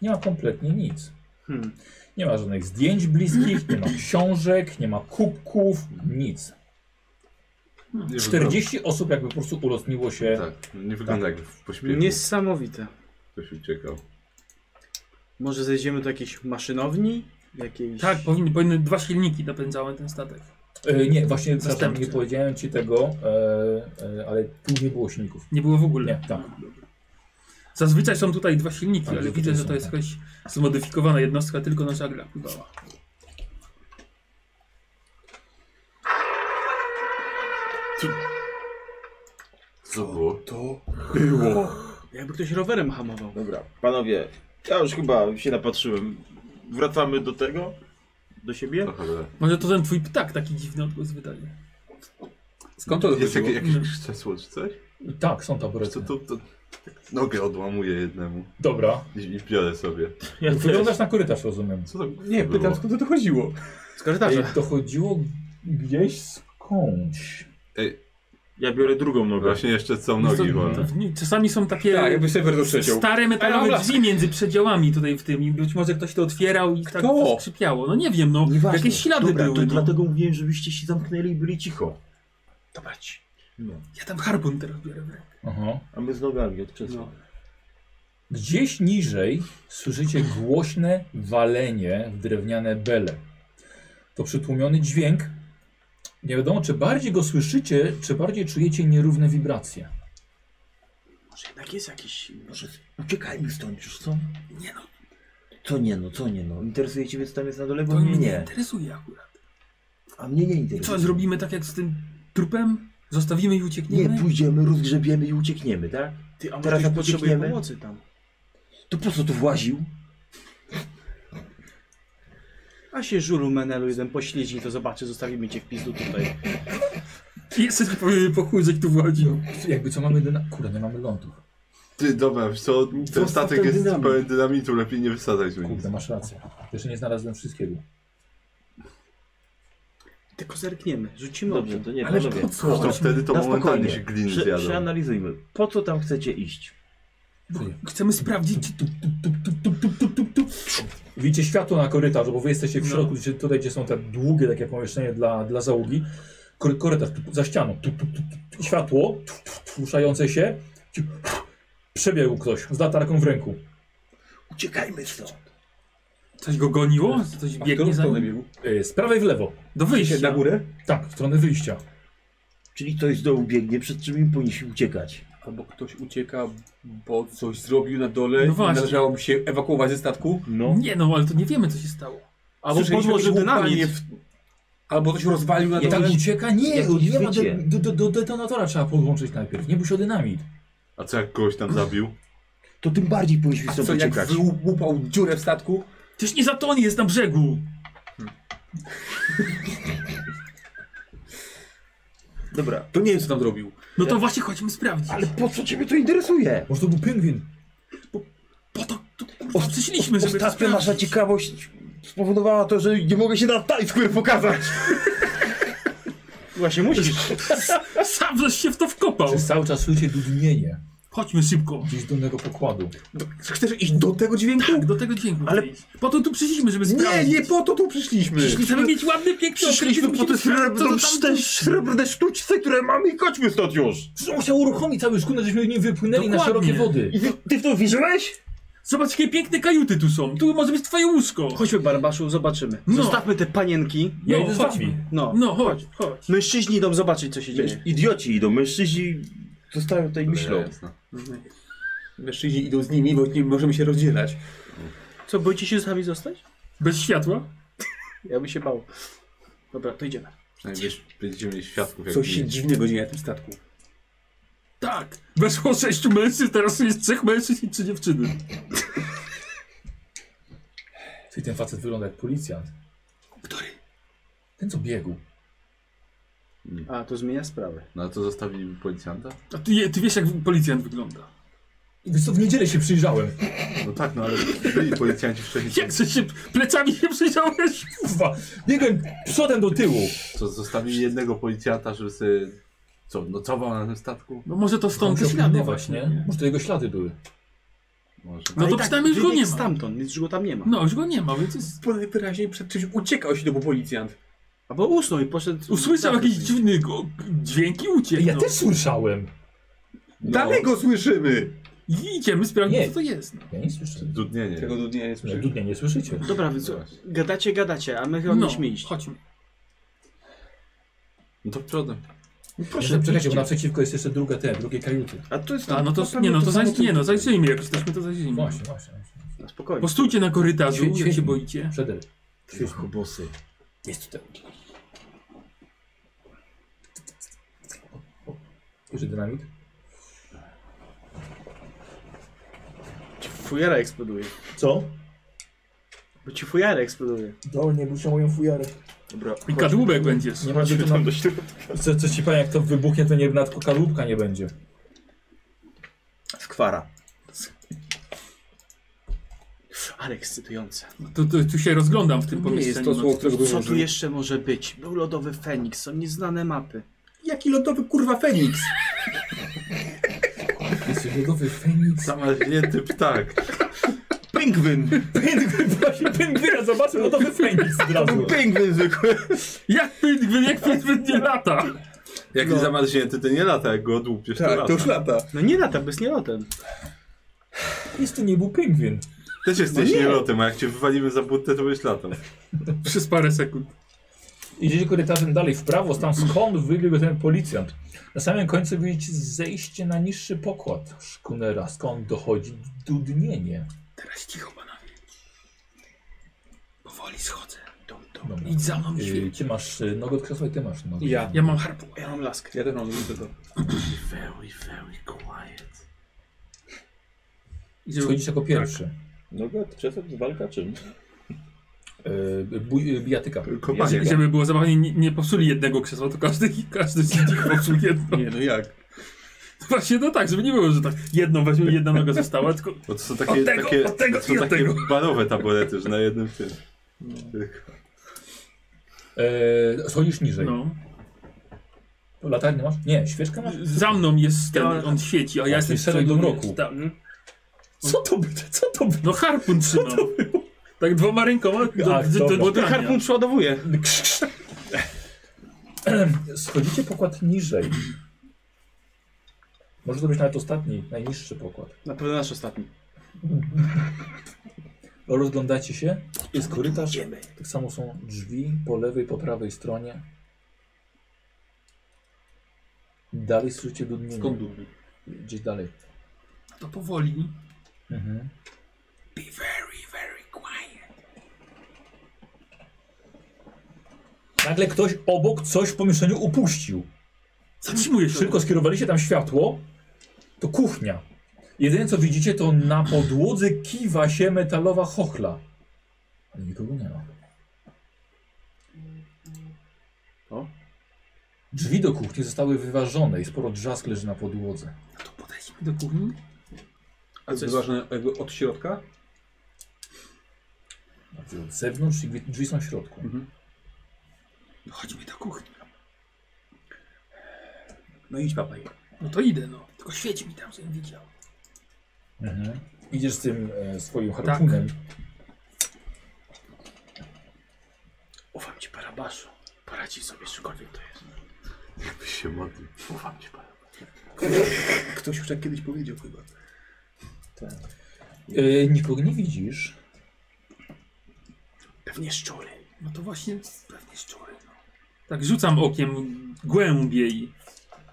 Nie ma kompletnie nic. Hmm. Nie ma żadnych zdjęć bliskich, nie ma książek, nie ma kubków, nic. Nie 40 osób jakby po prostu ulotniło się. wygląda- Tak, nie wygląda jak w pośpiechu Niesamowite. ktoś uciekał. Może zejdziemy do jakiejś maszynowni? Jakiejś... Tak, powinny, powinny dwa silniki napędzały ten statek. E, nie, właśnie przepraszam, Zastępcy. nie powiedziałem ci tego, e, e, ale tu nie było silników. Nie było w ogóle. Nie, tak. Zazwyczaj są tutaj dwa silniki, Ale ale, tutaj widzę, że są, to jest tak. jakaś zmodyfikowana jednostka tylko na żaglach pływała. Co było? Jakby ktoś rowerem hamował. Dobra, panowie, ja już chyba się napatrzyłem. Wracamy do tego? Do siebie? Tak. To cholera. Może to ten twój ptak taki dziwny odgłos wydaje. Skąd to Jest dochodziło? jakieś, jakieś krzesło czy coś? Tak, są Wiesz taborety. co, to, to nogę odłamuję jednemu Dobra. i, i biorę sobie. Ja Wyglądasz na korytarz, rozumiem. Co to Nie, było? pytam skąd to dochodziło. Z korytarza. Ej, dochodziło gdzieś skądś. Ja biorę drugą nogę. Właśnie jeszcze są No to- nogi wolne. to- Czasami są takie Tak, jakby serwer to przeciął. stare Ej, metalowe dobra. drzwi między przedziałami tutaj w tym i być może ktoś to otwierał i tak Kto? skrzypiało. No nie wiem, no jakieś ślady Dobra, były. to no. dlatego mówiłem, żebyście się zamknęli i byli cicho. Dobra ci. Ja tam harpun teraz biorę. w rękę. Aha. No. A my z nogami od przesłu. No. Gdzieś niżej słyszycie głośne walenie w drewniane bele. To przytłumiony dźwięk. Nie wiadomo, czy bardziej go słyszycie, czy bardziej czujecie nierówne wibracje. Może jednak jest jakiś... Może uciekajmy stąd już, co? no, Nie no, Co nie no, co nie no. Interesuje cię, więc tam jest na dole, to bo mnie mnie nie nie. interesuje akurat. A mnie nie I interesuje. co, zrobimy tak jak z tym trupem? Zostawimy No i Nie, uciekniemy? pójdziemy, rozgrzebiemy i uciekniemy, tak? Ty, a może Teraz ktoś jak potrzebuje uciekniemy? pomocy tam. To po co tu właził? A się żulu menelu jeden pośledzi, to zobaczy, zostawimy cię w pizdu tutaj. Jesteś po, po chudzek tu wchodzi. Jakby co mamy do... na- Kurde, nie mamy lądów. Ty, dobra, wiesz co, ten Co z statek tym jest dynamit? pełen dynamitu, lepiej nie wysadzać go nic. Kurde, masz rację. Jeszcze nie znalazłem wszystkiego. Tylko zerkniemy, rzucimy Dobrze, okiem. to nie, Ale panowie. po co? To wtedy to Na momentalnie spokojnie. się gliny Prze- zjadą. Przeanalizujmy, po co tam chcecie iść? Bo chcemy sprawdzić, czy tu, tu, tu, tu, tu, tu, tu, tu, tu. Widzicie światło na korytarzu, bo wy jesteście w No. środku, gdzie, tutaj gdzie są te długie takie pomieszczenia dla, dla załogi. Kory, korytarz tu, tu, za ścianą, tu, tu, tu, tu, światło tu, tu, tu, ruszające się. Ciu, Przebiegł ktoś z latarką w ręku. Uciekajmy stąd. Coś go goniło? Coś A w którą biegnie za stronę nim? biegł? Yy, Z prawej w lewo. Do Na wyjścia. górę? Tak, w stronę wyjścia. Czyli ktoś z dołu biegnie, przed czym im powinniśmy uciekać. Albo ktoś ucieka, bo coś zrobił na dole No i właśnie. należałoby się ewakuować ze statku. No. Nie no, ale to nie wiemy, co się stało. Albo Słyszeliśmy podłożył jakieś łupanie dynamit. W... Albo coś rozwalił na Nie, tak dole. ucieka? Nie, Jakieś nie ma wycie. de, do, do, do detonatora trzeba podłączyć najpierw. Nie bój się o dynamit. A co jak kogoś tam zabił? To tym bardziej powinniśmy A stąd co, jak uciekać. wyłupał dziurę w statku? Przecież nie zatonie, jest na brzegu. Dobra, To nie wiem, co tam zrobił. No to właśnie chodźmy sprawdzić. ale po co ciebie to interesuje? Może to był pingwin. Po to, to kurwa, przyszliśmy, żeby to Ostatnia nasza sprawdzić. ciekawość spowodowała to, że nie mogę się na Tajsquare pokazać. Właśnie musisz. Sam żeś się w to wkopał. Przez cały czas słyszycie dudnienie Chodźmy szybko. gdzieś do innego pokładu. Chcesz iść do tego dźwięku? Tak, do tego dźwięku. Ale- Ale po to tu przyszliśmy, żeby Nie, sprawdzić. nie po to tu przyszliśmy. Chcemy mieć ładny, piękny Przyszliśmy po okres, te musimy sprawdzić, srebrne, co to te tam- srebrne sztuczce, które mamy i chodźmy stąd już. No, Przecież on chciał uruchomić cały szkół, żeśmy nie wypłynęli na Dokładnie. szerokie wody. I ty, ty w to wierzyłeś? Zobacz, jakie piękne kajuty tu są. Tu może być twoje łóżko. Chodźmy, Barbaszu, zobaczymy. No. Zostawmy te panienki. Ja No, idę z chodźmy. wami. No. No, chodź, chodź. Mężczyźni idą zobaczyć, co się dzieje. Idioci idą, mężczyźni zostają tutaj myślą. Mężczyźni idą z nimi, bo nie możemy się rozdzielać. Co, boicie się z nami zostać? Bez światła? Ja bym się bał. Dobra, to idziemy. Przynajmniej będziemy mieli świadków jak Coś się nie. dziwnego dzieje na tym statku. Tak. Weszło sześciu mężczyzn, teraz jest trzech mężczyzn i trzy dziewczyny. Czyli ten facet wygląda jak policjant. Który? Ten co biegł. A, to zmienia sprawę. No a to zostawili policjanta? A ty, je- ty wiesz, jak policjant wygląda. Wiesz co, w niedzielę się przyjrzałem. No tak, no ale byli policjanci wcześniej, Jak żeś się plecami się przyjrzałeś? Kurwa, biegłem przodem do tyłu. co zostawili jednego policjanta, żeby sobie... Co, nocował na tym statku? No może to On stąd te się ślady opilnować, właśnie. nie? Może to jego ślady były. Może. No Ale to i tak przynajmniej już go wybiegł nie ma. stamtąd, więc już go tam nie ma. No, już go nie ma, więc jest... Najwyraźniej przed czymś uciekał się, to był policjant. Albo usnął i poszedł... Usłyszał Zapyt. jakieś dziwne go- dźwięki, No. uciekł. no. Ja też słyszałem. Dalej go słyszymy! I idziemy sprawdzić, Nie. co to jest. No. Ja nie słyszę. Dudnienie. Tego dnia nie Że słyszę. dudnie nie słyszycie. Dobra, więc gadacie, gadacie, a my chyba No, mieliśmy iść. chodźmy. No to przodem. Proszę, no, czekajcie, bo naprzeciwko jest jeszcze druga te, drugie kajuty. A to jest... A no to, nie no, to zaj, nie no, zajrzyjmy, jak jesteśmy, to zajrzyjmy. Właśnie, właśnie. właśnie. No, Spokojnie. Postójcie na korytarzu, Świeć- jak się świeć- boicie. Przedel. Chobosy. Jest tutaj. Duży dynamit? Ci fujara eksploduje. Co? Bo ci fujara eksploduje. Dolnie buszą moją fujarę. Dobra. I kadłubek będziesz. Nie ma gdzie to No. nam... Co, co ci powiem, jak to wybuchnie, to nie, nawet kadłubka nie będzie. Skwara. Ale ekscytujące. Tu, tu, tu się rozglądam w tym Nie jest pomieszczeniu. No. to słowo, którego bym Co tu użył. jeszcze może być? Był lodowy Feniks, są nieznane mapy. Jaki lodowy kurwa Feniks? Jest lodowy Feniks. Zamarznięty ptak. Pingwin! Pingwin, właśnie pingwina zobaczył, lodowy Feniks od razu. Pingwin zwykły! Jak pingwin, jak pingwin nie lata? Jak jest zamarznięty, to nie lata, jak go odłupiesz, to Tak, lata. to już lata. No nie lata, bez nielotem. Jest to nie był pingwin. Też jesteś nielotem, a jak cię wywalimy za butę, to byś latał. Przez parę sekund. Idziecie korytarzem dalej w prawo, tam skąd wybiegł ten policjant. Na samym końcu widzicie zejście na niższy pokład szkunera, skąd dochodzi dudnienie. Teraz cicho, panowie. Powoli schodzę. Dum, dum. Dobra. Idź za mną, Yy, świt. Ty masz y, nogę od krzesła i ty masz nogę. Ja. Ja mam harpun. Ja mam laskę. Ja też mam do tego. Very, very quiet. Idziemy. Schodzisz jako pierwszy. No go, czasem walka czym? Yy, buj- yy, bijatyka. Kopanie. Żeby było zabawnie, nie, nie popsuli jednego krzesła, to każdy, każdy z nich popsuł jedno. Nie, no jak? Właśnie no tak, żeby nie było, że tak jedną weźmie, jedna noga została, tylko Bo to są takie, Od tego, takie, od tego to są i od takie tego. barowe taborety, że na jednym tym. Tylko. E, schodzisz niżej. no. Latarnię masz? Nie, świeczkę masz? Za mną jest No, ten, Ja- on świeci, a Właśnie, ja jestem szedł do przodu, mroku. więc Tak. Co to by? Co to by? No harpun trzymam. Tak dwoma rękoma do, Ach, do, do, dobra. do, Bo do Harpun przeładowuje. Krz, krz. Em, Schodzicie pokład niżej. Może to być nawet ostatni, najniższy pokład. Na pewno nasz ostatni. Rozglądacie się, jest korytarz, tak samo są drzwi po lewej, po prawej stronie. Dalej słyszycie dudnienie. Skąd dumny? Gdzieś dalej. To powoli. Mhm. Be very, very quiet. Nagle ktoś obok coś w pomieszczeniu upuścił. Zatrzymuję się. Szybko skierowaliście tam światło. To kuchnia. Jedyne co widzicie to na podłodze kiwa się metalowa chochla. Ale nikogo nie ma. O. Drzwi do kuchni zostały wyważone i sporo drzask leży na podłodze. To podejdźmy do kuchni. A co jest ważne, jakby od środka? Bardziej Znaczy, Od zewnątrz i drzwi- drzwi są w środku. Mhm. No chodźmy do kuchni. No idź papaj. No to idę no. Tylko świeci mi tam, żebym widział. Mhm. Idziesz z tym e, swoim Tak. harpunem. Ufam ci, Parabaszu. Poradzi sobie, cokolwiek to jest. Jakbyś się modlił. Ufam ci, Paweł. Ktoś już tak kiedyś powiedział chyba. E, nikogo nie widzisz. Pewnie szczury. No to właśnie pewnie szczury. No. Tak rzucam okiem głębiej.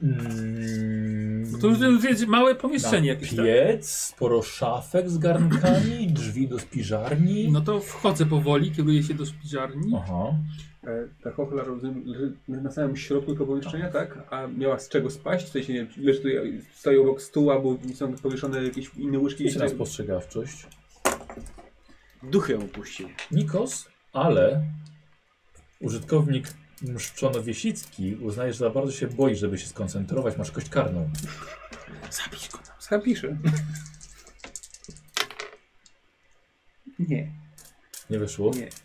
Mm, No Bo to już wiecie, małe pomieszczenie na jakieś tam. piec, sporo szafek z garnkami, drzwi do spiżarni. No to wchodzę powoli, kieruję się do spiżarni. Aha. E, ta chochla rozumiem, leży na samym środku tego pomieszczenia, tak? A miała z czego spaść? W sensie, nie wiem, czy wiesz, tutaj stoi obok stół, albo są powieszone jakieś inne łyżki. Jeszcze raz postrzegawczość. Duchy ją opuścił. Nikos, ale użytkownik mszczono-wiesicki uznaje, że za bardzo się boi, żeby się skoncentrować. Masz kość karną. Zabić go tam. Sam pisze. Nie, Nie wyszło? nie.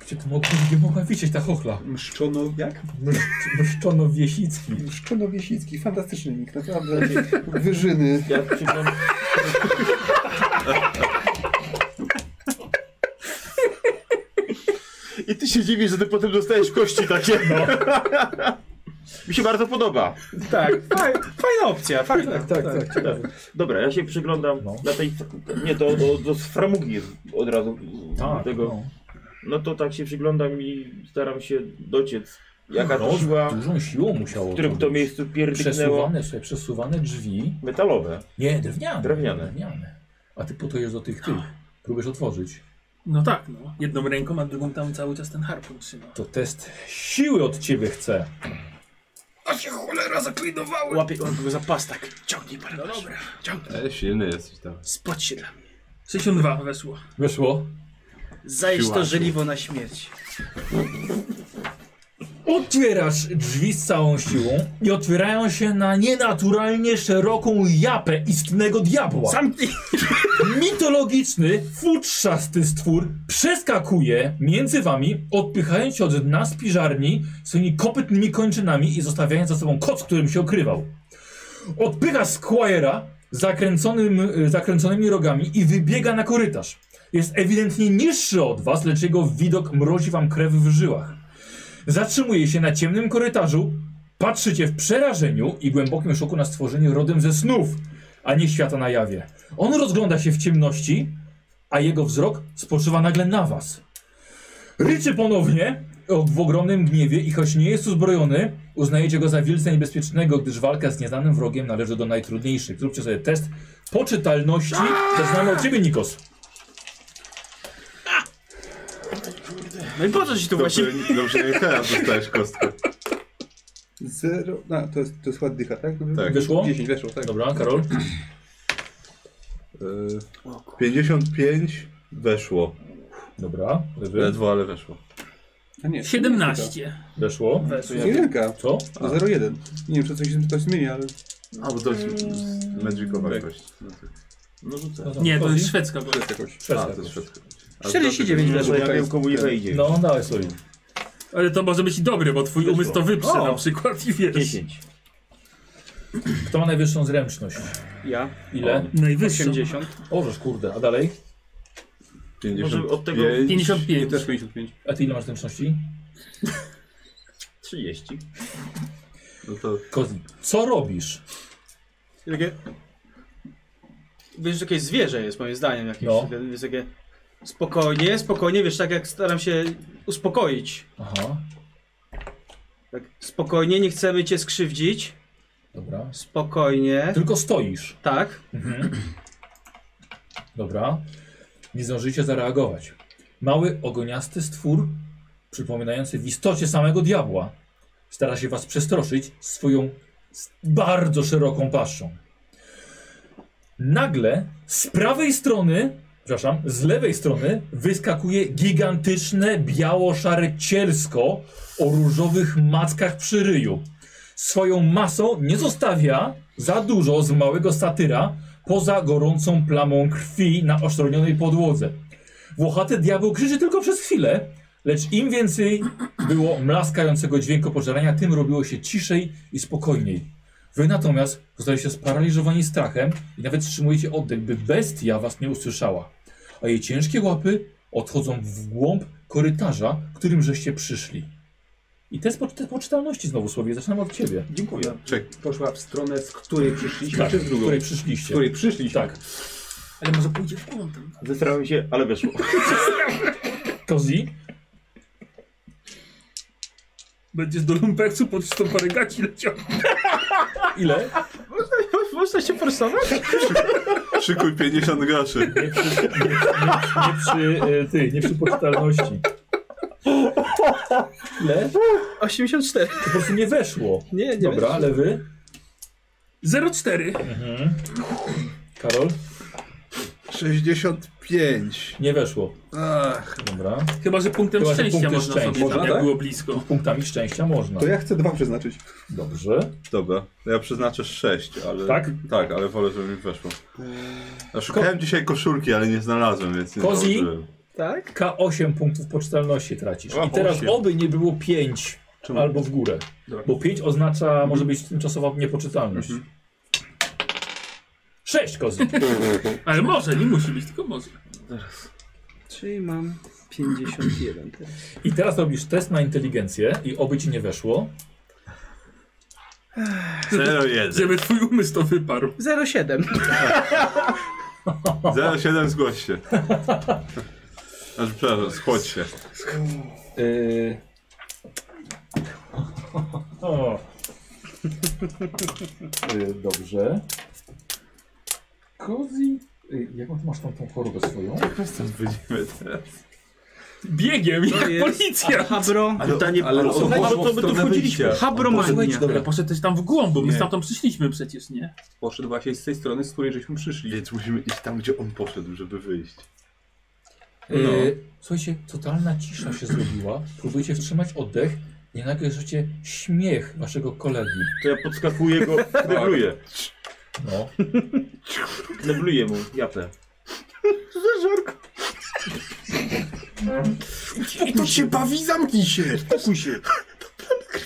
Gdzie to mogło, gdzie mogła wisieć ta chochla? Mszczono, jak? Msz- Mszczono-wiesicki. Mszczono Wiesicki, fantastyczny nick, naprawdę. Wyżyny. Ja przyglądam, I ty się dziwisz, że ty potem dostajesz kości takie. No. mi się bardzo podoba. Tak, faj, fajna opcja, fajna. Tak, tak, tak. Dobra, ja się przyglądam No. na tej... Nie, to do, do framugi od razu Tak, tego. no. No to tak się przyglądam i staram się dociec, jaka No, to siła, dużą siłą w musiało którym to to być. miejscu pierdyknęło. Przesuwane, słuchaj, przesuwane drzwi. Metalowe. Nie, drewniane. Drewniane. drewniane. A ty potojesz do tych tych. Próbujesz otworzyć. No tak, no. Jedną ręką, a drugą tam cały czas ten harpun trzyma. To test siły od ciebie chcę. Łapie łapie go za pastak. Ciągnij, No Parabaszu. dobra. E, silny jesteś tam. Spodź się dla mnie. 62 weszło. Wyszło? Zajeść to Siłaku. żeliwo na śmierć. Otwierasz drzwi z całą siłą i otwierają się na nienaturalnie szeroką japę istnego diabła. Zamknij! Mitologiczny, futrzasty stwór przeskakuje między wami, odpychając się od dna spiżarni swoimi kopytnymi kończynami i zostawiając za sobą koc, którym się okrywał. Odpycha Squire'a zakręconym, y, zakręconymi rogami i wybiega na korytarz. Jest ewidentnie niższy od was, lecz jego widok mrozi wam krew w żyłach. Zatrzymuje się na ciemnym korytarzu, patrzycie w przerażeniu i głębokim szoku na stworzenie rodem ze snów, a nie świata na jawie. On rozgląda się w ciemności, a jego wzrok spoczywa nagle na was. Ryczy ponownie o- w ogromnym gniewie i choć nie jest uzbrojony, uznajecie go za wielce niebezpiecznego, gdyż walka z nieznanym wrogiem należy do najtrudniejszych. Zróbcie sobie test poczytalności. Zaczynamy od ciebie, Nikos. No i po co ci to Dobrze, właśnie... dobrze, nie teraz dostajesz kostkę. Zero. A, to jest, to jest ładdycha, tak? Dobrze? Tak. Wyszło? 10 weszło, tak. Dobra, Karol. E, 55 weszło. Dobra, lewy. Ledwo, ale weszło. A nie, 17. Weszło. To jest jedynka. Co? To 0,1. Nie wiem, czy coś, coś zmieni, ale A, No, bo to jest magicowa Tak. kość. No to- No rzucę. No to Nie, to kości? jest szwedzka broń. Jest jakoś. A, Szwedzka. to jest szwedzka. A 49 to- weszło. Ja wiem, komu nie wejdzie. No, dawaj sobie. Ale to może być i dobre, bo twój umysł to wyprze O. na przykład i wiesz. 10. Kto ma najwyższą zręczność? Ja. Ile? Najwyższą. 80. Ożesz, kurde, a dalej? 55. Może od tego- 55. Ja też 55. A ty ile masz zręczności? 30. No to... Kozi, co robisz? Takie... Wiesz, jakieś zwierzę jest moim zdaniem. Jakieś, No. takie, jest takie... Spokojnie, spokojnie, wiesz, tak jak staram się uspokoić. Aha, Tak, spokojnie, nie chcemy cię skrzywdzić. dobra. Spokojnie. Tylko stoisz. Tak. Dobra. Nie zdążycie zareagować. Mały, ogoniasty stwór, przypominający w istocie samego diabła, stara się was przestroszyć swoją s- bardzo szeroką paszczą. Nagle z prawej strony, przepraszam, z lewej strony wyskakuje gigantyczne biało-szare cielsko o różowych mackach przy ryju. Swoją masą nie zostawia za dużo z małego satyra, poza gorącą plamą krwi na oszronionej podłodze. Włochaty diabeł krzyczy tylko przez chwilę, lecz im więcej było mlaskającego dźwięku pożerania, tym robiło się ciszej i spokojniej. Wy natomiast zostaliście sparaliżowani strachem i nawet wstrzymujecie oddech, by bestia was nie usłyszała. A jej ciężkie łapy odchodzą w głąb korytarza, którym żeście przyszli. I test po, te poczytalności znowu słowie, zaczynam od ciebie. Dziękuję. Czek. Poszła w stronę, z której przyszliśmy, Tak, czy z z drugą? której przyszliście. Z której przyszliśmy. Tak. Ale może pójdziesz w kątem. Zestrałem się, ale weszło. Kozi? Będziesz do lumpeksu pod tą parę gaci leciał. Ile? Można się forsować? Szykuj 50 groszy. Nie przy, nie, nie, nie przy e, ty, nie przy poczytalności. Ile? 84. Po prostu nie weszło. Nie, nie Dobra, ale wy? 04. Karol? 65. Nie weszło. Ach, Dobra. Chyba, że punktem Chyba, że szczęścia punktem można szczęścia. sobie tam, Można, jak tak? było blisko. Punktami szczęścia można. To ja chcę dwa przeznaczyć. Dobrze. dobra. Ja przeznaczę 6, ale... Tak? Tak, ale wolę, żeby mi weszło. A szukałem dzisiaj koszulki, ale nie znalazłem, więc nie Kozi? założyłem. Tak? K8 punktów poczytalności tracisz. Mam I teraz osiem. oby nie było 5 Czemu? albo w górę. Dobra. Bo 5 oznacza, może być tymczasowa niepoczytalność. 6 kozi. Ale może, nie musi być, tylko może. Czyli mam 51 teraz. I teraz robisz test na inteligencję i oby ci nie weszło. 01. Żeby twój umysł to wyparł. 07. 07 zgłoś się. Znaczy, przepraszam, schodź się. Yy... O. Yy, Dobrze. Kozi. Yy, Jaką ty masz tą, tą chorobę swoją? Co będziemy teraz? Biegiem, jak jest- policja. Habro. Pytanie, ale o, słuchajcie, to by tu wchodziliśmy. Habromania. Ale poszedł też tam w głąb, bo my stamtąd przyszliśmy przecież, nie? Poszedł właśnie z tej strony, z której żeśmy przyszli. Więc musimy iść tam, gdzie on poszedł, żeby wyjść. Yy, słuchajcie, totalna cisza się zrobiła. Próbujecie wstrzymać oddech. i Nagle słyszycie śmiech waszego kolegi. To ja podskakuję go, knebluję. No. Knebluję mu japę. I to się bawi, zamknij się! Spokój się!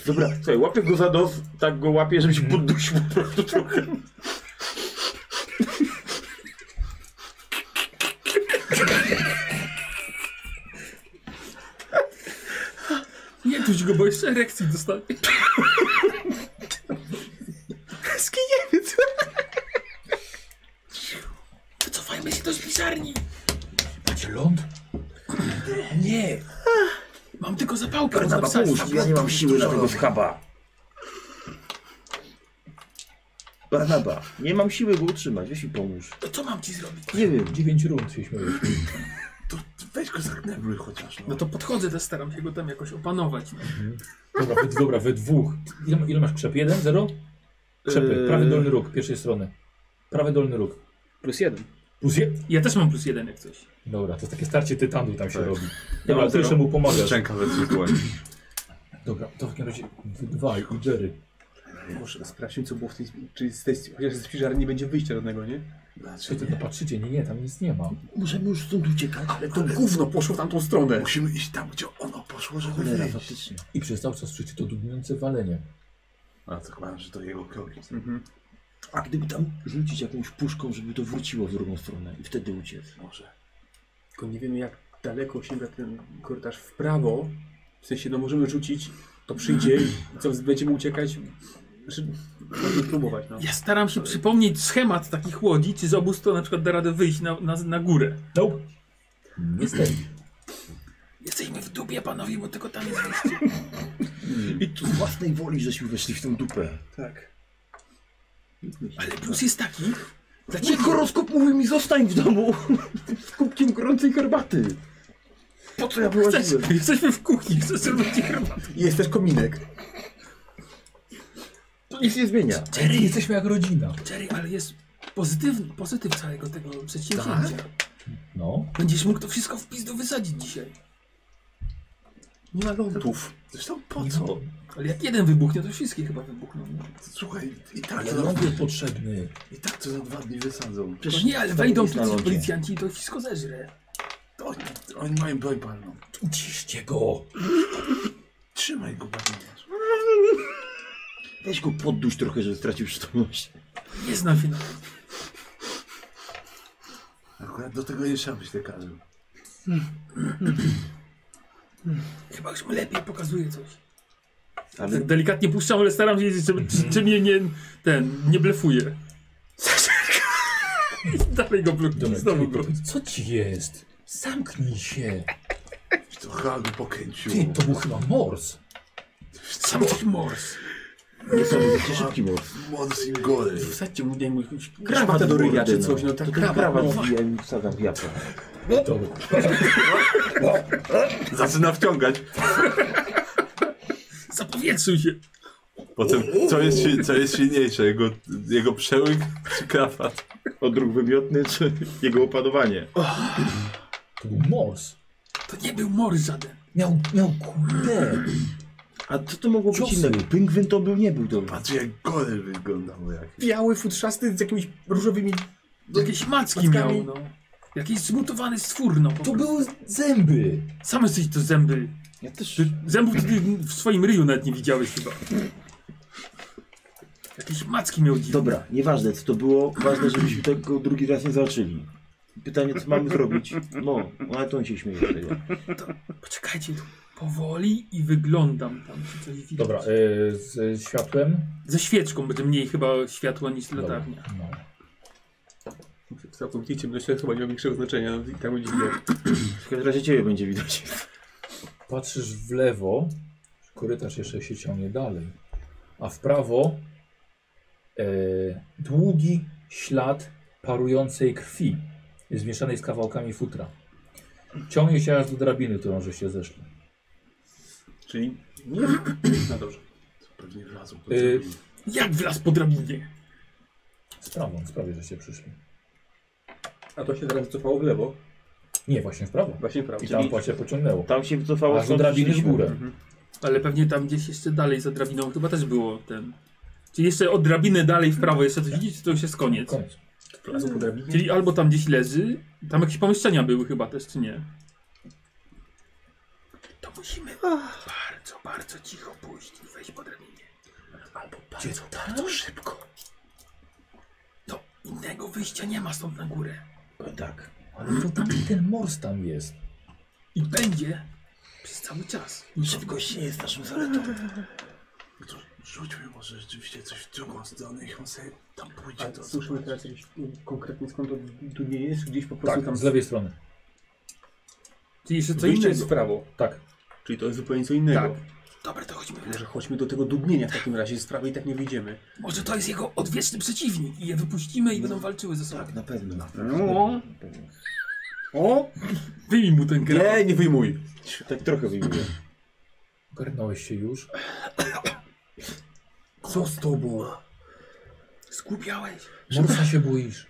Dobra, słuchaj, łapię go za nos, tak go łapię, żeby się poddusił po prostu trochę. Nie tuć go, bo jeszcze erekcji dostanie. Skiniemy, co? Wycofajmy się do spiżarni. Macie ląd? Nie. Mam tylko zapałkę, można Karnaba, pomóż mi, ja nie mam siły na tego schaba. Barnaba, nie mam siły go utrzymać, weź mi pomóż. To co mam ci zrobić? Nie wiem, 9 rund się śmiejesz. weź go zaknebluj chociaż, No to podchodzę, też staram się go tam jakoś opanować. No. Dobra, wy, dobra, we dwóch. Ile, ile masz krzep? Jeden, zero? Krzepy. Yy. Prawy dolny róg, pierwszej strony. Prawy dolny róg. Plus 1. Plus je... Ja też mam plus jeden jak coś. Dobra, to jest takie starcie tytanu tam się Tak. robi. Dobra, ty jeszcze mu pomagasz. Szczęka we dwóch dłoni. Dobra, to w takim razie wy dwaj i Jerry. Może sprawdźmy, co było w tej, czyli z tej, chociaż z piżarni nie będzie wyjścia żadnego, nie? Patrzycie, no patrzycie, nie, nie, tam nic nie ma. Możemy już stąd uciekać. Ale to gówno poszło w tamtą stronę. Musimy iść tam, gdzie ono poszło, żeby Cholera, wyjść. faktycznie. I przez cały czas słyszycie to dudniące walenie. A to chyba, że to jego kroki. A gdyby tam rzucić jakąś puszką, żeby to wróciło w drugą stronę i wtedy uciec. Może. Tylko nie wiemy, jak daleko sięga ten korytarz w prawo. W sensie, no możemy rzucić, to przyjdzie i co, będziemy uciekać? Znaczy, możemy próbować, no. Ja staram się przypomnieć schemat takich łodzi, czy z obu stron na przykład da radę wyjść na, na, na górę. Nope. Niestety. Jesteśmy w dubie, panowie, bo tylko tam jest wyjście. I tu z własnej woli żeśmy weszli w tę dupę. Tak. Ale plus jest taki, dla Nie, ciebie horoskop mówił mi zostań w domu z kubkiem gorącej herbaty. Po co ja chcesz, wyłaziłem? jesteśmy w kuchni, chcesz zrobić ci herbatę. Jest też kominek. To nic nie zmienia. Jerry, jesteśmy jak rodzina. Jerry, ale jest pozytywny, pozytyw całego tego przedsięwzięcia. No. Będziesz mógł to wszystko w pizdu wysadzić dzisiaj. Nie ma lądów. Zresztą po co? Ale jak jeden wybuchnie, to wszystkie chyba wybuchną. Słuchaj, i tak, Ale to no- za, ląd jest potrzebny. i tak to za dwa dni wysadzą. No Przecież nie, ale tam wejdą jest na polic- lądzie. policjanci i to wszystko zeżre. Oni, oni mają broń palną. Uciszcie go. Trzymaj go, bawiasz. Weź go podduś trochę, żeby stracił przytomność. Nie znam się na Akurat do tego nie trzeba być lekarzem. Chyba już mi lepiej pokazuje coś. Ale- Tak delikatnie puszczam, ale staram się, wiedzieć, czy, czy, czy mnie nie, ten, nie blefuje. I Dalej go blokuję, Dobra, znowu Jerry, go. powiedz, co ci jest? Zamknij się. To chyba go pokręciło. Ty, to był chyba mors. Sam coś mors. nie to był taki szybki moc. Moc im gory. Wsadźcie mu, nie mu jakąś krawatę do ryja czy coś, no tak krawat. Prawa no. wbija i wsadzam w jabłko. Dobra. Zaczyna wciągać. Zapowietrzył się. Potem, co jest, si- co jest silniejsze? Jego, jego przełyk czy krawat? Odruch wymiotny czy jego opanowanie? To był mors. To nie był mors żaden. Miał, miał kurde. A co to mogło być Ciosy. innego? Pingwin to był, nie był dobry. Patrz jak gory wyglądały jak. Biały, futrzasty z jakimiś różowymi... Jakieś macki Mackami. miał, no. Jakiś zmutowany stwór, no. To były zęby. Sam jesteś to zęby. Ja też... Ty Zębów ty w swoim ryju nawet nie widziałeś chyba. Jakieś macki miał dziwne. Dobra, nieważne co to było, ważne żebyśmy tego drugi raz nie zaczęli. Pytanie co mamy zrobić? No, ale to on się śmieje z tego. Poczekajcie tu. Powoli i wyglądam tam, czy coś widać. Dobra, y, z światłem. Ze świeczką będzie mniej chyba światła niż Dobra, latarnia. No. W całkowitej ciemności to chyba nie ma większego znaczenia, no i tak będzie widać. W każdym razie ciebie będzie widać. Patrzysz w lewo, korytarz jeszcze się ciągnie dalej, a w prawo e, długi ślad parującej krwi, zmieszanej z kawałkami futra. Ciągnie się aż do drabiny, którą żeście zeszli. Czyli nie No dobrze. Pewnie wlazł. po Y, drzewie. Jak wlazł po drabinie? z prawą, z prawej żeście przyszli. A to się teraz cofało w lewo, Nie, właśnie w prawo. właśnie w prawo. I tam właśnie pociągnęło. Tam się wycofało Aż do drabiny w górę. Mhm. Ale pewnie tam gdzieś jeszcze dalej za drabiną chyba też było ten... Czyli jeszcze od drabiny dalej w prawo jeszcze coś widzicie, czy to już jest koniec. Koniec. Wlazł po drabinie. Czyli albo tam gdzieś leży, tam jakieś pomieszczenia były chyba też, czy nie? To musimy bardzo, bardzo cicho pójść i wejść po drabinie. Albo bardzo, bardzo szybko. To innego wyjścia nie ma stąd na górę. Tak. Ale to tam ten mors tam jest. Tak, I będzie przez cały czas. Szybkość nie jest naszą zaletą. No to rzućmy może rzeczywiście coś w drugą stronę i on sobie tam pójdzie. A To, słyszymy teraz jakieś mm, konkretnie skąd to tu nie jest, gdzieś po prostu Tak, tam z lewej strony. Czyli jeszcze co Wyjście innego. jest w prawo. Tak. Czyli to jest zupełnie co innego. Tak. Dobra, to chodźmy. Może chodźmy do tego dudnienia w takim razie, z prawej i tak nie wyjdziemy. Może to jest jego odwieczny przeciwnik i je wypuścimy i będą No. walczyły ze sobą. Tak, na pewno. Na pewno. No. O! Wyjmij mu ten krawat. Nie, nie wyjmuj! Tak trochę wyjmuję. Ogarnąłeś się już. Co z tobą? Skupiałeś. Morsa się boisz.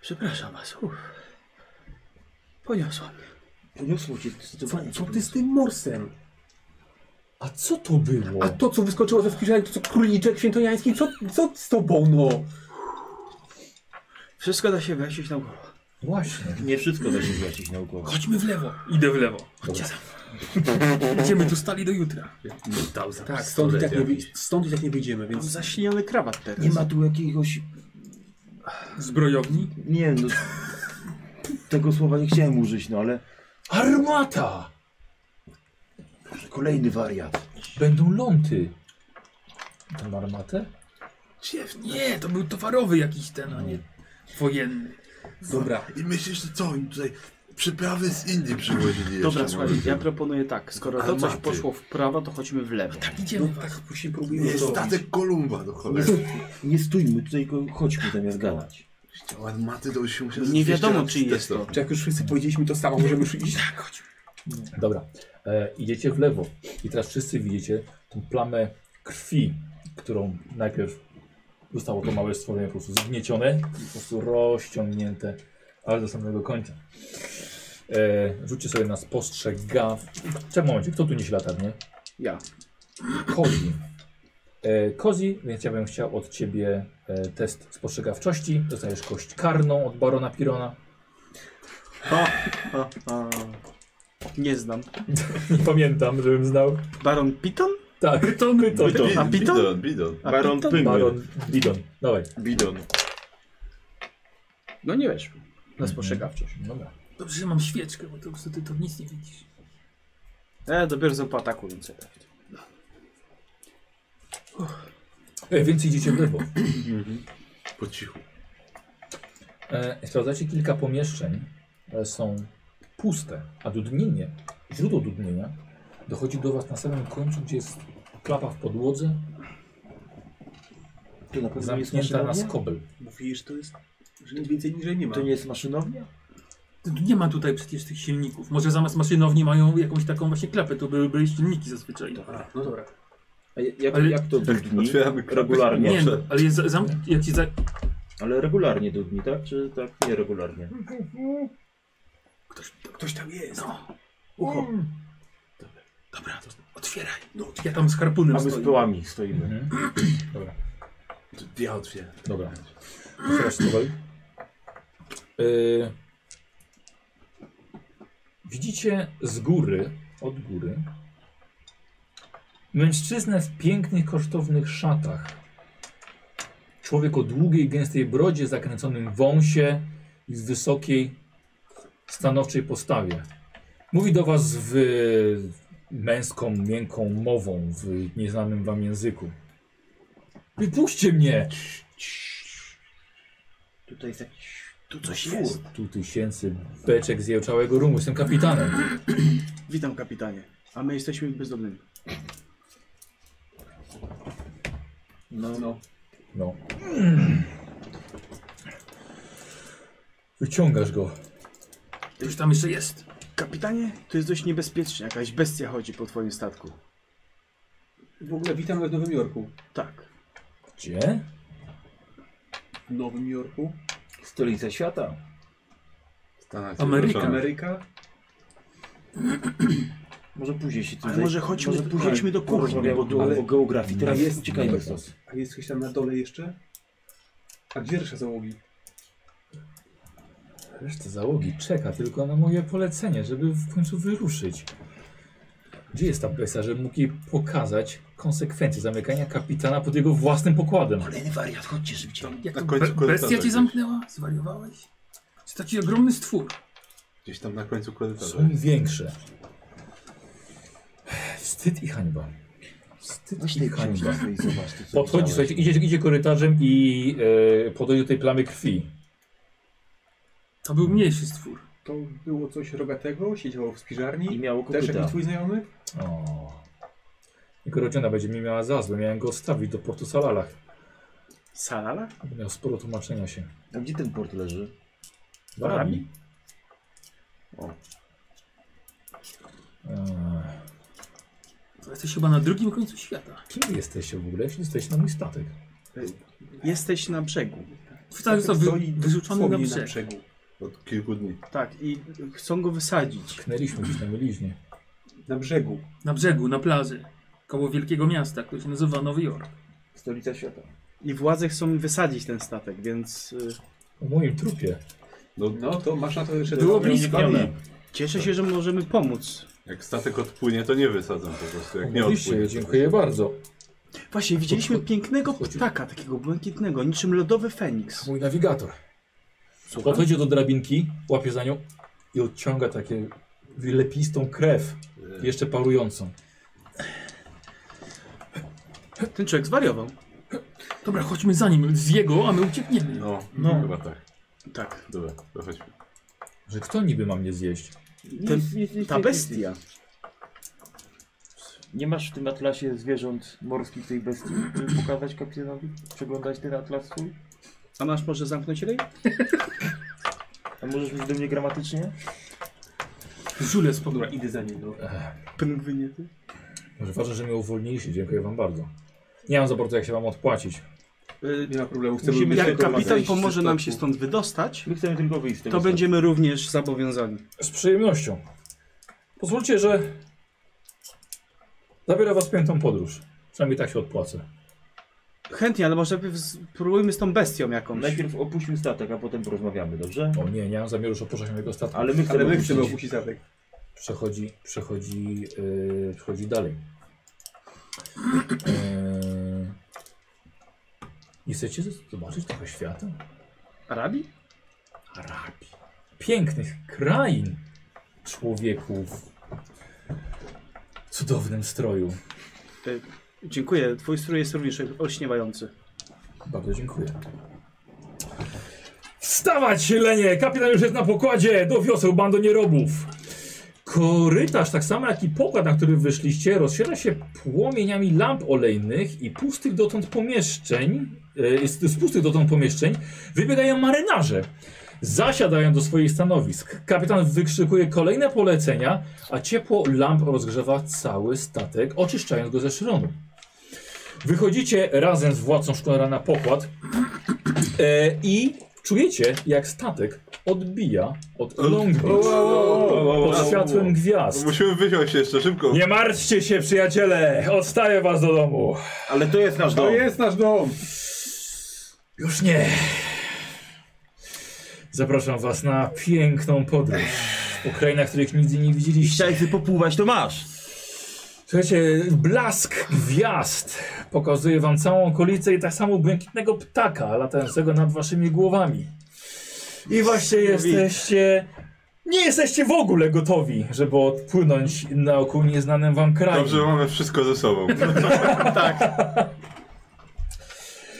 Przepraszam was. Uff. Poniosło cię zdecydowanie. Co ty z tym morsem? A co to było? A to, co wyskoczyło ze skrzyżania, to co króliczek świętojański, co, co z tobą, no? Wszystko da się wyjaśnić na głowę. Właśnie. Nie wszystko da się wyjaśnić naukowo. Chodźmy w lewo. Idę w lewo. Chodźcie za mną. Będziemy tu stali do jutra. Dał za Tak, stąd i tak nie, wyj- stąd i tak nie wyjdziemy, Mam więc... zaśliniony krawat teraz. Nie ma tu jakiegoś... Zbrojowni? Nie no... Tego słowa nie chciałem użyć, no ale... Armata! Kolejny wariat. Będą ląty. Tam armatę? Dziewnie. Nie, to był towarowy jakiś ten, a nie wojenny. Dobra, I myślisz, że co im tutaj przyprawy z Indii przywozili jeszcze? Dobra, może? słuchaj, ja proponuję tak. Skoro to coś poszło w prawo, to chodźmy w lewo. Tak idziemy. No, tak. Właśnie próbujemy Nie to... statek Kolumba do Nie, cholery. nie stójmy tutaj, go chodźmy zamiast gadać. Chciałem maty, to już się musiał Nie wiadomo, czy jest to. czy jak już wszyscy powiedzieliśmy to samo, możemy już iść? Dobra. E, idziecie w lewo. I teraz wszyscy widzicie tą plamę krwi, którą najpierw zostało to małe stworzenie po prostu zgniecione i po prostu rozciągnięte aż do samego końca. E, rzućcie sobie na spostrzegaw. Czekaj momencie, kto tu niesie latarnię? Ja. Kozi. E, Kozi, więc ja bym chciał od ciebie e, test spostrzegawczości. Dostajesz kość karną od barona Pirona. A, a. Nie znam. Nie pamiętam, żebym znał. Baron Piton? Tak, to my to. A Piton? Bidon, bidon. A Baron Piton? Pyngel. Baron Bidon. Dawaj. Bidon. No nie wiesz. Na spostrzegawczość. Dobra. Dobrze, że mam świeczkę, bo to wtedy to nic nie widzisz. E, dopiero są po ataku, więc tak. E, więc idziecie w lewo. Po cichu. E, sprawdzacie kilka pomieszczeń, które są puste, a dudnienie, źródło dudnienia dochodzi do was na samym końcu, gdzie jest klapa w podłodze, To na pewno nie jest zamknięta na maszynownia? skobel. Mówisz, to jest... że nic więcej niżej nie ma. To nie jest maszynownia? Tu Nie ma tutaj przecież tych silników. Może zamiast maszynowni mają jakąś taką właśnie klapę, to były, były silniki zazwyczaj. Tak. Dobra, no dobra. A jak, jak, Ale- jak to dudni? Otwieramy klapę. Regularnie. Nie, no, ale jest za- zam... jak ci za... Ale regularnie dudni, tak? Czy tak nieregularnie? Ktoś, ktoś tam jest. No, Ucho. dobra, to otwieraj. No, ja tam z harpunem A my z stoję. pyłami stoimy. Mhm. Dobra. To Ja otwieram. Dobra. Otwierasz skobel. Y, Widzicie z góry, od góry, mężczyznę w pięknych, kosztownych szatach. Człowiek o długiej, gęstej brodzie, zakręconym wąsie i z wysokiej, stanowczej postawie. Mówi do was w męską, miękką mową, w nieznanym wam języku. Wypuśćcie mnie! Tutaj jest jakiś... Tu Coś jest. Tu tysięcy beczek zjełczałego rumu, jestem kapitanem. Witam kapitanie. A my jesteśmy bezdomnymi. No, no. No. Wyciągasz go. Ktoś tam jeszcze jest. Kapitanie, to jest dość niebezpiecznie. Jakaś bestia chodzi po twoim statku. W ogóle witamy w Nowym Jorku. Tak. Gdzie? W Nowym Jorku? Stolica świata. Stanach Ameryka. Zjednoczonych. Ameryka? Może później się tym Ale może chodźmy, może chodźmy do kuchni. Porozmawiamy tu ale- o geografii. Teraz ale jest jest- uciekajmy stąd. A jest ktoś tam na dole jeszcze? A gdzie reszta załogi? Reszta załogi czeka tylko na moje polecenie, żeby w końcu wyruszyć. Gdzie jest ta bestia, żeby mógł jej pokazać konsekwencje zamykania kapitana pod jego własnym pokładem? Kolejny wariat, chodźcie szybciej. Jak Na to końcu be korytarza bestia cię gdzieś. zamknęła? Zwariowałeś? To taki ogromny stwór. Gdzieś tam na końcu korytarza. Są większe. Wstyd i hańba. Wstyd Weź i tej hańba. książki swojej, zobacz. to, co Podchodzi, widziałeś. słuchajcie, idzie, idzie korytarzem i e, podchodzi do tej plamy krwi. To był mniejszy stwór. To było coś rogatego, siedziało w spiżarni. I miało Też jakiś kopyta. twój znajomy? O. Jego rodzina będzie mi miała za złe. Miałem go odstawić do portu Salalach. Salala? Aby miał sporo tłumaczenia się. A gdzie ten port leży? Z Arabami. O. Eee, To jesteś chyba na drugim końcu świata. Kim wy jesteście w ogóle? Jeśli jesteście na mój statek. Jesteś na brzegu. Tak, Wcale został wy, Stoi wyrzucony na dosłownie brzeg. Od kilku dni. Tak, i chcą go wysadzić. Knęliśmy gdzieś na mieliźnie. Na brzegu. Na brzegu, na plaży. koło wielkiego miasta, które się nazywa Nowy Jork. Stolica świata. I władze chcą wysadzić ten statek, więc y, W moim trupie. No to masz na to jeszcze Było dodatkowe blisko. unikanie. cieszę się, że możemy pomóc. Jak statek odpłynie, to nie wysadzą po prostu. Jak Tak nie Oczywiście, odpłynie. dziękuję bardzo. Właśnie, widzieliśmy pięknego ptaka, takiego błękitnego, niczym lodowy feniks. Mój nawigator. Podchodzi do drabinki, łapie za nią i odciąga takie lepistą krew, jeszcze parującą. Ten człowiek zwariował. Dobra, chodźmy za nim, z jego, a my uciekniemy. No, No. chyba tak. Tak. Dobra, to chodźmy. Że kto niby ma mnie zjeść? Ten, ta bestia. Nie masz w tym atlasie zwierząt morskich tej bestii, żeby pokazać kapitanowi? Przeglądać ten atlas swój? A masz może zamknąć rej? A możesz mieć do mnie gramatycznie? Żule z podura. Idę za nim, no. Pęk wyniety. Może ważne, że mnie uwolniliście, dziękuję wam bardzo. Nie mam za bardzo jak się wam odpłacić. Y, Nie ma problemu, chcemy Musimy, mieć jak tylko kapitan zejść z pomoże nam się statku. stąd wydostać, My chcemy tylko wyjść z tego to będziemy również zobowiązani. Z przyjemnością. Pozwólcie, że zabiorę was w piętą podróż. Przynajmniej tak się odpłacę. Chętnie, ale może najpierw spróbujmy z tą bestią jakąś. Najpierw opuśćmy statek, a potem porozmawiamy, dobrze? O nie, nie mam zamiaru już opuszczać mojego statku. Ale my chcemy Ale my opuścić. chcemy opuścić statek. przechodzi, przechodzi, yy, przechodzi dalej. Yy, nie chcecie z- zobaczyć trochę świata? Arabi? Arabii. Pięknych krain człowieku w cudownym stroju. Y, dziękuję, twój strój jest również olśniewający. Bardzo dziękuję. Wstawać, lenie! Kapitan już jest na pokładzie! Do wioseł, bando nierobów! Korytarz, tak samo jak i pokład, na który wyszliście, rozsiera się płomieniami lamp olejnych i pustych dotąd pomieszczeń. e, Z, z pustych dotąd pomieszczeń wybiegają marynarze. Zasiadają do swoich stanowisk. Kapitan wykrzykuje kolejne polecenia, a ciepło lamp rozgrzewa cały statek, oczyszczając go ze szronu. Wychodzicie razem z władcą szkolera na pokład e, i czujecie, jak statek odbija od Long Beach pod światłem gwiazd. Musimy wysiąść jeszcze szybko. Nie martwcie się, przyjaciele! Odstaję was do domu! Ale to jest nasz To dom. jest nasz dom! Już nie! Zapraszam was na piękną podróż po krainach, których nigdy nie I widzieliście. chciałeś popływać, to masz. Słuchajcie, blask gwiazd pokazuje wam całą okolicę i tak samo błękitnego ptaka latającego nad waszymi głowami. I właśnie jesteście... Nie jesteście w ogóle gotowi, żeby odpłynąć na okół nieznanym wam kraju. Dobrze, mamy wszystko ze sobą.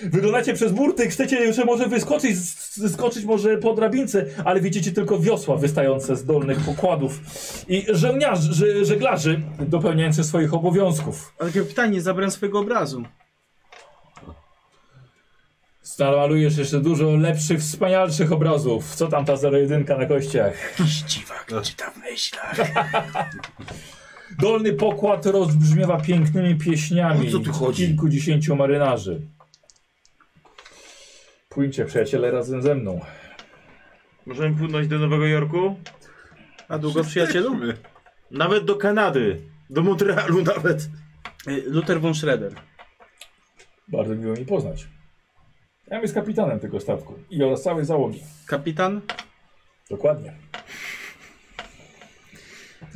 Wyglądacie przez burty, chcecie jeszcze może wyskoczyć, s- skoczyć może po drabince, ale widzicie tylko wiosła wystające z dolnych pokładów i żegnarzy, ż- żeglarzy dopełniających swoich obowiązków. Ale kapitanie, zabrałem swojego obrazu. Stalmalujesz jeszcze dużo lepszych, wspanialszych obrazów. Co tam ta 01 na kościach? No. Dolny pokład rozbrzmiewa pięknymi pieśniami O co tu chodzi? kilkudziesięciu marynarzy. Płyńcie przyjaciele razem ze mną. Możemy płynąć do Nowego Jorku? A długo, przyjacielu? Nawet do Kanady. Do Montrealu nawet. Y, Luther von Schroeder. Bardzo miło mi poznać. Ja jest kapitanem tego statku i oraz całej załogi. Kapitan? Dokładnie.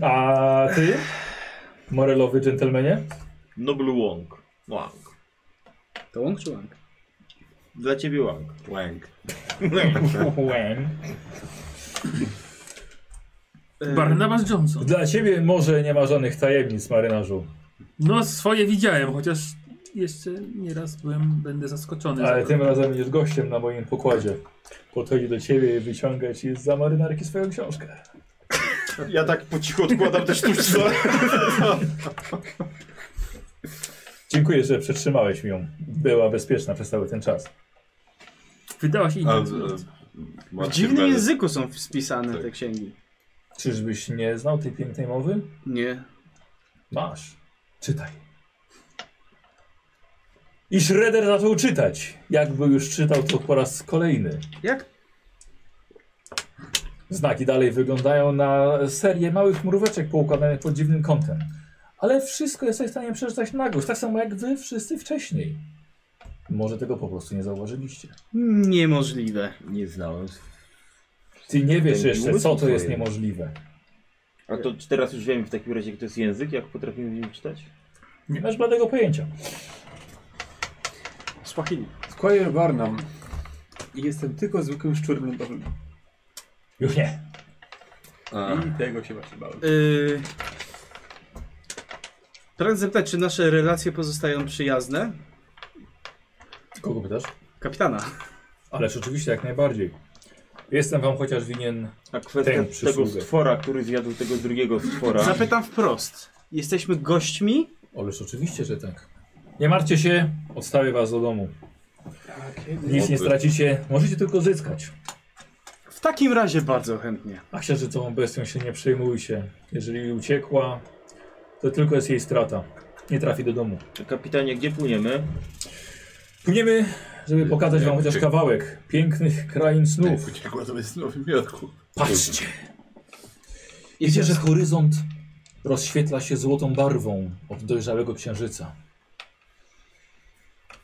A ty, morelowy dżentelmenie? Noble Wong. Wang. To Łąk czy Łąk? Dla ciebie Wang. Łęk. Łęk. Y, Barnabas Johnson. Dla ciebie może nie ma żadnych tajemnic, marynarzu. No swoje widziałem, chociaż jeszcze nieraz byłem, będę zaskoczony. Ale za- tym razem jest gościem na moim pokładzie. Podchodzi do ciebie i wyciąga ci za marynarki swoją książkę. Ja tak po cichu odkładam te sztuczce. Dziękuję, że przetrzymałeś mi ją. Była bezpieczna przez cały ten czas. Wydała się A, inna. e, W Marcin dziwnym Belec. języku są spisane te Tak. księgi. Czyżbyś nie znał tej pięknej mowy? Nie. Masz. Czytaj. I Shredder zaczął czytać. Jakby już czytał to po raz kolejny. Jak? Znaki dalej wyglądają na serię małych mróweczek poukładanych pod dziwnym kątem. Ale wszystko jesteś w stanie przeczytać na głos, tak samo jak wy wszyscy wcześniej. Może tego po prostu nie zauważyliście. Niemożliwe. Nie znałem. Ty nie wiesz Ten jeszcze, umysł co to jest twojej. niemożliwe. A to czy teraz już wiem w takim razie, jak to jest język, jak potrafimy w nim czytać? Nie masz bladego pojęcia. Spachini. Squire Barnum. I jestem tylko zwykłym szczurem lądowym. Już nie. I tego się właśnie bałem. Yy... Pragnę zapytać, czy nasze relacje pozostają przyjazne? Kogo pytasz? Kapitana. Ależ oczywiście, jak najbardziej. Jestem wam chociaż winien A kwestia Tę tego przysługę. stwora, który zjadł tego drugiego Tak. stwora. Zapytam wprost. Jesteśmy gośćmi? Ależ oczywiście, że tak. Nie martwcie się, odstawię was do domu. Nic nie stracicie, możecie tylko zyskać. W takim razie bardzo chętnie. A księżycową bestią się nie przejmujcie. Jeżeli uciekła, to tylko jest jej strata. Nie trafi do domu. Kapitanie, gdzie płyniemy? Płyniemy, żeby pokazać wam chociaż kawałek pięknych krain snów. Uciekła to jest w Nowym Jorku. Patrzcie! Widzicie, że horyzont rozświetla się złotą barwą od dojrzałego księżyca.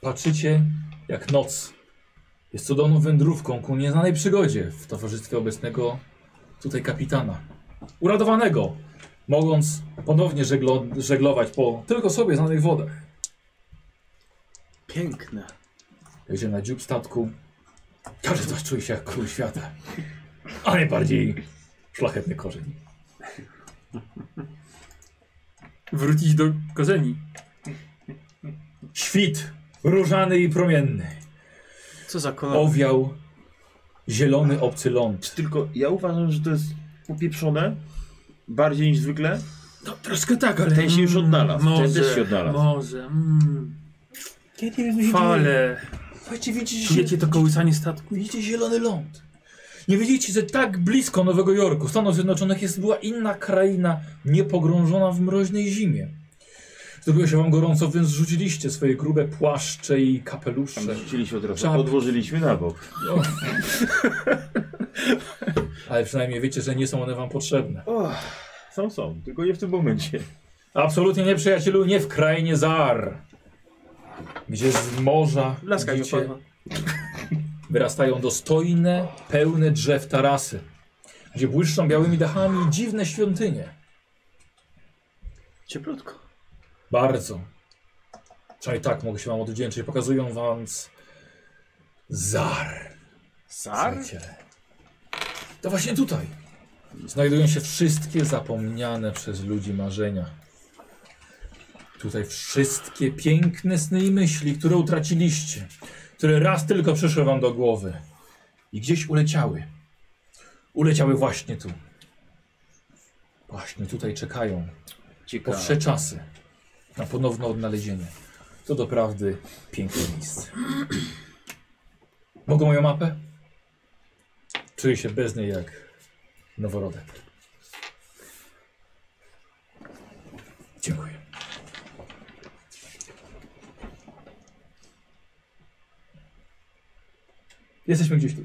Patrzycie, jak noc jest cudowną wędrówką ku nieznanej przygodzie w towarzystwie obecnego tutaj kapitana. Uradowanego, mogąc ponownie żeglo żeglować po tylko sobie znanych wodach. Piękne. Jedzie na dziób statku. Każdy z was czuje się jak król świata. A najbardziej szlachetny korzeń. Wrócić do korzeni. Świt różany i promienny. Co za kolor. Owiał zielony obcy ląd. Tylko ja uważam, że to jest popieprzone bardziej niż zwykle. No troszkę tak, ale... Ten się mm, już odnalazł, ten Może, też się odnalazł. Może, mm. Ja nie wiem, Fale. Słuchajcie, widzicie, Czujecie to kołysanie statku? widzicie zielony ląd. Nie wiedzieliście, że tak blisko Nowego Jorku, Stanów Zjednoczonych, jest była inna kraina niepogrążona w mroźnej zimie. Zrobiło się wam gorąco, więc zrzuciliście swoje grube płaszcze i kapelusze. Tam rzuciliśmy od razu, Czap. odłożyliśmy na bok. Ale przynajmniej wiecie, że nie są one wam potrzebne. Są, są, tylko nie w tym momencie. Absolutnie nie, przyjacielu, nie w krainie Zar. Gdzie z morza Laska mi widzicie, opadła. wyrastają dostojne, pełne drzew tarasy. Gdzie błyszczą białymi dachami dziwne świątynie. Cieplutko. Bardzo. Przynajmniej tak mogę się wam odwdzięczyć. Pokazują wam z- Zar. Sar? przyjaciele. To właśnie tutaj znajdują się wszystkie zapomniane przez ludzi marzenia. Tutaj wszystkie piękne sny i myśli, które utraciliście, które raz tylko przyszły wam do głowy i gdzieś uleciały. Uleciały właśnie tu. Właśnie tutaj czekają po Ciekawe. wsze czasy na ponowne odnalezienie. To doprawdy piękne miejsce. Mogą moją mapę? Czuję się bez niej jak noworodek. Dziękuję. Jesteśmy gdzieś tu.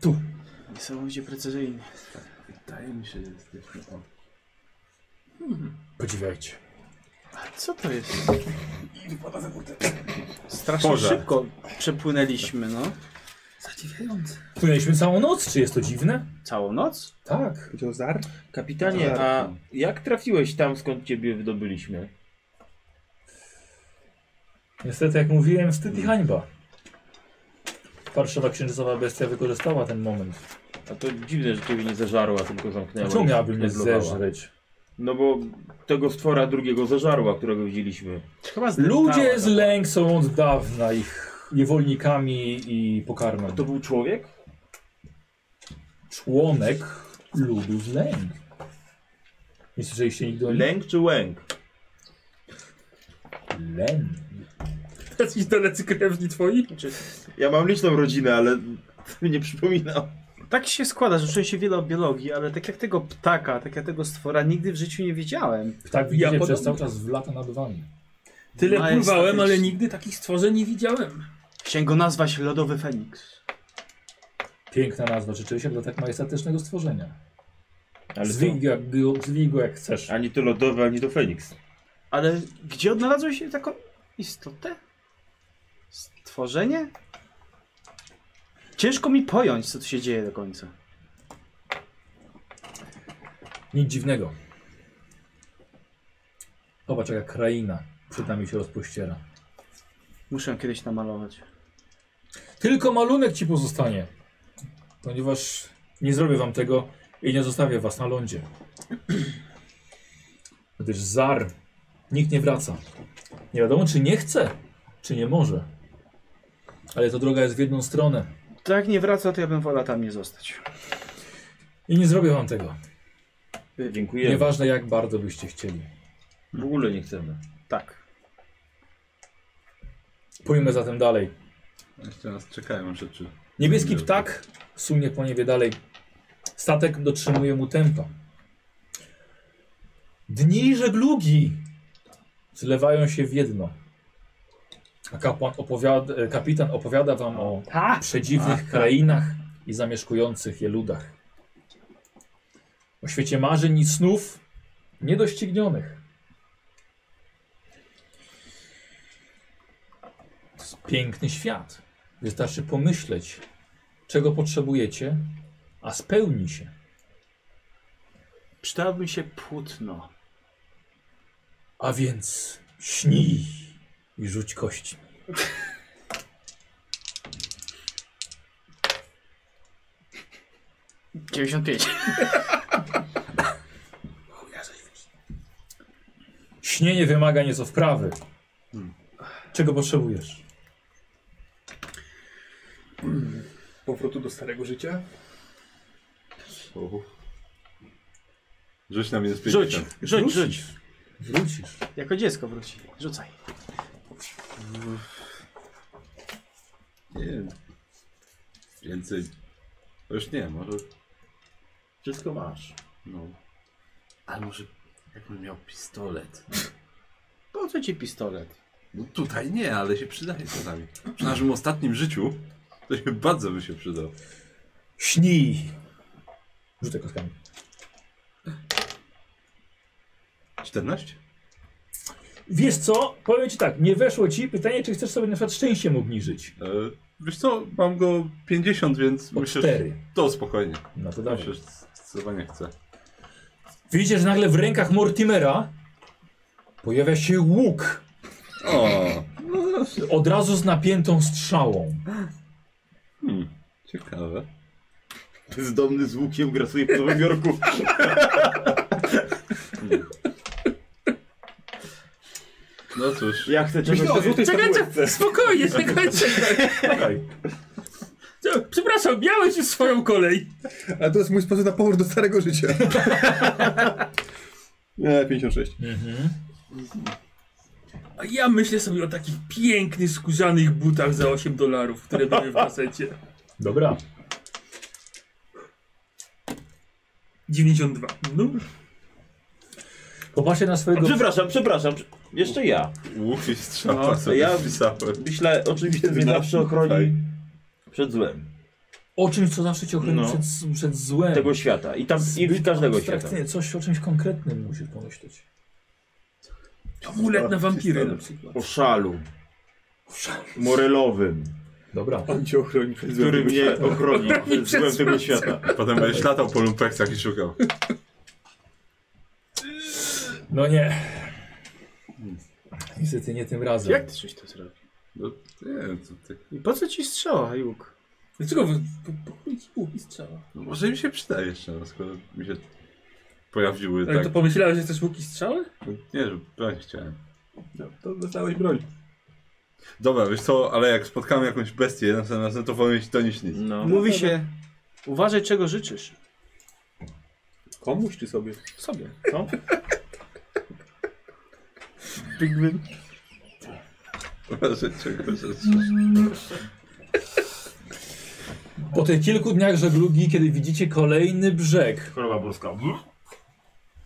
Tu. Niesamowicie precyzyjnie. Wydaje mi się, że jesteśmy o. Podziwiajcie. A co to jest? Strasznie Boże. szybko przepłynęliśmy, no. Zadziwiające. Płynęliśmy całą noc, czy jest to dziwne? Całą noc? Tak. Powiedział Zar? Kapitanie, a jak trafiłeś tam, skąd ciebie wydobyliśmy? Niestety, jak mówiłem, wstyd i hańba. Parszywa księżycowa bestia wykorzystała ten moment. A to dziwne, że ciebie nie zeżarła, tylko zamknęła. Dlaczego i miałaby mnie zneblowała. zeżreć? No bo tego stwora drugiego zeżarła, którego widzieliśmy. Chyba tak. zdeptała Ludzie z to. lęk są od dawna ich niewolnikami i pokarmem. To był człowiek? członek ludu z lęk. Nie słyszeliście nigdy o nim? Lęk czy łęk? Lęk. Jacyś dalecy krewni twoi? Ja mam liczną rodzinę, ale to mi nie przypominał. Tak się składa, że uczyłem się wiele o biologii, ale tak jak tego ptaka, tak jak tego stwora nigdy w życiu nie wiedziałem. Tak widzicie Ja przez podobnie. cały czas w lata nad wami. Tyle Majestatycznie. pływałem, ale nigdy takich stworzeń nie widziałem. Chciałem go nazwać Lodowy Feniks. Piękna nazwa, rzeczywiście, dla tak majestatycznego stworzenia. Ale Zwij go, jak, go- zwij go jak chcesz. to, ani to lodowy, ani to Feniks. Ale gdzie odnalazłeś taką istotę? Stworzenie? Ciężko mi pojąć, co tu się dzieje do końca. Nic dziwnego. Zobacz jaka kraina przed nami się rozpościera. Muszę kiedyś namalować. Tylko malunek ci pozostanie. Ponieważ nie zrobię wam tego i nie zostawię was na lądzie. Gdyż zar nikt nie wraca. Nie wiadomo, czy nie chce, czy nie może. Ale to droga jest w jedną stronę. To jak Tak nie wraca, to ja bym wolał tam nie zostać. I nie zrobię wam tego. Dziękuję. Nieważne jak bardzo byście chcieli. W ogóle nie chcemy. Tak. Pójdźmy zatem dalej. Jeszcze nas czekają rzeczy. Niebieski ptak sunie po niebie dalej. Statek dotrzymuje mu tempa. Dni żeglugi zlewają się w jedno. A kapłan opowiada, e, kapitan opowiada wam o przedziwnych krainach i zamieszkujących je ludach. O świecie marzeń i snów niedoścignionych. To jest piękny świat. Wystarczy pomyśleć, czego potrzebujecie, a spełni się. Przydałoby mi się płótno. A więc śnij i rzuć kości. Śnienie wymaga nieco wprawy. Czego potrzebujesz? Powrotu do starego życia? Rzuć na mnie z Rzuć, pięćdziesiąt. rzuć, rzuć. Wrócisz. Jako dziecko wróci. Rzucaj. Nie wiem. Więcej. Już nie, może. Wszystko masz. No. Ale może jakbym miał pistolet. Po co ci pistolet? no tutaj nie, ale się przydaje czasami. Przy naszym ostatnim życiu to się bardzo by się przydał. Śnij. Rzucę kostkami. 14? Wiesz co? Powiem ci tak, nie weszło ci pytanie, czy chcesz sobie na przykład szczęściem obniżyć. E, wiesz co, mam go 50, więc O myślę, że cztery. to spokojnie. No to dawaj. Myślę, że zdecydowanie chcę. Widzicie, że nagle w rękach Mortimera pojawia się łuk. O, Od razu z napiętą strzałą. hmm, ciekawe. Bezdomny z łukiem grasuje po Nowym Jorku. No cóż, Ja chcę czegoś... Czekajcie, spokojnie, czekajcie. Co, Przepraszam, miałeś już swoją kolej. Ale to jest mój sposób na powrót do starego życia. nie, 56. A ja myślę sobie o takich pięknych, skórzanych butach za 8 dolarów, które były w kasecie. Dobra. 92. No. Popatrzcie na swojego... Przepraszam, przepraszam. prze- Jeszcze ja. Łuk i strzała No, sobie ja- wpisałem. Myślę, oczywiście mnie zawsze ochroni przed złem O czymś, co zawsze cię ochroni No. przed, przed złem. tego świata i tam i Zbyt każdego świata. abstrakcyjnie, Coś o czymś konkretnym musisz pomyśleć. Amulet na wampiry na przykład. O szalu. Morelowym, Dobra. On cię ochroni przed złem. który mnie ochroni przed złem tego świata. Potem będziesz latał po lumpeksach i szukał. No nie. Niestety nie tym razem. Jak ty coś to zrobił? No, nie wiem, co ty. I po co ci strzała, Juk? Dlaczego wy... po- po chuj ci łuki strzała? No, może mi się przyda jeszcze, no, skoro mi się pojawiły Ale tak. to pomyślałeś, że chcesz łuki strzały? No, Nie, że broń chciałem. No, to dostałeś broń. Dobra, wiesz co, ale jak spotkamy jakąś bestię następnym razem, to wolę mieć to niż Mm. nic. No. Mówi się, uważaj czego życzysz. Komuś czy sobie? Sobie. Uważaj, czego rzeczy. Po tych kilku dniach żeglugi, kiedy widzicie kolejny brzeg, Choroba boska.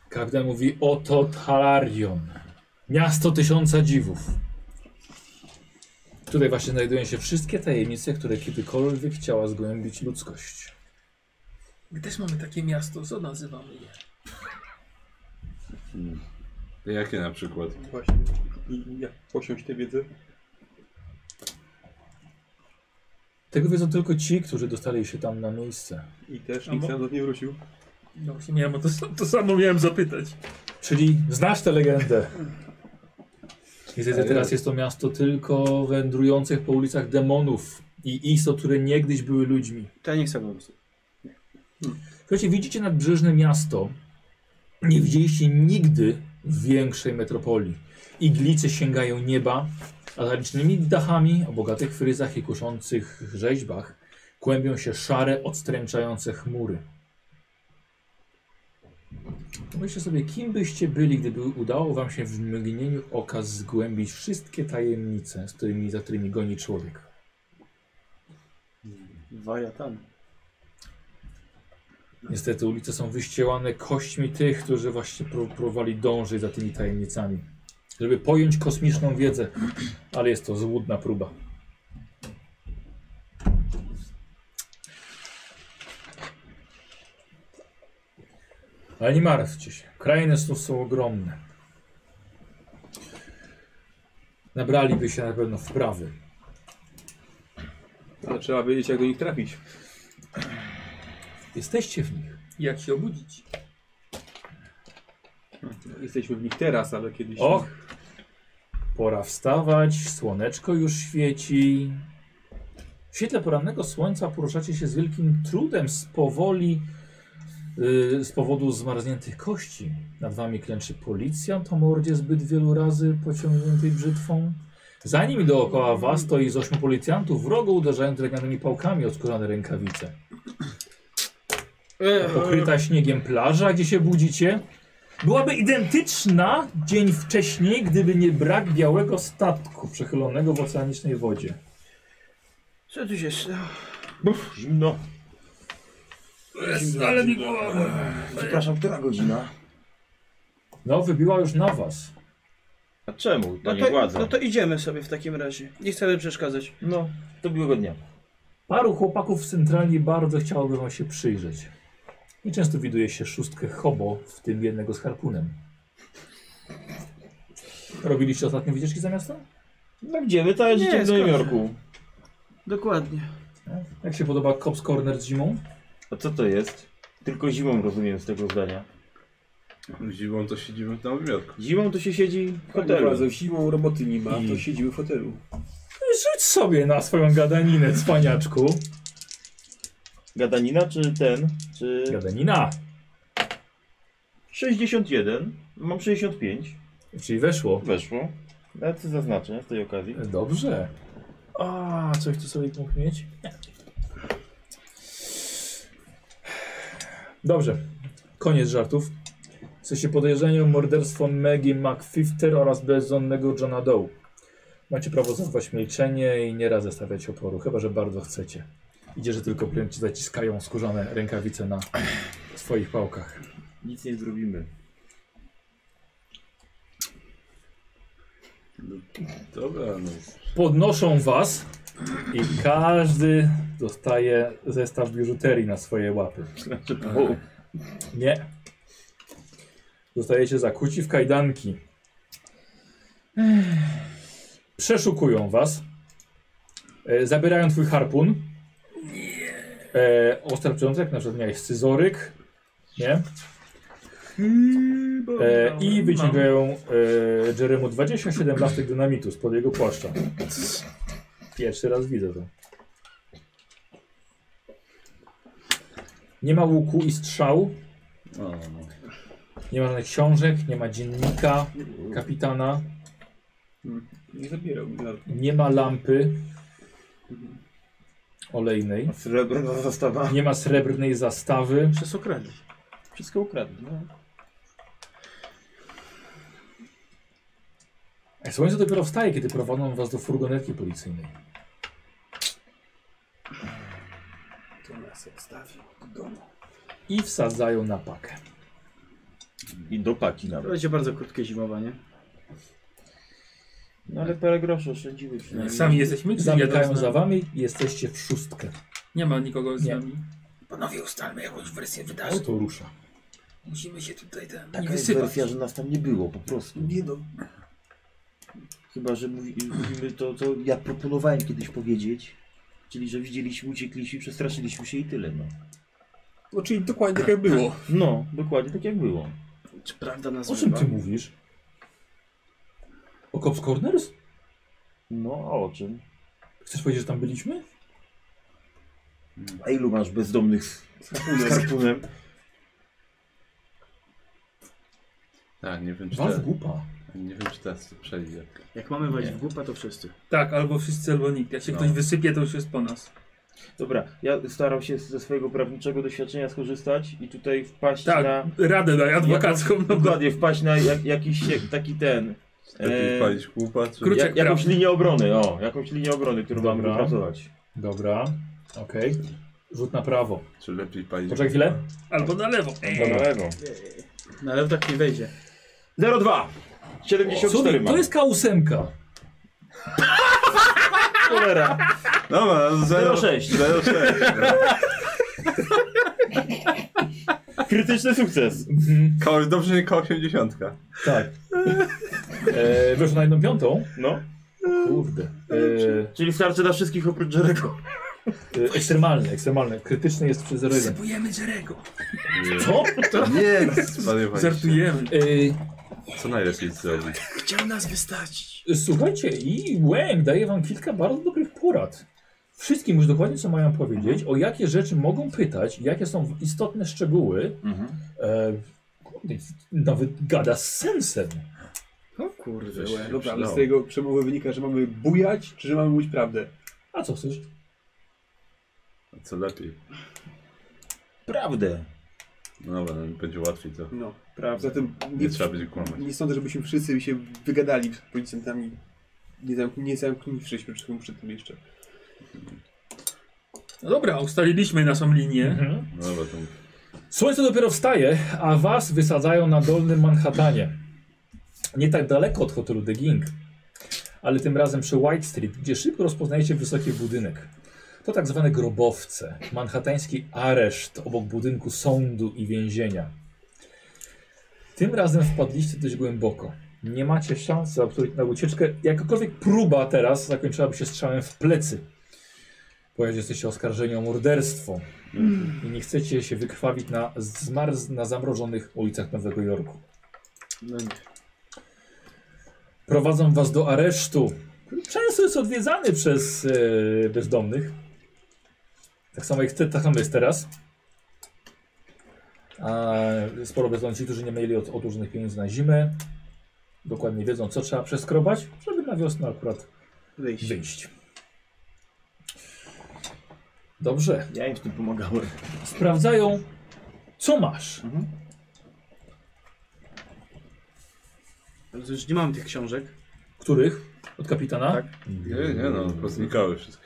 Każdy mówi oto Talarion. Miasto tysiąca dziwów. Tutaj właśnie znajdują się wszystkie tajemnice, które kiedykolwiek chciała zgłębić ludzkość. My też mamy takie miasto, co nazywamy je? Jakie na przykład? Właśnie. I jak posiąść tę wiedzę? Tego wiedzą tylko ci, którzy dostali się tam na miejsce. I też A nikt mo- sam do nie wrócił. No właśnie miałem o to, sam- to samo miałem zapytać. Czyli znasz tę legendę. Niestety teraz jest to miasto tylko wędrujących po ulicach demonów i istot, które niegdyś były ludźmi. To ja nie chcę go Słuchajcie, widzicie nadbrzeżne miasto. Nie widzieliście nigdy większej metropolii. Iglice sięgają nieba, a za licznymi dachami, o bogatych fryzach i kuszących rzeźbach kłębią się szare, odstręczające chmury. Pomyślcie sobie, kim byście byli, gdyby udało wam się w mgnieniu oka zgłębić wszystkie tajemnice, z którymi, za którymi goni człowiek. Wariatami. Niestety ulice są wyścielane kośćmi tych, którzy właśnie pró- próbowali dążyć za tymi tajemnicami, żeby pojąć kosmiczną wiedzę, ale jest to złudna próba. Ale nie martwcie się, krainy snów są ogromne. Nabraliby się na pewno wprawy. Ale trzeba wiedzieć, jak do nich trafić. Jesteście w nich. Jak się obudzić? Jesteśmy w nich teraz, ale kiedyś... Tak Och! Pora wstawać, słoneczko już świeci. W świetle porannego słońca poruszacie się z wielkim trudem z powoli y, z powodu zmarzniętych kości. Nad wami klęczy policjant o mordzie zbyt wielu razy pociągniętej brzytwą. Za nim i dookoła was stoi z ośmiu policjantów, wrogo uderzając drewnianymi pałkami o skórzane rękawice. Pokryta śniegiem plaża, gdzie się budzicie, byłaby identyczna dzień wcześniej, gdyby nie brak białego statku przechylonego w oceanicznej wodzie. Co tu się stało? Zimno. Ale mi głowa. Przepraszam, która godzina? No, wybiła już na was. A czemu, No panie to, władza? no to idziemy sobie w takim razie. Nie chcemy przeszkadzać. No, to miłego dnia. Paru chłopaków z centrali bardzo chciałoby wam się przyjrzeć. I często widuje się szóstkę hobo, w tym jednego z harpunem. Robiliście ostatnie wycieczki za miasto? No gdzie my to Nie, życie w Nowym skończę. Jorku? Dokładnie. Nie? Jak się podoba Cops Corner z zimą? No A co to jest? Tylko zimą rozumiem z tego zdania. Zimą to siedzimy w Nowym Jorku. Zimą to się siedzi w Hotelu. hotelu. Bardzo siłą roboty nie ma, to siedzimy w hotelu. Rzuć sobie na swoją gadaninę, cwaniaczku. Gadanina czy ten, czy... Gadanina, 61, mam 65. czyli weszło. Weszło. Nawet sobie zaznaczę z tej okazji. Dobrze. A, coś tu sobie mógł mieć? Nie. Dobrze. Koniec żartów. W sensie podejrzenia o morderstwo Maggie McFifter oraz bezdomnego Johna Doe. Macie prawo zachować milczenie i nie raz zestawiać oporu, chyba że bardzo chcecie. Idzie, że tylko klienci zaciskają skórzane rękawice na swoich pałkach. Nic nie zrobimy. Dobra, no. podnoszą was i każdy dostaje zestaw biżuterii na swoje łapy. Nie. Zostajecie zakuci w kajdanki. Przeszukują was. E, Zabierają twój harpun. E, ostre pajątek, na przykład miałeś scyzoryk. Nie? E, I wyciągają e, Jeremu 27 lastek dynamitu spod jego płaszcza. Pierwszy raz widzę to. Nie ma łuku i strzał. Nie ma żadnych książek, nie ma dziennika kapitana, Nie zabierał mi na nie ma lampy olejnej, Srebrna zastawa. nie ma srebrnej zastawy. Przez okradli. Wszystko ukradli. No. Słońce dopiero wstaje, kiedy prowadzą was do furgonetki policyjnej. to nas odstawił do domu. I wsadzają na pakę. I do paki To nawet. będzie bardzo krótkie zimowanie. No ale parę groszy oszczędziły przynajmniej. Sami jesteśmy? czy No Zamykają jadą z za nami? wami i jesteście w szóstkę. Nie ma nikogo z Nie. nami. Panowie, ustalmy jakąś wersję O, wydarzeń. to rusza. Musimy się tutaj ten, nie Taka jest wysypać. wersja, że nas tam nie było po prostu. Nie no, Chyba, że mówi, mówimy to, co ja proponowałem kiedyś powiedzieć. Czyli, że widzieliśmy, uciekliśmy, przestraszyliśmy się i tyle, no. No czyli dokładnie tak jak było. No, dokładnie tak jak było. Czy prawda nas O czym wzywa? ty mówisz? O Cops Corners? No, a o czym? Chcesz powiedzieć, że tam byliśmy? A ilu masz bezdomnych z Z harpunem. Tak, nie wiem czy Dwa w teraz, głupa. nie wiem, czy teraz to przejdzie. Jak mamy wejść w głupa, to wszyscy. Tak, albo wszyscy, albo nikt. Jak się No. ktoś wysypie, to już jest po nas. Dobra, ja staram się ze swojego prawniczego doświadczenia skorzystać i tutaj wpaść Tak, na... radę daj adwokacką. No, Dokładnie, wpaść na jak, jakiś jak, taki ten... Eee, Lepiej palić chłupa, czy... Krótko- jak, jakąś prawny. linię obrony, o, jakąś linię obrony, którą mamy Dobra. wypracować. Dobra, okej. Rzut na prawo. Czy lepiej palić Poczekaj chwilę. albo na lewo. Dobra, lewo. Na lewo tak nie wejdzie. 02! 74 Słuchaj, mam. to jest K8. cholera. Dobra, no, 06. 06. Krytyczny sukces. Koło- Dobrze, nie koło 80. Mhm. Tak. E, wyszło na jedną piątą. No, Kurde. E, czyli starczy dla wszystkich oprócz Jerego. e, ekstremalny, ekstremalny. Krytyczny jest przy 0,1. sypujemy Jerego. Co? Nie, zwariowaliście. Żartujemy. E, Co najlepiej zrobić? Chciał nas wystacić. E, słuchajcie, i Łęk daje wam kilka bardzo dobrych porad. Wszystkim już dokładnie co mają powiedzieć, o jakie rzeczy mogą pytać, jakie są istotne szczegóły. E, kurde, nawet gada z sensem. O kurde, łe. Dobra, No. ale z tego przemowy wynika, że mamy bujać, czy że mamy mówić prawdę? A co chcesz? Co lepiej? prawdę. No dobra, no, będzie łatwiej to. No. Prawda. Zatem nie, Nie trzeba będzie kłamać. nie sądzę, żebyśmy wszyscy się wygadali przed policjantami. Nie, zamk nie zamknęliśmy się przed tym- przed tym jeszcze. No dobra, ustaliliśmy naszą linię. Mhm. No dobra, to... Słońce dopiero wstaje, a was wysadzają na dolnym Manhattanie. Nie tak daleko od hotelu The King, ale tym razem przy White Street, gdzie szybko rozpoznajecie wysoki budynek. To tak zwane grobowce, manhattański areszt obok budynku sądu i więzienia. Tym razem wpadliście dość głęboko. Nie macie szans za- na ucieczkę. Jakakolwiek próba teraz zakończyłaby się strzałem w plecy. Ponieważ jesteście oskarżeni o morderstwo i nie chcecie się wykrwawić na, zmarz, na zamrożonych ulicach Nowego Jorku. No nie. Prowadzą was do aresztu, który często jest odwiedzany przez e, bezdomnych. Tak samo jak te- tak samo jest teraz. A sporo bezdomnych, którzy nie mieli od, odłożonych pieniędzy na zimę, dokładnie wiedzą, co trzeba przeskrobać, żeby na wiosnę akurat Wyjść. wyjść. Dobrze. Ja im w tym pomagałem. sprawdzają, co masz. Już nie mam tych książek. Których? Od kapitana? Tak. Nie, nie no, poznikały wszystkie.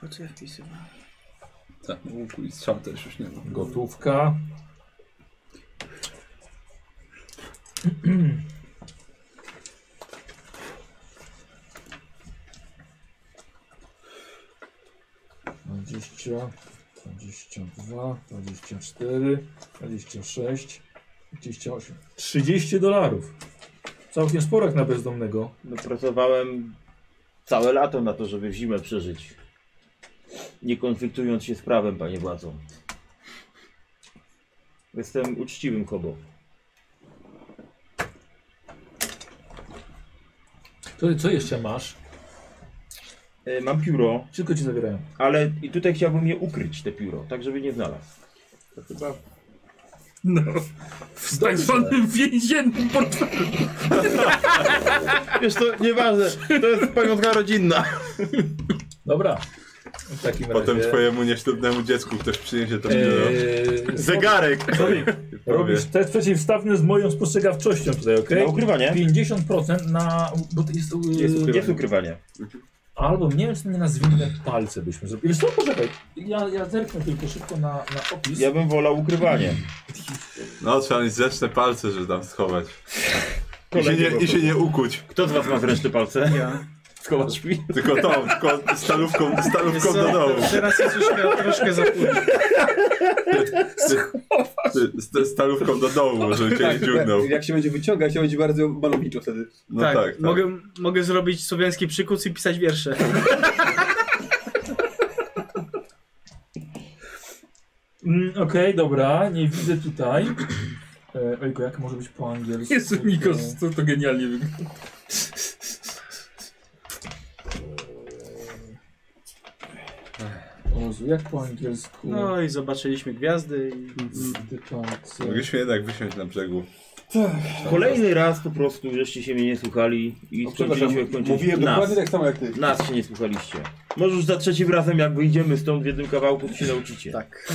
Po co ja wpisywałem? Tak, łuku i strzał też już nie ma. Gotówka. Dwadzieścia, dwadzieścia dwa, dwadzieścia cztery, dwadzieścia sześć, dwadzieścia osiem. Trzydzieści dolarów. Całkiem sporo jak na bezdomnego. No, pracowałem całe lato na to, żeby w zimę przeżyć. Nie konfliktując się z prawem, panie władzą. Jestem uczciwym kobo. To, co jeszcze masz? E, mam pióro, Wszystko ci zabierają. ale i tutaj chciałbym je ukryć, te pióro, tak żeby nie znalazł. No. W tak zwanym więziennym portfelu. Wiesz, to nieważne, to jest pamiątka rodzinna. Dobra. W takim Potem razie... twojemu nieślubnemu dziecku ktoś przyniesie to pióro. Eee, Zegarek! robi- no. Robisz test przeciwstawny z moją spostrzegawczością tutaj, Na okej? ukrywanie? 50% na... Bo to jest, yy, Jest ukrywanie. Jest ukrywanie. Albo nie wiem, czy nie na zwinne palce byśmy zrobili. Wiesz co, poczekaj. Ja, ja zerknę tylko szybko na, na opis. Ja bym wolał ukrywanie. No, trzeba mieć zręczne palce, żeby tam schować. I się Kolegi nie, wokół. i się nie ukuć. Kto z was ma zresztą palce? Ja. Schowasz mi. Tylko tą, tylko stalówką, stalówką do domu. Teraz jest już troszkę za późno. Z- Z stalówką do domu, żeby cię nie dziugnął. Jak się będzie wyciągać, to będzie bardzo malowniczo wtedy. No tak, tak, tak. Mogę, mogę zrobić słowiański przykuc i pisać wiersze. Mm, Okej, dobra, nie widzę tutaj. E, ojku, jak może być po angielsku? E, Jezu, Nikos, No. to, to genialnie wygląda. O Jezu, jak po angielsku? No i zobaczyliśmy gwiazdy i... Dotyczące... Mogliśmy jednak wysiąść na brzegu. Kolejny raz po prostu, żeście się mnie nie słuchali i O, przepraszam, skończyliście, kończyliście mówiłem nas. dokładnie tak samo jak ty. Nas się nie słuchaliście. Może już za trzecim razem, jak wyjdziemy stąd w jednym kawałku, to się nauczycie. Tak.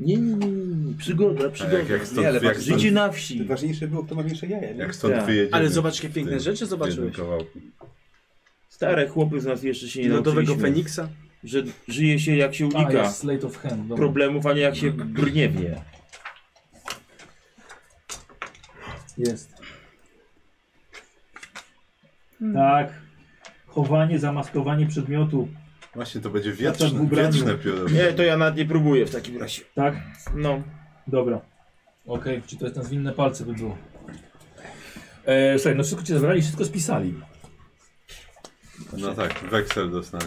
Nie, nie, nie, nie, nie. Przygoda, przygoda. jak- jak stąd- nie, ale jak patrz, stąd- życie na wsi. Ważniejsze było, kto ma większe jaja, nie? Jak stąd Tak. wyjedziemy. Ale zobacz, jakie piękne Ty- rzeczy w jednym zobaczyłeś. kawałku. Stare chłopy z nas jeszcze się nie Lodowego nauczyliśmy, Feniksa. że żyje się jak się A, unika jest Slate of Hand, dobra. problemów, a nie jak się brnie w nie. Jest. Tak. Chowanie, zamaskowanie przedmiotu. Właśnie, to będzie wieczne, Zatem w ubraniu. wieczne pióro. Nie, to ja nawet nie próbuję w takim razie. Tak? No. Dobra. Okej, czy to jest na zwinne palce by było. E, słuchaj, no wszystko cię zabrali, wszystko spisali. No tak, weksel dostanie.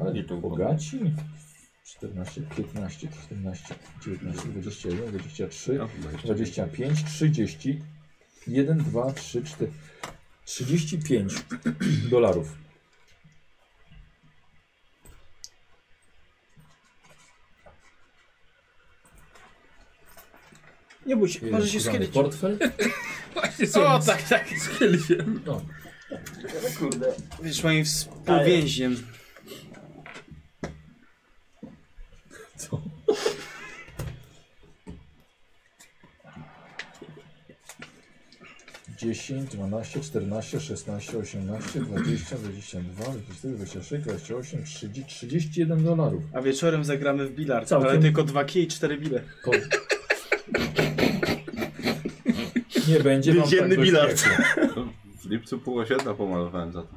Ale nie tu bogaci. 14, 15, 14, 19, 21, 23, No, 25, 30, 1, 2, 3, 4, 35 dolarów. Nie bój się, może się Jest skiedyć. Portfel? O, tak, tak. Schyli się. No. Wiesz, moim współwięźniem. Co? Dziesięć, dwanaście, czternaście, szesnaście, osiemnaście, dwadzieścia, dwadzieścia dwa, dwadzieścia cztery, dwadzieścia sześć, dwadzieścia osiem, trzydzieści, trzydzieści jeden dolarów. A wieczorem zagramy w bilard, Całkiem. ale tylko dwa kije i cztery bile. To... Nie będzie wam Więzienny tak bilard. bezpiecznie. W lipcu pół osiedla pomalowałem za to.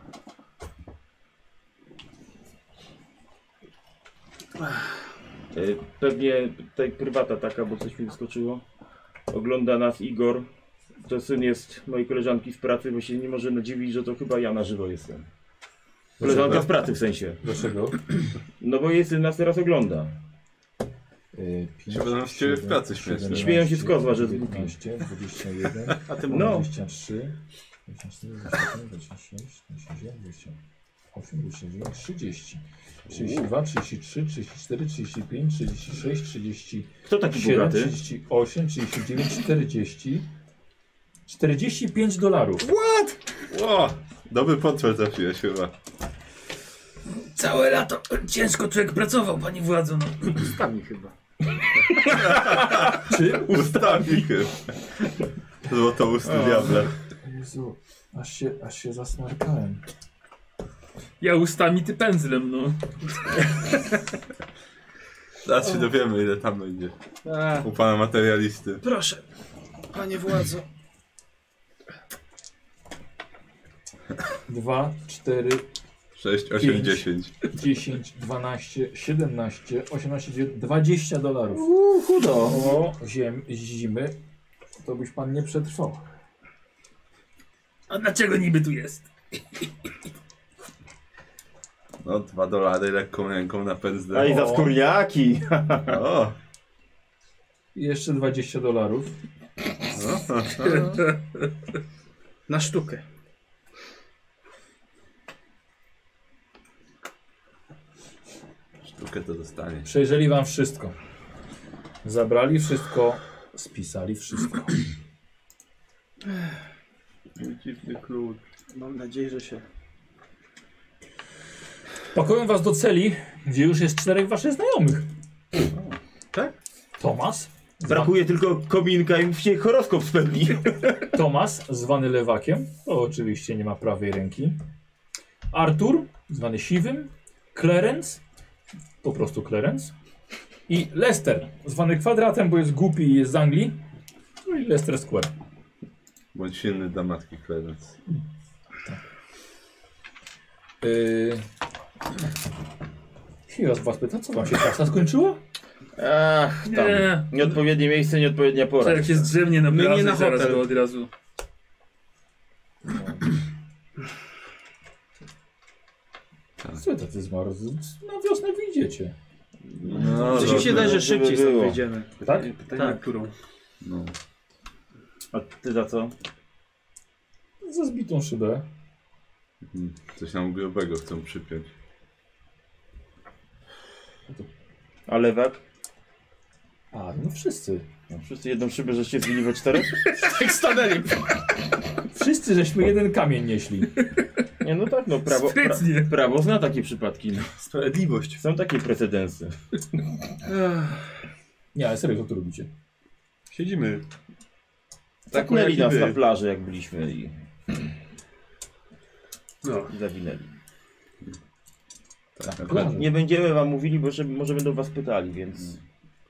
E, Pewnie tutaj prywata taka, bo coś mi wyskoczyło. Ogląda nas Igor. To syn jest mojej koleżanki z pracy, bo się nie może nadziwić, że to chyba ja na żywo jestem. Koleżanka z pracy w sensie. Dlaczego? No bo jej syn nas teraz ogląda. Y, pięć, Się będą z ciebie w pracy śmiać. 17, Śmieją się z kozła, że jest głupi. 19, 21, A ty No. 23, 24, 25, 26, 27, 28, 29, 30, 32, 33, 34, 35, 36, 37, Kto taki bogaty? 38, 39, 40, 45 dolarów. O, dobry portfel trafiłeś chyba. Całe lato ciężko człowiek pracował, pani władzo. No. Ustami chyba. Czy? Ustawik. Złoto usty diable. Jezu, aż się, aż się zasmarkałem. Ja ustami, ty pędzlem, no. Zaraz się dowiemy ile tam będzie. A, U pana materialisty. proszę, panie władzo. 2, 4, 6, 8, Pięć. 10. 10, 12, 17, 18, 19, 20 dolarów. Chudo. O ziem, zimy, to byś pan nie przetrwał. A dlaczego niby tu jest? No, 2 dolary lekką ręką na pędzle. Aj, za skórniaki! O, I Jeszcze 20 dolarów. Na sztukę. sztukę to dostanie. Przejrzeli wam wszystko. Zabrali wszystko, spisali wszystko. Dziwny klucz. Mam nadzieję, że się... Pakują was do celi, gdzie już jest czterech waszych znajomych. Tak? Tomas, Brakuje tylko kominka i się horoskop spełni. Tomas, zwany lewakiem, to oczywiście nie ma prawej ręki. Artur, zwany siwym. Clarence, po prostu Clarence. I Lester, zwany kwadratem, bo jest głupi i jest z Anglii. No i Lester Square. Bądź silny dla matki Klenec. Yy... Chwila z was pyta, co wam się czasa skończyło? Ach, tam. Nie. Nieodpowiednie miejsce, nieodpowiednia pora. Czekaj, jak się zdrzewnie na My nie plaży, na zaraz hotel. go od razu. Co tacy zmarzł? Na wiosnę wyjdziecie. No, Coś mi się dobrze. daje, że żeby szybciej stąd było. wyjdziemy. Tak? Pytanie, Tak. którą? No. A ty za co? Za zbitą szybę. Mhm. Coś nam grubego chcą przypiąć. A lewak? A, no wszyscy. Wszyscy jedną szybę, żeście zbili we czterech? Tak stanęli. Wszyscy żeśmy jeden kamień nieśli. Nie, no tak, no prawo, pra, Sprytnie. prawo zna takie przypadki. No. Sprawiedliwość. Są takie precedensy. Nie, ale serio, co tu robicie? Siedzimy. Zaknęli jak nas i wy. na plaży, jak byliśmy i No. i zawinęli. Tak, Nie będziemy wam mówili, bo że, może będą was pytali, więc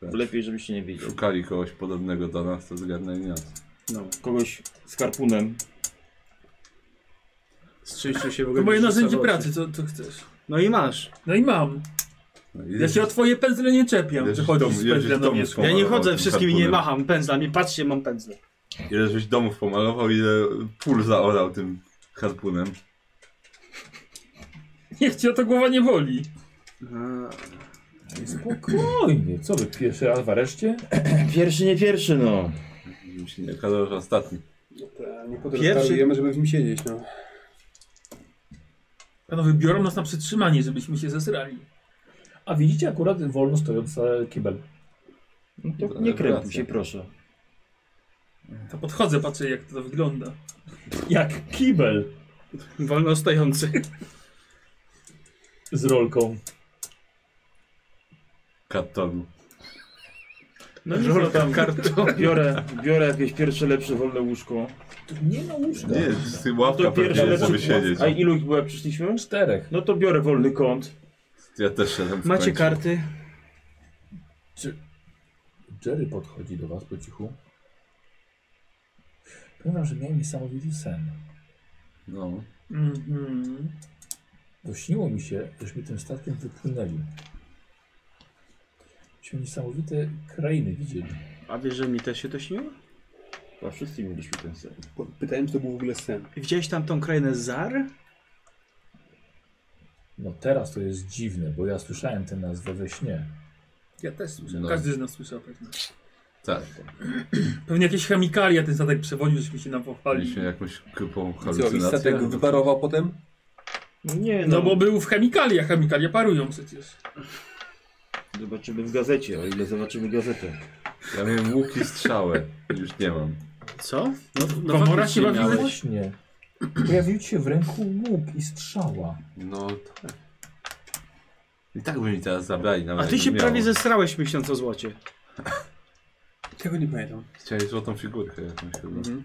lepiej, żebyście nie wiedzieli. Szukali kogoś podobnego do nas, to zgarnęli nas. Kogoś z karpunem. No Z czymś tu się w ogóle To moje nie narzędzie rzucało się. pracy, co, co chcesz? No i masz. No i mam. No, Ja się o twoje pędzle nie czepiam. Ileż Ty chodzisz domu- z ileż pędzlem na domu wierzchu. Ja nie pomalował chodzę tym wszystkim i nie harpunem. macham pędzlami. Patrzcie, mam pędzle. Ile żeś domów pomalował, ile pól zaorał tym harpunem. Niech cię o to głowa nie boli. Spokojnie, co wy pierwszy raz w areszcie? Pierwszy, nie pierwszy, no. Żeby się nie okazało, że ostatni. E, Nie po to, że Pierwszy- tarujemy, żeby w nim siedzieć, no. Panowie, biorą nas na przetrzymanie, żebyśmy się zesrali. A widzicie akurat wolno stojący kibel. no to To nie krępuj rewelacja. się, proszę. To podchodzę, patrzę jak to wygląda. Jak kibel Wolno stojący. z rolką. Kartonu. No i co tam? Biorę, biorę jakieś pierwsze lepsze wolne łóżko. Tu nie ma łóżka. Nie, z tym ławka to pewnie pierwsze jest, żeby lepsze. siedzieć. A ilu ich była przyszliśmy? Czterech. No to biorę wolny kąt. Ja też szedłem w Macie końcu. karty? Jerry podchodzi do was po cichu. Powiem wam, że miałem niesamowity sen. No. Mhm. Bo śniło mi się, żeśmy tym statkiem wypłynęli. Myśmy niesamowite krainy widzieli. A wiesz, że mi też się to śniło? A wszyscy mieliśmy ten sen. Po- Pytałem, czy to był w ogóle sen. Widziałeś tam tą krainę Zar? No teraz to jest dziwne, bo ja słyszałem tę nazwę we śnie. Ja też słyszałem. No. Każdy z nas słyszał pewnie. Tak, Pewnie jakieś chemikalia ten statek przewoził, żeśmy się napochali. mieliśmy jakąś grupą Co, i halucynację. statek wyparował potem? Nie, no, No bo był w chemikaliach, chemikalia parują przecież. Zobaczymy w gazecie, o ile zobaczymy gazetę. Ja miałem łuk i strzałę. Już nie mam. Co? No, Komora faktycznie się bawi miałeś. ze- Właśnie. Pojawił ci się w ręku łuk i strzała. No tak. I tak by mi teraz zabrali. A nawet ty się jakbym prawie miał. zesrałeś myśląc o złocie. Tego nie pamiętam. Chciałeś złotą figurkę jakąś chyba. Mhm.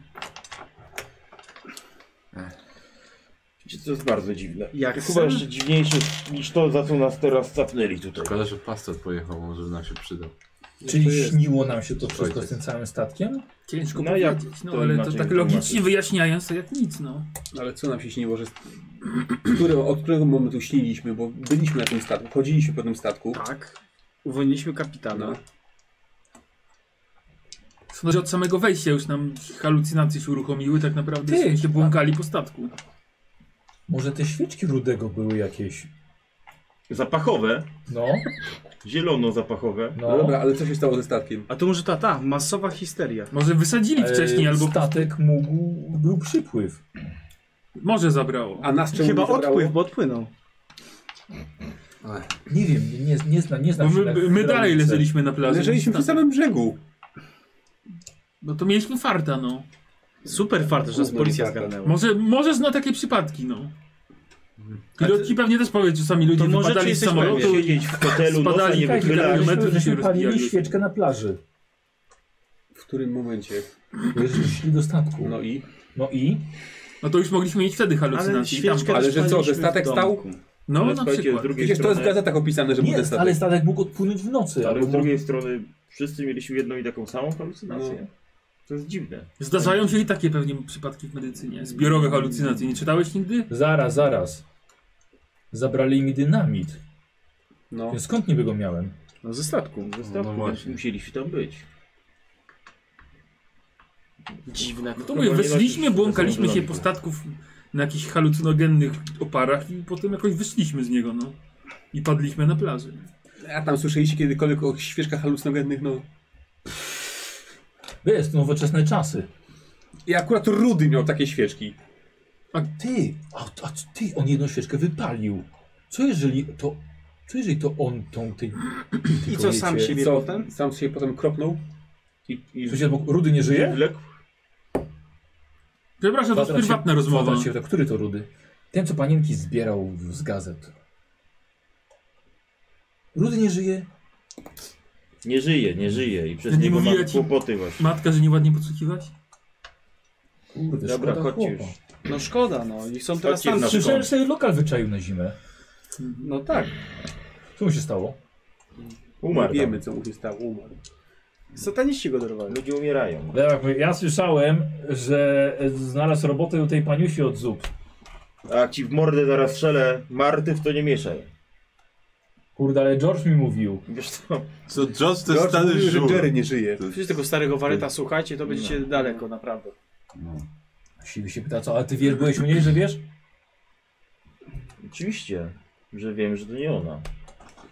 Wiecie, To jest bardzo dziwne. Jak to sen? chyba jeszcze dziwniejsze niż to, za co nas teraz zapnęli tutaj. Szkoda, że pastor pojechał, może nam się przydał. Czyli jest. śniło nam się to wszystko Ojciec. z tym całym statkiem? Ciężko No jak powiedzieć, no to ale to inaczej tak tłumaczyć? logicznie wyjaśniając to jak nic, no. Ale co nam się śniło, że... Które, od którego momentu śniliśmy, bo byliśmy na tym statku, chodziliśmy po tym statku. No. Tak. Uwolniliśmy kapitana. Sądzę, że od samego wejścia już nam halucynacje się uruchomiły, tak naprawdę Ty, Ty, się tak. błąkali po statku. Może te świeczki rudego były jakieś? Zapachowe, No, zielono-zapachowe. no. No dobra, ale co się stało ze statkiem? A to może ta, ta, masowa histeria. Może wysadzili E, wcześniej albo Statek mógł... Był przypływ. może zabrało. A nas czemu Chyba nie zabrało? odpływ, bo odpłynął. Nie wiem, nie, nie, nie, zna, nie Bo znam się No my, na tak, my dalej hydraulice. leżeliśmy na plaży. Leżeliśmy przy samym brzegu. No to mieliśmy farta, no. Super fart, że nas Gówno policja nie farta. zgarnęła. Może, może zna takie przypadki, no. Pilotki pewnie też powie, że sami ludzie Hmm. To może wypadali czy z jesteś samolotu pewien? i... Siedzieć w hotelu, nosa Spadali nie tak, wychylać. tak. Myśmy, Kilometry się żeśmy palili rozbijaliśmy. świeczkę na plaży. W którym momencie? Bo żeśmy szli do statku. No i? No i? No to już mogliśmy mieć wtedy Ale halucynacje. i tam- świeczkę Ale też że co, że paliliśmy statek w stał? domku. No Ale na słuchajcie, z przykład. drugiej Przecież to jest w strony, gazetach opisane, że był Nie, ten statek. ale statek mógł odpłynąć w nocy. ale albo z drugiej strony wszyscy mieliśmy jedną i taką samą halucynację. To jest dziwne. Zdarzają się i takie pewnie przypadki w medycynie. Zbiorowe halucynacje. Nie czytałeś nigdy? Zaraz, zaraz. Zabrali mi dynamit. No, Więc skąd niby go miałem? no ze statku. Ze statku No właśnie. musieliśmy tam być. Dziwne. No to mówię, weszliśmy, błąkaliśmy się po statków na jakichś halucynogennych oparach i potem jakoś wyszliśmy z niego, no. I padliśmy na plaży. A tam słyszeliście kiedykolwiek o świeżkach halucynogennych? No. Jest, nowoczesne czasy. I akurat Rudy miał takie świeczki. A ty, a, a ty, on jedną świeczkę wypalił. Co jeżeli to, co jeżeli to on tą, tej, I tej co, sam kobiecie- siebie Co? potem? Sam się potem kropnął? I, i Co się, bo Rudy nie żyje? wlekł Przepraszam, to jest Kwadrat się- prywatna rozmowa. kwadrat się pyta, Który to Rudy? Ten, co panienki zbierał w- z gazet. Rudy nie żyje? Nie żyje, nie żyje i przez Nie niego mówiła mam ci- kłopoty właśnie. Matka, że nieładnie podsłuchiwać? Kurde, Dobra, szkoda chodźcie chłopa. już. No szkoda, no. I są teraz Chodźcie tam... na- Słyszałem, że sobie lokal wyczaił na zimę. No tak. Co mu się stało? Umarł. tam. Wiemy, co mu się stało. Umarł. Sataniści go dorwali. Ludzie umierają. Ja słyszałem, że e, znalazł robotę u tej paniusi od zup. A jak ci w mordę zaraz strzelę, Marty w to nie mieszaj. Kurde, ale George mi mówił. Wiesz co? Co, George to jest George stary mówił, że żur. Jerry nie żyje. Przecież tego starego waryta słuchajcie, to będziecie daleko, naprawdę. Siwy się pyta, co, a ty wiesz, byłeś u niej, że wiesz? Oczywiście, że wiem, że to nie ona.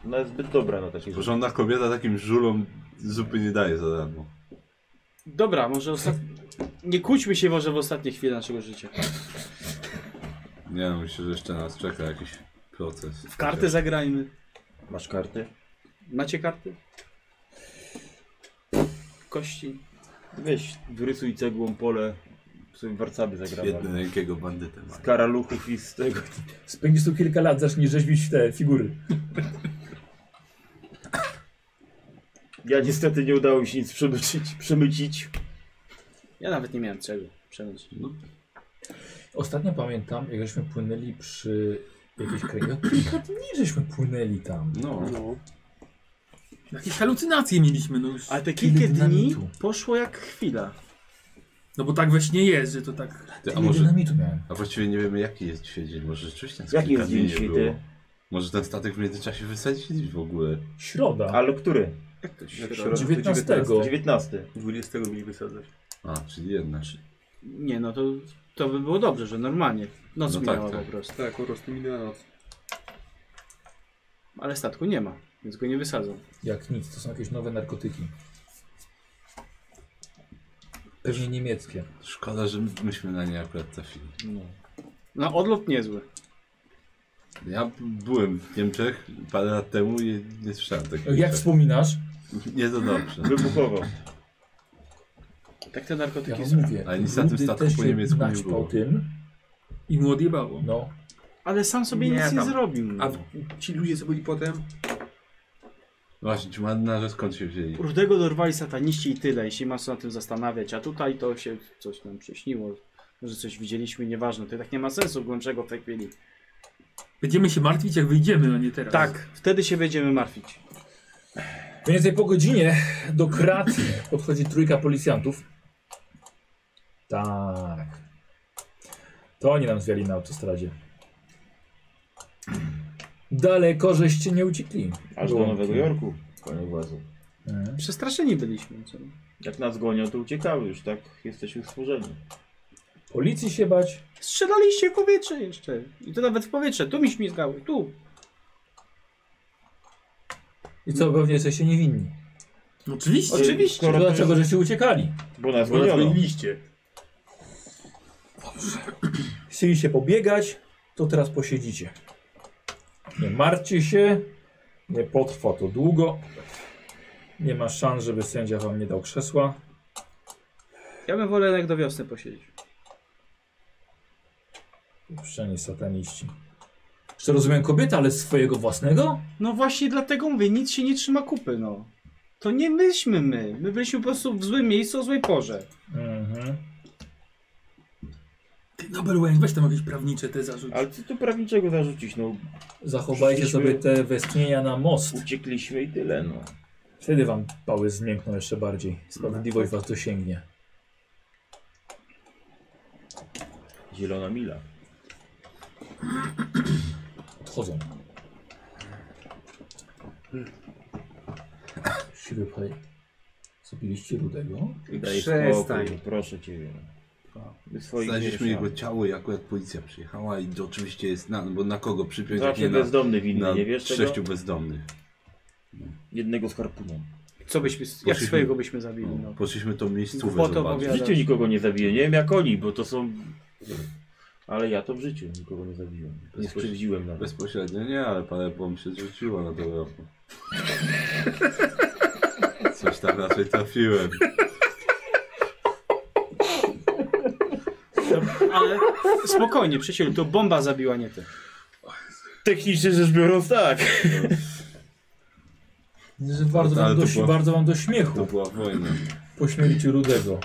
Ona jest zbyt dobra na takie rzeczy. Porządna kobieta takim żulom zupy nie daje za darmo. Dobra, może ostat... Nie kłóćmy się może w ostatnie chwile naszego życia. Nie no, myślę, że jeszcze nas czeka jakiś proces. W karty zagrajmy. Masz karty? Macie karty? Kości. Weź, wyrysuj cegłą pole, w sobie warcaby Jedny zagrałem. rękiego bandytę ma. Z karaluchów i z tego. Spędzisz tu kilka lat, zacznij rzeźbić te figury. Ja niestety nie udało mi się nic przemycić. przemycić. Ja nawet nie miałem czego przemyć. Ostatnio pamiętam, jak żeśmy płynęli przy jakiejś krainie. Kilka dni żeśmy płynęli tam. No. Jakieś halucynacje mieliśmy, no już. Ale te kilka dni dynamitu. poszło jak chwila. No bo tak właśnie jest, że to tak... Ty, a A może... dynamitu miałem. A właściwie nie wiemy jaki jest dzisiaj dzień, może rzeczywiście nas Jaki kilka jest dni dzień nie świty? było. Może ten statek w międzyczasie wysadzili w ogóle. Środa. Ale który? Środa, 19. 19. 20 mieli wysadzać. A, czyli jedna. Nie no, to, to by było dobrze, że normalnie. Noc No tak, minęła tak. po prostu. Tak, po prostu minęła noc. Ale statku nie ma, więc go nie wysadzą. Jak nic, to są jakieś nowe narkotyki. Pewnie niemieckie. Szkoda, że my- myśmy na nie akurat trafili. No odlot niezły. Ja byłem w Niemczech parę lat temu i nie słyszałem takiego. Jak wspominasz? Nie to dobrze. Wybuchowo. Tak te Ja narkotyki wam są. mówię. Ale nic na tym Rudy statku też po się niemiecku nie naćpał było. tym. I mu odjebało. No. Ale sam sobie Nie, nic nie tam. zrobił. No. A w- ci ludzie, co byli potem, Właśnie, ci marynarze skąd się wzięli? Rudego dorwali sataniści i tyle, jeśli ma co na tym zastanawiać. A tutaj to się coś nam przyśniło. Może coś widzieliśmy, nieważne. To i tak nie ma sensu głębszego w tej chwili. Będziemy się martwić jak wyjdziemy, a nie teraz. Tak, wtedy się będziemy martwić. Mniej więcej po godzinie do krat podchodzi trójka policjantów. Tak. To oni nam zwiali na autostradzie. Daleko żeście nie uciekli. Aż do Było- Nowego Jorku, panie władzy. Mhm. Przestraszeni byliśmy. Co? Jak nas gonią, to uciekały już, tak? Jesteśmy stworzeni. Policji się bać. Strzelaliście w powietrze jeszcze. I to nawet w powietrze. Tu mi śmizgały, tu. I co, pewnie jesteście niewinni. No Oczywiście. Oczywiście. To dlaczego żeście uciekali? Bo nas bo nas goniono. mieliście. Chcieliście pobiegać, to teraz posiedzicie. Nie martwcie się, nie potrwa to długo. Nie ma szans, żeby sędzia wam nie dał krzesła. Ja bym wolał jak do wiosny posiedzieć. Przynajmniej sataniści. Czy rozumiem kobieta, ale swojego własnego? No właśnie dlatego mówię, nic się nie trzyma kupy, no. To nie myśmy my. My byliśmy po prostu w złym miejscu o złej porze. Mhm. Ty, Nobel Wayne, weź tam jakieś prawnicze te zarzuć. Ale co tu prawniczego zarzucić? No, Zachowajcie Szliśmy- sobie te westchnienia na most. uciekliśmy i tyle, no. Wtedy wam pały zmiękną jeszcze bardziej. Sprawiedliwość was dosięgnie. Zielona mila. Odchodzą. Siwy panie. Zabiliście rudego? Daj Przestań. No. spokój, no, proszę ciebie. Wy swoich Znaleźliśmy nie jego szanujcie. ciało i akurat policja przyjechała i oczywiście jest na, bo na kogo tak przypiąć, jak Zawsze nie na, bezdomny winny, na nie wiesz sześciu tego? bezdomnych. Jednego z harpuną. Co byśmy, jak Poszliśmy- swojego byśmy zabili, No, no. poszliśmy tą miejscówę Głupoty zobaczyć. W opowiadasz. życiu nikogo nie zabiję, nie wiem jak oni, bo to są... Ale ja to w życiu nikogo nie zabiłem. Nie skrzywdziłem nawet. Bezpośrednio nie, ale parę bomb się zrzuciło na to roku. Coś tam raczej trafiłem. Ale spokojnie, przysięl, to bomba zabiła, nie ty. Technicznie rzecz biorąc tak. Że Bardzo Tak. Ale wam, to do, było- bardzo wam do To śmiechu była wojna. po śmierci rudego.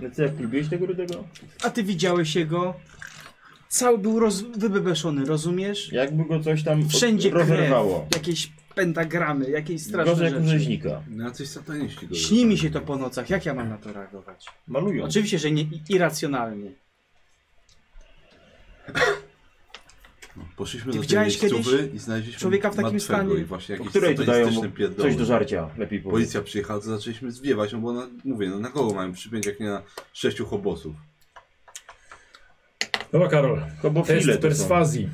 No co, jak lubiłeś tego rudego? A ty widziałeś jego? Cały był roz... wybebeszony, rozumiesz? Jakby go coś tam od- Wszędzie krew, rozerwało. jakieś pentagramy, jakieś straszne Gorzej jak u rzeczy. rzeźnika. No jacyś sataniści go Śni mi się to po nocach, jak ja mam na to reagować? Malują. Oczywiście, że nie i- irracjonalnie. Poszliśmy Ty do tej widziałeś miejscówy i znaleźliśmy człowieka w takim martwego stanie? i właśnie Po jakieś której to dają mu satanistyczne pierdoły. coś do żarcia, lepiej powiedzieć. Policja przyjechała, to zaczęliśmy zwiewać, no bo na, mówię, no na kogo mamy przypiąć, jak nie na sześciu hobosów. Dobra Karol, Kobofile test to są. perswazji.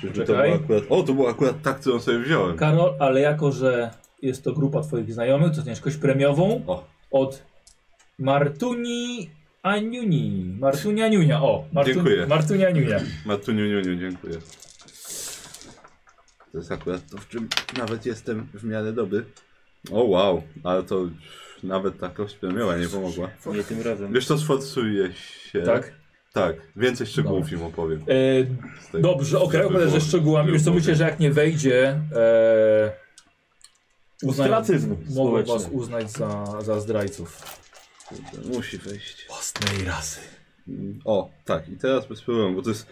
Czy to Czekaj. było akurat, o, to było akurat tak, którą sobie wziąłem. Karol, ale jako, że jest to grupa twoich znajomych, to ciężkość premiową O. od Martuni Aniuni. Martunia Niunia, o. Martu, Dziękuję. Martunia Niunia. Matuniu, niu, niu, dziękuję. To jest akurat to, w czym nawet jestem w miarę dobry. O wow, ale to nawet ta kość premiowa nie pomogła. Nie tym razem. Wiesz co, sforsuje się. Tak? Tak, więcej szczegółów Dobra. im opowiem. E, z tej- dobrze, okej, z okay, tej opowiadasz ze wypowiedzi. szczegółami. Już co myślę, że jak nie wejdzie, e, uznają, Ostracyzm mogą was społeczny. uznać za, za zdrajców. Musi wejść. Własnej rasy. O, tak, i teraz bez problemu, bo to jest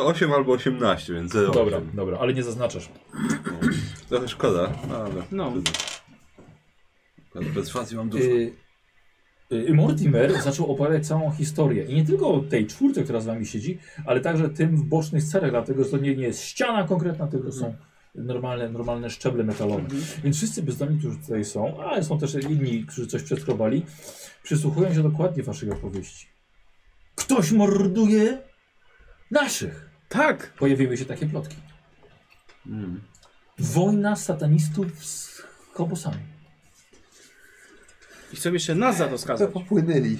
08 albo 18, więc 08. Dobra, dobra, ale nie zaznaczasz. Trochę szkoda, no, ale. No. Akurat Bez facji mam dużo. Y, y, Mortimer zaczął opowiadać całą historię. I nie tylko o tej czwórce, która z wami siedzi, ale także tym w bocznych scenach, dlatego że to nie, nie jest ściana konkretna, tylko są normalne, normalne szczeble metalowe. Więc wszyscy bezdomni, którzy tutaj są, ale są też inni, którzy coś przetrobali, przysłuchują się dokładnie waszej opowieści. Ktoś morduje naszych. Tak! Pojawiły się takie plotki. Mm. Wojna satanistów z kobosami. I chcą jeszcze nas za to skazać. popłynęli.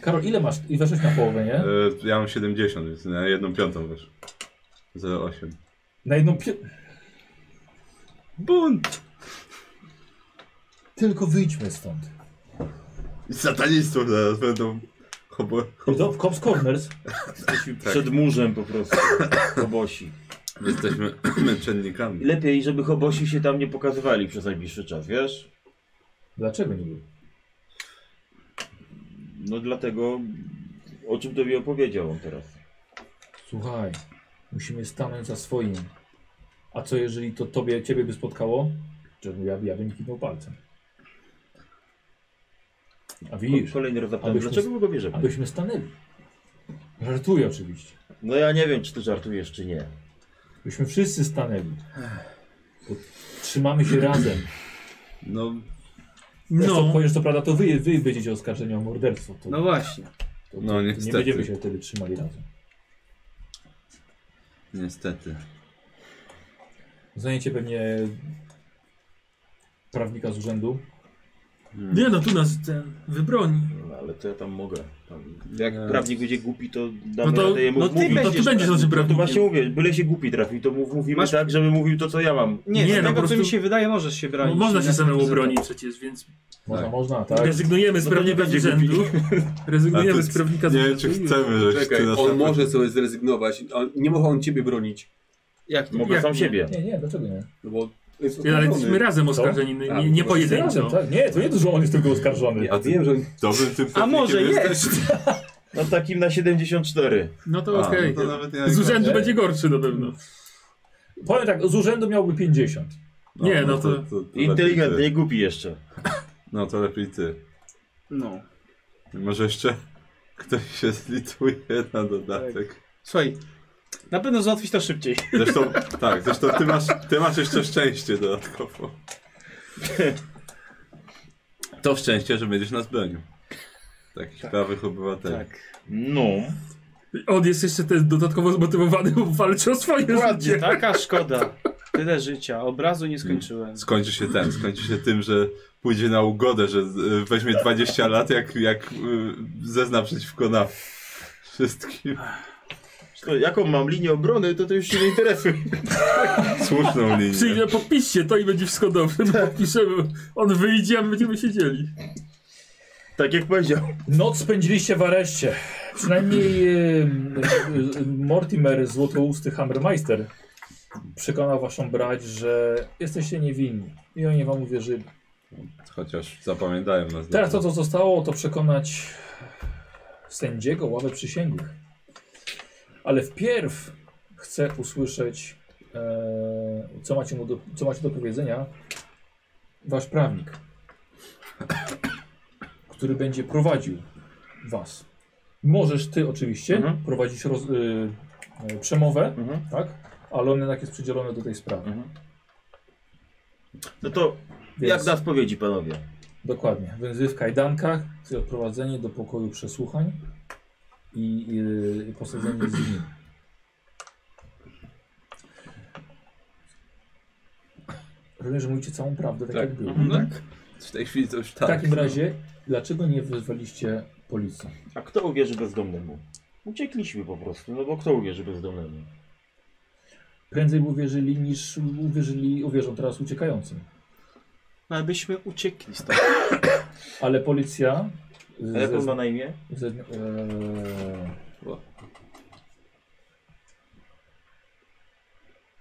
Karol, ile masz? I weszłeś na połowę, nie? E, Ja mam 70, więc na jedną piątą wiesz. 08. Na jedną no pie... Bunt! Tylko wyjdźmy stąd. I Satanistów zaraz będą. Hobo... Do, w Cops Corners. Jesteśmy przed murzem po prostu. Hobosi. Jesteśmy męczennikami. Lepiej, żeby hobosi się tam nie pokazywali przez najbliższy czas, wiesz? Dlaczego nie był? No dlatego, o czym tobie opowiedział on teraz. Słuchaj, musimy stanąć za swoim. A co jeżeli to tobie, ciebie by spotkało? Czy ja, ja bym kiwnął palcem. A widzisz, Kolejny raz zapytałem, Abyśmy- dlaczego my go bierzemy? abyśmy stanęli. Żartuję oczywiście. No ja nie wiem, czy ty żartujesz, czy nie. Byśmy wszyscy stanęli. Bo Trzymamy się razem. No, No. No, Chociaż co prawda to wy, wy będziecie oskarżeni o morderstwo. To, No właśnie. to, No, to nie niestety. będziemy się wtedy trzymali razem. niestety. Zajęcie pewnie prawnika z urzędu. nie no, tu nas ten wybroni. No, ale to ja tam mogę. Tam, Jak prawnik będzie głupi, to damy No to, radę jemu no wmówić. ty, no ty będziesz naszym No to właśnie prawnikiem. mówię, byle się głupi trafił, to mów, mówimy Masz- tak, żeby mówił to, co ja mam. Nie, Nie, z no, tego po prostu- co mi się wydaje możesz się No, bronić. można się Na- samemu obronić przecież, więc Można, Tak. można, tak? rezygnujemy z No to nie prawnika z będzie urzędu. A Rezygnujemy ty- z prawnika z Nie urzędu. wiem, czy chcemy, żeś ty Czekaj, nas on napad- może sobie zrezygnować. On, nie może on ciebie bronić. Jak nie? Mogę Jak sam nie? siebie. Nie, nie, dlaczego nie? No bo jest Ale jesteśmy oskarżony. razem oskarżeni, nie, A, nie, nie bo wszyscy pojedynczo. Razem, tak? Nie, to nie to, że on jest tylko oskarżony. Ja wiem, że on... Dobrym tym A może prawnikiem jest? No takim na 74. No A, to okej. no to nawet nie Z urzędu najgorzej. będzie gorszy na pewno. Powiem tak, z urzędu miałby 50. Nie, no to- lepiej Inteligentny, ty. nie głupi jeszcze. No to lepiej ty. No. Może jeszcze? Ktoś się zlituje na dodatek. Słuchaj, na pewno załatwisz to szybciej. Zresztą, tak, zresztą ty masz, ty masz jeszcze szczęście dodatkowo. To szczęście, że będziesz nas bronił. Takich prawych obywateli. No. On jest jeszcze też dodatkowo zmotywowany, bo walczy o swoje Dokładnie, tak. życie. taka szkoda. Tyle życia, obrazu nie skończyłem. Skończy się ten, skończy się tym, że pójdzie na ugodę, że y, weźmie 20 lat, jak, jak y, zezna przeciwko nam. Wszystkim. To jaką mam linię obrony, to to już się nie interesuje. Słuszną linię. Przyjdzie, podpiszcie to i będzie wszystko dobrze. My podpiszemy. On wyjdzie, a my będziemy siedzieli. Tak jak powiedział. Noc spędziliście w areszcie. Przynajmniej e, e, e, Mortimer, złotousty Hammermeister, przekonał waszą brać, że jesteście niewinni. I oni wam uwierzyli. Chociaż zapamiętałem nas. Teraz to, co zostało, to przekonać sędziego ławy przysięgłych. Ale wpierw chcę usłyszeć, e, co, macie mu do, co macie do powiedzenia wasz prawnik, który będzie prowadził was. Możesz ty oczywiście Mhm. prowadzić roz, y, y, przemowę, Mhm. tak? ale on jednak jest przydzielony do tej sprawy. No to Więc, jak na spowiedzi, panowie? Dokładnie. Więc wy w kajdankach, czyli odprowadzenie do pokoju przesłuchań i, i, i posadzenie z nim. Rozumiem, że mówicie całą prawdę, tak, jak było. tak. W tej chwili to już tak. W takim razie, dlaczego nie wezwaliście policji? A kto uwierzy bezdomnemu? Uciekliśmy po prostu, no bo kto uwierzy bezdomnemu? Prędzej by uwierzyli niż uwierzyli, uwierzą teraz uciekającym. No, ale byśmy uciekli stąd. Ale policja y, A jak on ma ze, na imię? ze, e,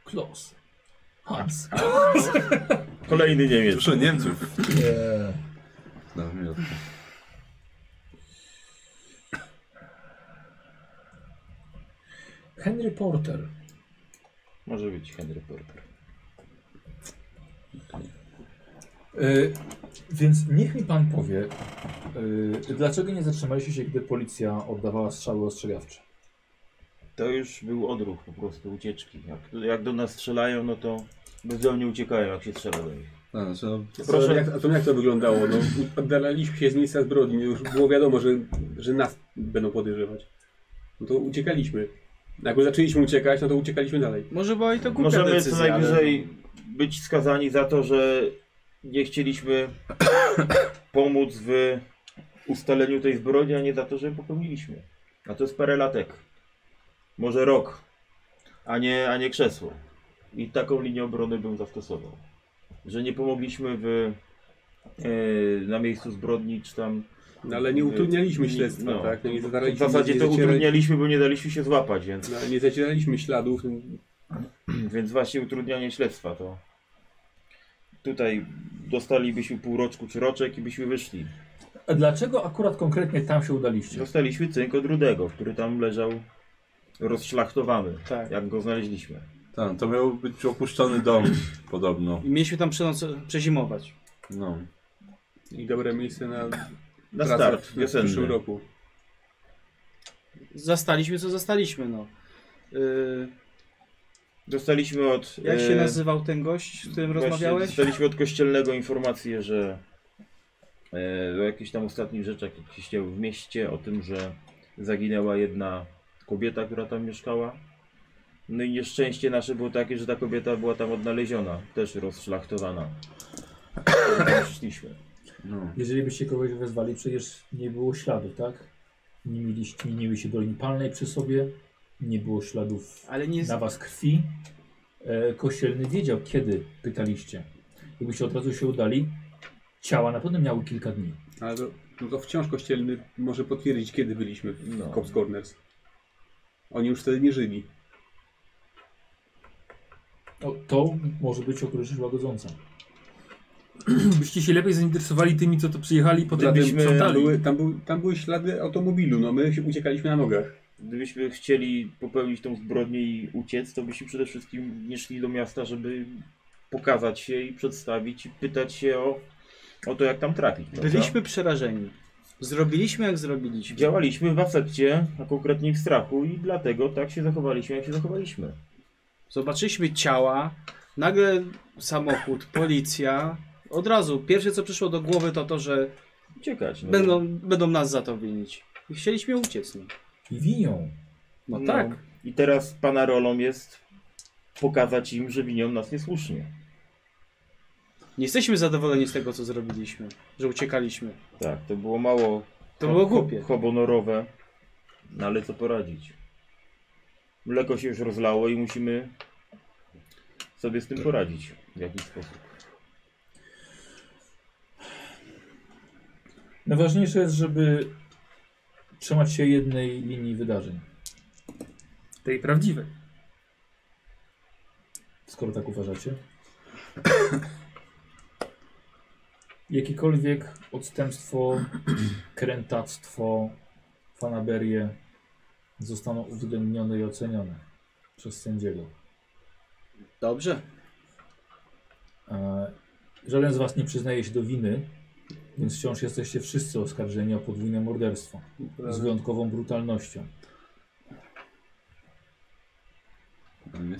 Klaus. Hans. Kolejny Niemiec. Dużo Niemców. No, E, Na wymiot. Henry Porter. Może być Henry Porter. Y, więc niech mi pan powie, y, dlaczego nie zatrzymaliście się, gdy policja oddawała strzały ostrzegawcze? To już był odruch po prostu ucieczki. Jak, jak do nas strzelają, no to bezdomnie uciekają, jak się strzela do nich. No, znaczy, no, Proszę. Proszę. Jak, a to jak to wyglądało? No, oddalaliśmy się z miejsca zbrodni, już było wiadomo, że, że nas będą podejrzewać. No to uciekaliśmy. Jak zaczęliśmy uciekać, no to uciekaliśmy dalej. Może była i to głupia Możemy co decyzja, najwyżej być skazani za to, że nie chcieliśmy pomóc w ustaleniu tej zbrodni, a nie za to, że ją popełniliśmy. A to jest parę latek. Może rok, a nie, a nie krzesło. I taką linię obrony bym zastosował. Że nie pomogliśmy w, e, na miejscu zbrodni, czy tam No, ale nie utrudnialiśmy Nie- śledztwa, no. tak? No, nie W zadaraliśmy, zasadzie nie to zacierali- utrudnialiśmy, bo nie daliśmy się złapać, więc, No, nie zacieraliśmy śladów. więc właśnie utrudnianie śledztwa to. Tutaj dostalibyśmy pół roczku czy roczek i byśmy wyszli. A E, dlaczego akurat konkretnie tam się udaliście? Dostaliśmy cynk od Rudego, który tam leżał rozszlachtowany, Tak. jak go znaleźliśmy. tam, Tak, to miał być opuszczony dom, podobno. I mieliśmy tam przenoc- przezimować. No. I dobre miejsce na, Na pracę start, w, w przyszłym wiosenny. roku. Zastaliśmy, co zastaliśmy, no. Yy, Dostaliśmy od... jak się e, nazywał ten gość, Y, z którym właśnie rozmawiałeś? Dostaliśmy od kościelnego informację, że e, o jakichś tam ostatnich rzeczach, jakie się działy w mieście, o tym, że zaginęła jedna kobieta, która tam mieszkała. No i nieszczęście nasze było takie, że ta kobieta była tam odnaleziona, też rozszlachtowana. Tam Przyszliśmy. No. Jeżeli byście kogoś wezwali, przecież nie było śladów, tak? Nie mieliście, nie mieli się doliny palnej przy sobie, nie było śladów Ale nie... na was krwi. E, Kościelny wiedział, kiedy pytaliście. Jakbyście od razu się udali, ciała na pewno miały kilka dni. Ale to, no to wciąż kościelny może potwierdzić, kiedy byliśmy w No. Cops Corners. Oni już wtedy nie żyli. To, to może być okoliczność łagodząca. Byście się lepiej zainteresowali tymi, co to przyjechali, potem Zatem byśmy tam, sprzątali. e, były, tam, były, tam były ślady automobilu, no my się uciekaliśmy na nogach. Gdybyśmy chcieli popełnić tą zbrodnię i uciec, to byśmy przede wszystkim nie szli do miasta, żeby pokazać się i przedstawić i pytać się o, o to, jak tam trafić. prawda? Byliśmy przerażeni. Zrobiliśmy jak zrobiliśmy. Działaliśmy w afekcie, a konkretnie w strachu i dlatego tak się zachowaliśmy, jak się zachowaliśmy. Zobaczyliśmy ciała, nagle samochód, policja. Od razu pierwsze co przyszło do głowy to to, że Uciekać. No. będą, będą nas za to winić. I chcieliśmy uciec. No, I winią. no tak. I teraz pana rolą jest pokazać im, że winią nas niesłusznie. Nie jesteśmy zadowoleni z tego co zrobiliśmy, że uciekaliśmy. Tak, to było mało To ho- było ho- głupie. Honorowe, no ale co poradzić? Mleko się już rozlało i musimy sobie z tym poradzić w jakiś sposób. Najważniejsze jest, żeby trzymać się jednej linii wydarzeń, Tej prawdziwej. skoro tak uważacie. Jakiekolwiek odstępstwo, krętactwo, fanaberie zostaną uwzględnione i ocenione przez sędziego. Dobrze. E, Żaden z was nie przyznaje się do winy, więc wciąż jesteście wszyscy oskarżeni o podwójne morderstwo z wyjątkową brutalnością.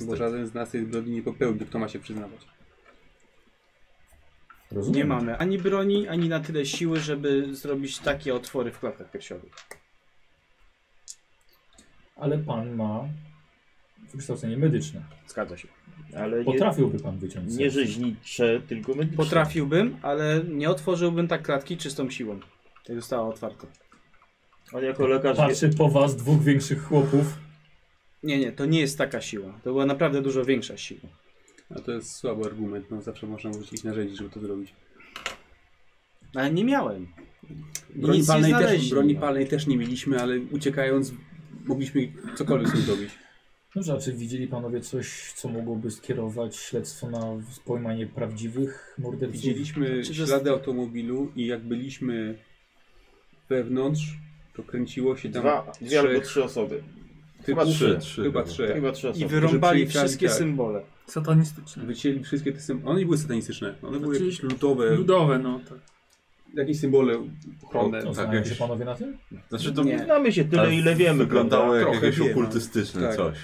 Bo żaden z nas tej zbrodni nie popełnił, kto ma się przyznawać. Rozumiem? Nie mamy ani broni, ani na tyle siły, żeby zrobić takie otwory w klatkach piersiowych. Ale pan ma wykształcenie medyczne. Zgadza się. Ale nie, Potrafiłby pan wyciąć serce. nie rzeźnicze, tylko medyczne. Potrafiłbym, ale nie otworzyłbym tak klatki czystą siłą. Tak została otwarta. On jako lekarz wie, Patrzy po was dwóch większych chłopów. Nie, nie, to nie jest taka siła. To była naprawdę dużo większa siła. A to jest słaby argument, no zawsze można użyć ich narzędzi, żeby to zrobić. Ale nie miałem. Broni, Nic nie palnej, też, znaleźli. broni palnej też nie mieliśmy, ale uciekając mogliśmy cokolwiek z tym zrobić. Dobrze, a czy No, znaczy, widzieli panowie coś, co mogłoby skierować śledztwo na pojmanie prawdziwych morderców? Widzieliśmy Czy to jest- ślady automobilu i jak byliśmy wewnątrz, to kręciło się tam dwa, dwie albo trzy osoby. typów, chyba trzy, trzy chyba chyba. trzy. Chyba trzy I osoby. wyrąbali przyjechali, wszystkie tak. symbole. Satanistyczne. Wycięli wszystkie te symbole. One nie były satanistyczne, one były Znaczy- jakieś ludowe, Ludowe, no tak. jakieś symbole ochronne. To tak, znają się jakieś... panowie na tym? Znaczy to Nie. Znamy się tyle, Ale ile wiemy, Wyglądało prawda? jak Trochę jakieś wiem, okultystyczne tak. coś.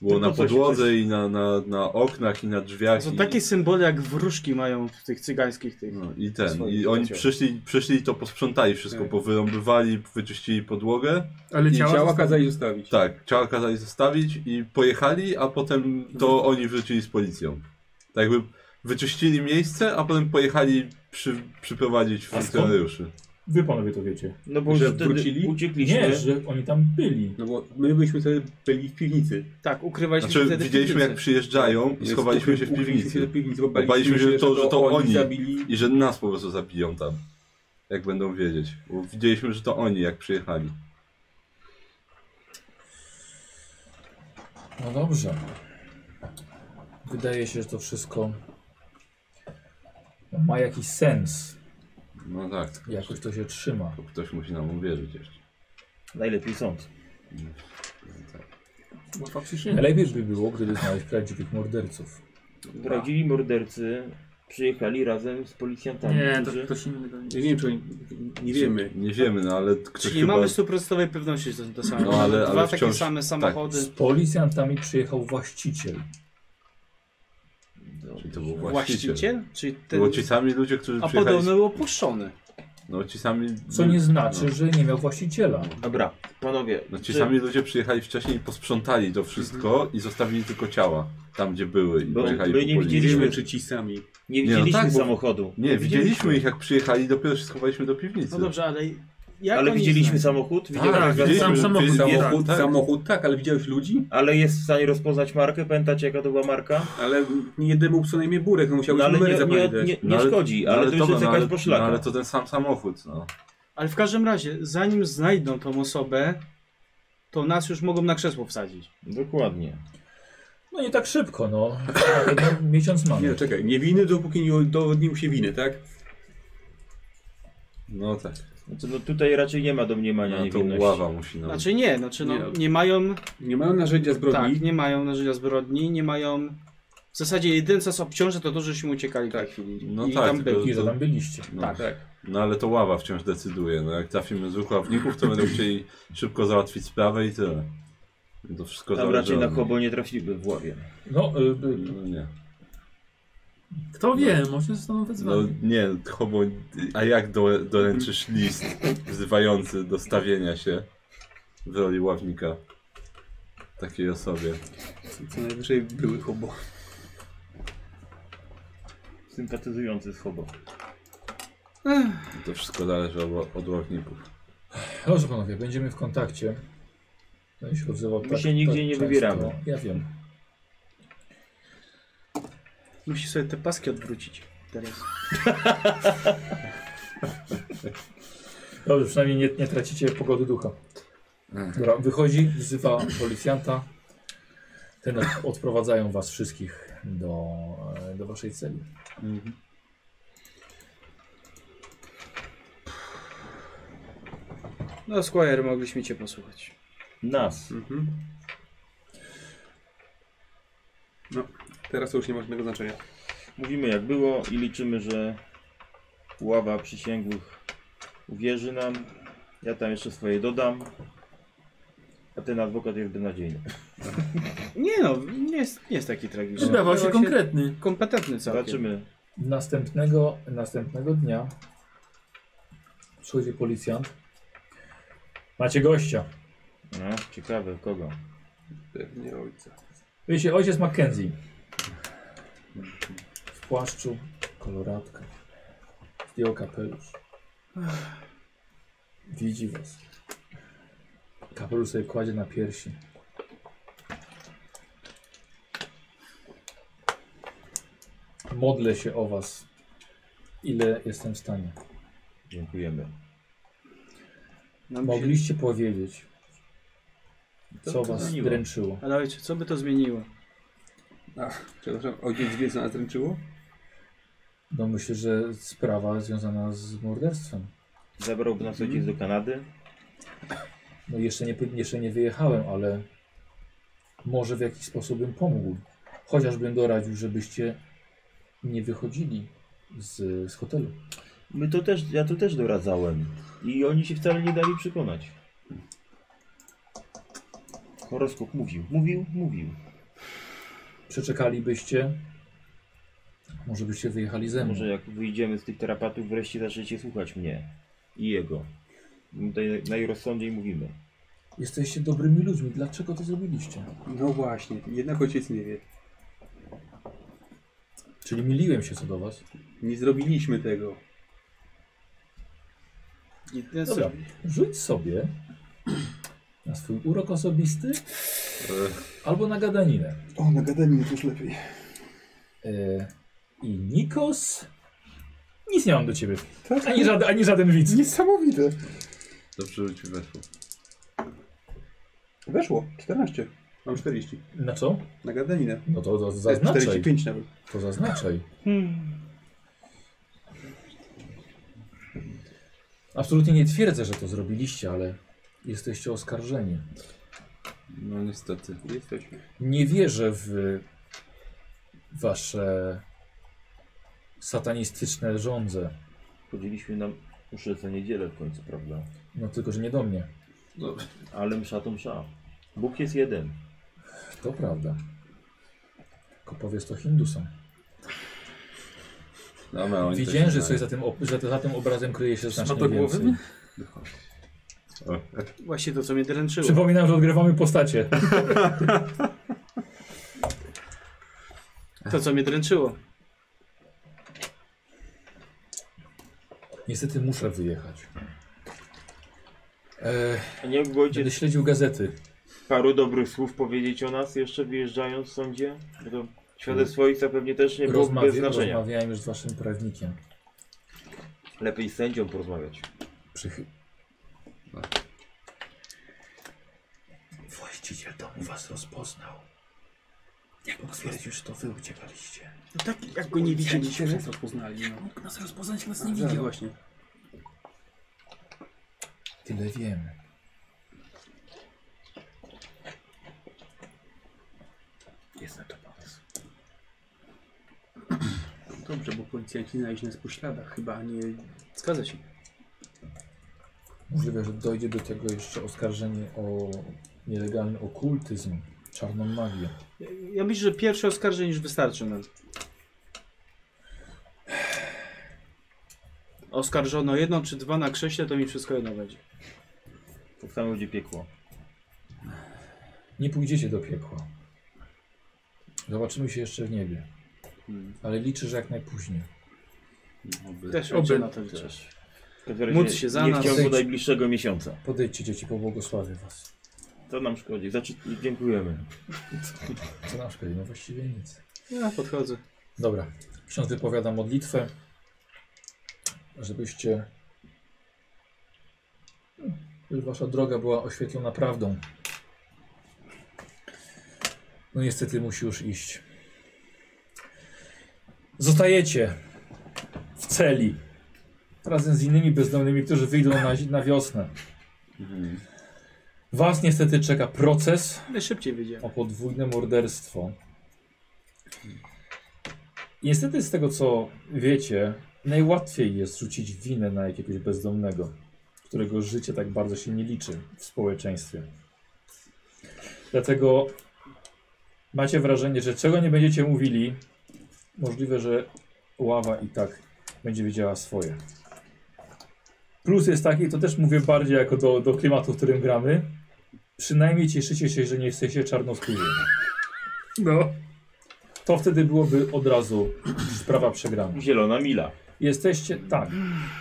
Było Tylko na coś- podłodze i na, na, na oknach i na drzwiach. Są i... takie symbole jak wróżki mają w tych cygańskich tych. No, I ten. Swoje I oni życie. przyszli, przyszli i to posprzątali wszystko, Tak. powyrąbywali, wyczyścili podłogę. Ale I ciała, ciała zostały- kazali zostawić. Tak, ciała kazali zostawić i pojechali, a potem to oni wrzucili z policją. Tak jakby wyczyścili miejsce, a potem pojechali przy, przyprowadzić skąd? funkcjonariuszy. Wy panowie to wiecie. No bo już Że wtedy wrócili? uciekliśmy. Nie, że oni tam byli. No bo my byliśmy wtedy byli w piwnicy. Tak, ukrywaliśmy się Znaczy wtedy w widzieliśmy jak piwnicy. przyjeżdżają i Więc schowaliśmy się w ukryliśmy piwnicy. do piwnicy bo Baliśmy się, że to- że to oni. zabili. I że nas po prostu zabiją tam. Jak będą wiedzieć. Bo widzieliśmy, że to oni jak przyjechali. No dobrze. Wydaje się, że to wszystko ma jakiś sens. No tak, Jakoś to się trzyma. to ktoś musi nam uwierzyć jeszcze. Najlepiej sąd. Łatwa przyczyna. Lepiej by było, gdyby znaleźć prawdziwych morderców. Prawdziwi mordercy przyjechali razem z policjantami. Nie, to którzy... ktoś inny. pewnie. Ja nie wiem czy oni, nie wiemy. Nie wiemy, no ale ktoś Czyli nie chyba... mamy stuprocentowej pewności, że to są te same. No, ale- Dwa ale takie wciąż- tak, same samochody. Z policjantami przyjechał właściciel. Czyli to był Właściciel? właściciel. Czyli ten... Bo ci sami ludzie, którzy A przyjechali... podobno był opuszczony. No ci sami... Co nie znaczy, że nie miał właściciela. Dobra, panowie. No ci czy- sami ludzie przyjechali wcześniej i posprzątali to wszystko i zostawili tylko ciała tam, gdzie były i Bo pojechali my po nie policji. Nie widzieliśmy- wiemy czy ci sami. Nie, Nie no widzieliśmy tak, bo- samochodu. Nie, widzieliśmy ich jak przyjechali, dopiero się schowaliśmy do piwnicy. No dobrze, ale jak ale oni widzieliśmy znają? samochód, Tak, widzieliśmy, tak, sam że- samochód, wiedzieliśmy, tak. Samochód, tak. samochód tak, ale widziałeś ludzi? ale jest w stanie rozpoznać markę. Pamiętacie jaka to była marka? Ale nie jednemu psu na imię Burek, no musiałeś No, ale nie, numery nie, zapamiętać. nie, No nie szkodzi, no ale to już dobra, jest no jakaś ale- No, ale poszlaka. to ten sam samochód, no. Ale w każdym razie, zanim znajdą tą osobę, to nas już mogą na krzesło wsadzić. Dokładnie. No nie tak szybko, no. no miesiąc Nie, mamy. czekaj, niewinny dopóki nie udowodnił się winy, tak? No tak. Znaczy, no tutaj raczej nie ma domniemania No, to niewinności. ława musi nam... Znaczy nie, znaczy no, Nie. nie mają Nie mają narzędzia zbrodni. Tak, nie mają narzędzia zbrodni, nie mają W zasadzie jedyne co nas obciąża to to, żeśmy uciekali tak. w tej chwili. No I tak, tam tylko- byli. I że tam byliście. No. Tak, tak. No ale to ława wciąż decyduje. No jak trafimy z ławników, to będą chcieli szybko załatwić sprawę i tyle. To wszystko Tam zależy raczej na od- hobo nie trafimy w ławie. No, y, y, No nie. Kto wie, może zostaną No wezwani. nie, hobo, a jak do, doręczysz list wzywający do stawienia się w roli ławnika takiej osobie? Co najwyżej były hobo. Sympatyzujący z hobo. To wszystko zależy od, od ławników. Dobrze panowie, będziemy w kontakcie. Ten się odzywał tak, My się nigdzie nie często. wybieramy. Ja wiem. Musi sobie te paski odwrócić. Teraz. Dobrze, przynajmniej nie, nie tracicie pogody ducha. Dobra, wychodzi, wzywa policjanta. Ten od- odprowadzają was wszystkich do, e, do waszej celi. No Squire, mogliśmy cię posłuchać. Nas. Mhm. No, teraz to już nie ma żadnego znaczenia. Mówimy jak było i liczymy, że ława przysięgłych uwierzy nam. Ja tam jeszcze swoje dodam. A ten adwokat jest beznadziejny. Tak Nie no, nie jest, nie jest taki tragiczny. Wydawał się konkretny. kompetentny całkiem. Zobaczymy. Następnego, następnego dnia przychodzi policjant. Macie gościa. No, ciekawe kogo. Pewnie ojca. Wiecie, ojciec Mackenzie. W płaszczu, koloratka. Zdjął kapelusz. Widzi was. Kapelusz sobie kładzie na piersi. Modlę się o was, ile jestem w stanie. Dziękujemy. Nam się... Mogliście powiedzieć, co was miło. dręczyło. Ale ojcze, co by to zmieniło? Przepraszam, ojciec wie co nas dręczyło? No myślę, że sprawa związana z morderstwem. Zabrałby Mhm. nas ojciec do Kanady. No jeszcze nie, jeszcze nie wyjechałem, ale może w jakiś sposób bym pomógł. Chociażbym doradził, żebyście nie wychodzili z, z hotelu. My to też, ja to też doradzałem. I oni się wcale nie dali przekonać. Horoskop mówił, mówił, mówił. Przeczekalibyście. Może byście wyjechali ze Hmm. mną. Może jak wyjdziemy z tych terapatów, wreszcie zaczniecie słuchać mnie i jego. My Tutaj najrozsądniej mówimy. Jesteście dobrymi ludźmi. Dlaczego to zrobiliście? No właśnie, jednak ojciec nie wie. Czyli myliłem się co do was. Nie zrobiliśmy tego. Jedyne co... Dobra, rzuć sobie na swój urok osobisty albo na gadaninę. O, na gadaninie to już lepiej. Y, I Nikos. Nic nie mam do ciebie. Tak? Ani, żaden, ani żaden widz. Niesamowite. Dobrze, że ci weszło. Weszło, 14. Mam 40. Na co? Na gadaninę. No to, to To jest zaznaczaj. 45 nawet. To zaznaczaj. Absolutnie nie twierdzę, że to zrobiliście, ale jesteście oskarżeni. No niestety. Jesteśmy. Nie wierzę w wasze satanistyczne żądze. Chodziliśmy nam muszę co niedzielę w końcu, prawda? No tylko, że nie do mnie. Ale msza to msza. Bóg jest jeden. To prawda. Tylko powiedz to Hindusom. Dobra, No, oni Widziałem, też że znają. coś za tym, ob- że za tym obrazem kryje się znacznie Smatogłowym? więcej. Właśnie to, co mnie dręczyło. Przypominam, że odgrywamy postacie. To, co mnie dręczyło. Niestety muszę wyjechać. E, A nie mógł ojciec będę śledził gazety. paru dobrych słów powiedzieć o nas jeszcze wyjeżdżając w sądzie? Bo to świadectwo ojca pewnie też nie było bez Rozmawia, znaczenia. rozmawiałem już z waszym prawnikiem. Lepiej z sędzią porozmawiać. Przychy... No. Właściciel domu was rozpoznał. Jak potwierdził, że to wy uciekaliście. No tak, jak go nie widzieliśmy. Teraz rozpoznali. No. Mógł nas rozpoznać, jak nas nie Tak, widział. właśnie. Tyle wiemy. Jest na to pomysł. Dobrze, bo policjanci znaleźli nas po śladach, chyba nie... Zgadza się. Możliwe, że dojdzie do tego jeszcze oskarżenie o nielegalny okultyzm, czarną magię. Ja- Ja myślę, że pierwsze oskarżenie już wystarczy no. nam. Oskarżono jedną czy dwa na krześle, to mi wszystko jedno będzie. Tak samo będzie piekło. Nie pójdziecie do piekła. Zobaczymy się jeszcze w niebie. Ale liczę, że jak najpóźniej. Też Oby- oby na to liczysz. W każdym razie Módl się za nie nas. w ciągu najbliższego miesiąca. Podejdźcie dzieci, pobłogosławię was. To nam szkodzi. Znaczy, dziękujemy. Co nam szkodzi? No właściwie nic. Ja podchodzę. Dobra, ksiądz wypowiada modlitwę, żebyście, żeby wasza droga była oświetlona prawdą. No niestety musi już iść. Zostajecie w celi razem z innymi bezdomnymi, którzy wyjdą na, na wiosnę. Was niestety czeka proces Najszybciej wyjdziemy. o podwójne morderstwo. Niestety z tego co wiecie, najłatwiej jest rzucić winę na jakiegoś bezdomnego, którego życie tak bardzo się nie liczy w społeczeństwie. Dlatego macie wrażenie, że czego nie będziecie mówili, możliwe, że ława i tak będzie wiedziała swoje. Plus jest taki, to też mówię bardziej jako do, do klimatu, w którym gramy. Przynajmniej cieszycie się, że nie jesteście czarnoskórzy. No. To wtedy byłoby od razu sprawa przegrana. Zielona mila. Jesteście, tak,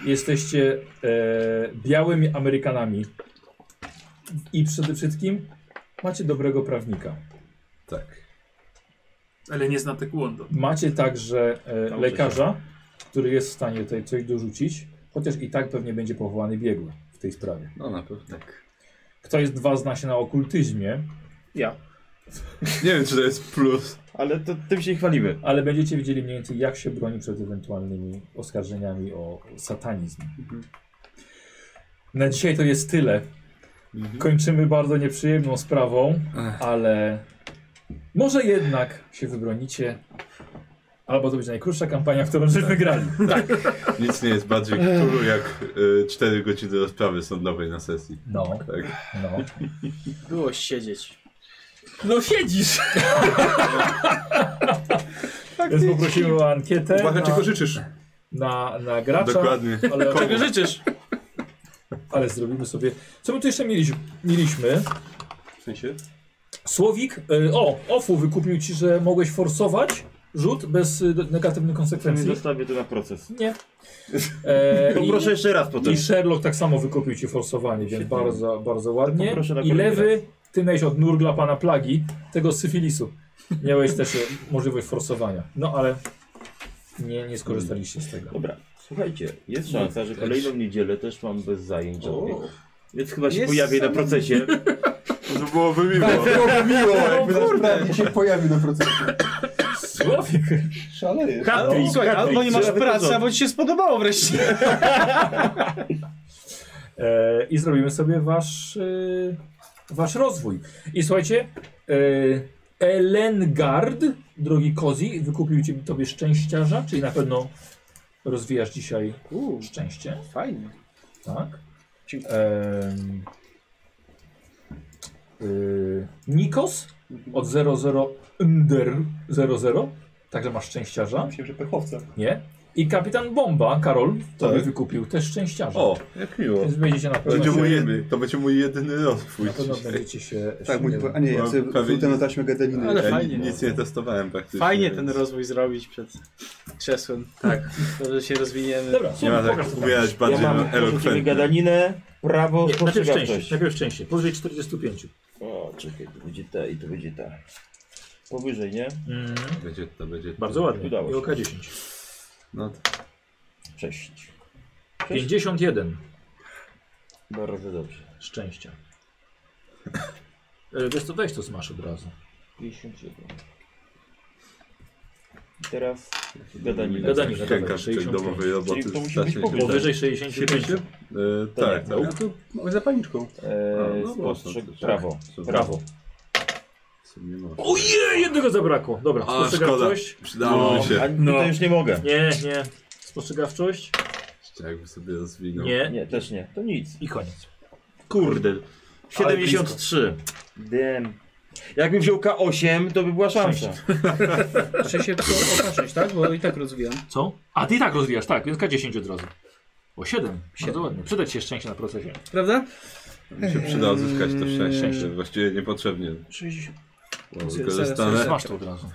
jesteście e, białymi Amerykanami i przede wszystkim macie dobrego prawnika. Tak. Ale nie zna Taekwondo. Macie także e, Nauczę lekarza, który jest w stanie tutaj coś dorzucić, chociaż i tak pewnie będzie powołany biegły w tej sprawie. No na pewno. Ktoś z was zna się na okultyzmie, Ja. Nie wiem, czy to jest plus. Ale to tym się chwalimy. ale będziecie wiedzieli mniej więcej jak się broni przed ewentualnymi oskarżeniami o satanizm. Mhm. Na dzisiaj to jest tyle. Mhm. Kończymy bardzo nieprzyjemną sprawą, ale może jednak się wybronicie. Albo to będzie najkrótsza kampania, którą żeśmy wygrali. Nic nie jest bardziej kultu jak y, 4 godziny rozprawy sądowej na sesji. No, Tak. no. Było siedzieć. No siedzisz! Więc poprosimy o ankietę Tak, Uwaga, na, czego życzysz? na, na gracza, Dokładnie. ale, Czego życzysz? ale zrobimy sobie... Co my tu jeszcze mieliśmy? mieliśmy? W sensie? Słowik, y, o, Ofu wykupił ci, że mogłeś forsować rzut bez y, do- negatywnych Przynajmniej konsekwencji. zostawię to na proces. Nie. E, i, Poproszę jeszcze raz potem. I Sherlock tak samo wykupił ci forsowanie, więc Świetnie. bardzo, bardzo ładnie. Poproszę na I kolejny lewy, ty miałeś od nurgla pana plagi, tego z syfilisu. Miałeś też e, możliwość forsowania. No ale nie, nie skorzystaliście z tego. Dobra, słuchajcie, jest szansa, że kolejną niedzielę też mam bez zajęć żadnych. Więc chyba się Jest pojawię na szansa. procesie. To byłoby miło. Tak. Miło, No, jakby nasz prawnik się pojawił na procesie. Słowik! Szaleje. Katrin, Słuchaj, albo nie masz Katrin, pracy, albo ci się spodobało wreszcie. E, I zrobimy sobie wasz, e, wasz rozwój. I słuchajcie, e, Elengard, drogi Kozi, wykupił ci, tobie szczęściarza, czyli na pewno rozwijasz dzisiaj Uuu, szczęście. fajnie. Tak. e, Dziękuję. Em, y, Nikos od 00 under 00, także masz szczęściarza. Myślę, że pechowca. Nie. I kapitan Bomba, Karol, tobie Tak. wykupił też szczęściarza. O, jak miło. Więc będziecie na pewno Będzie się- mój jedy, to będzie mój jedyny rozwój Na pewno dzisiaj. będziecie się. Tak, mój, się- a nie, ja Mam sobie prawie- wrzucę na taśmę gadaniny. Ale Ja fajnie. no. ni- nic nie testowałem praktycznie. Fajnie więc ten rozwój zrobić przed krzesłem. Tak. Dobrze się rozwiniemy. Dobra, Nie ma słuchaj, pokaż tak to. umierać Ja bardziej mam porzucimy elokwentnie. gadaninę, prawo, Nie, najpierw szczęście, spostrzegawczość. najpierw szczęście, powyżej 45. O, czekaj, to będzie ta i to będzie ta. Powyżej, nie? Mm. Będzie, to będzie. Bardzo ładnie, Udało się. i oka 10. No, Cześć. 51 Bardzo dobrze. szczęścia. E, Wiesz co, weź to smasz od razu. 51. I Teraz gadanina. Gadanina. dawaj, Rękasz tej 65. domowej roboty Czyli to musi strasznie być się Powyżej 65. E, Tak, tak. No to za paniczką. Eee, A, no, spostrzeg mocno też, prawo. tak. Prawo. sumie no. Ojej, jednego zabrakło. Dobra, A, spostrzegawczość. Przydało mi A się. no. No. to już nie mogę. Nie, nie. Spostrzegawczość. Jeszcze jakby sobie rozwinął. Nie. Nie, też nie. To nic. I koniec. Kurde. 73. Dym. Jakbym wziął K8, to by była szansa. Muszę się opatrzeć, tak? Bo i tak rozwijam. Co? A ty i tak rozwijasz, tak, więc K10 od razu. O 7. Bardzo ładnie. Przydać się szczęście na procesie. Prawda? Mi się przyda odzyskać to szczęście. Szczęście. Właściwie niepotrzebnie. 60. Bo Zaraz, wykorzystane. zaraz, Masz to od razu.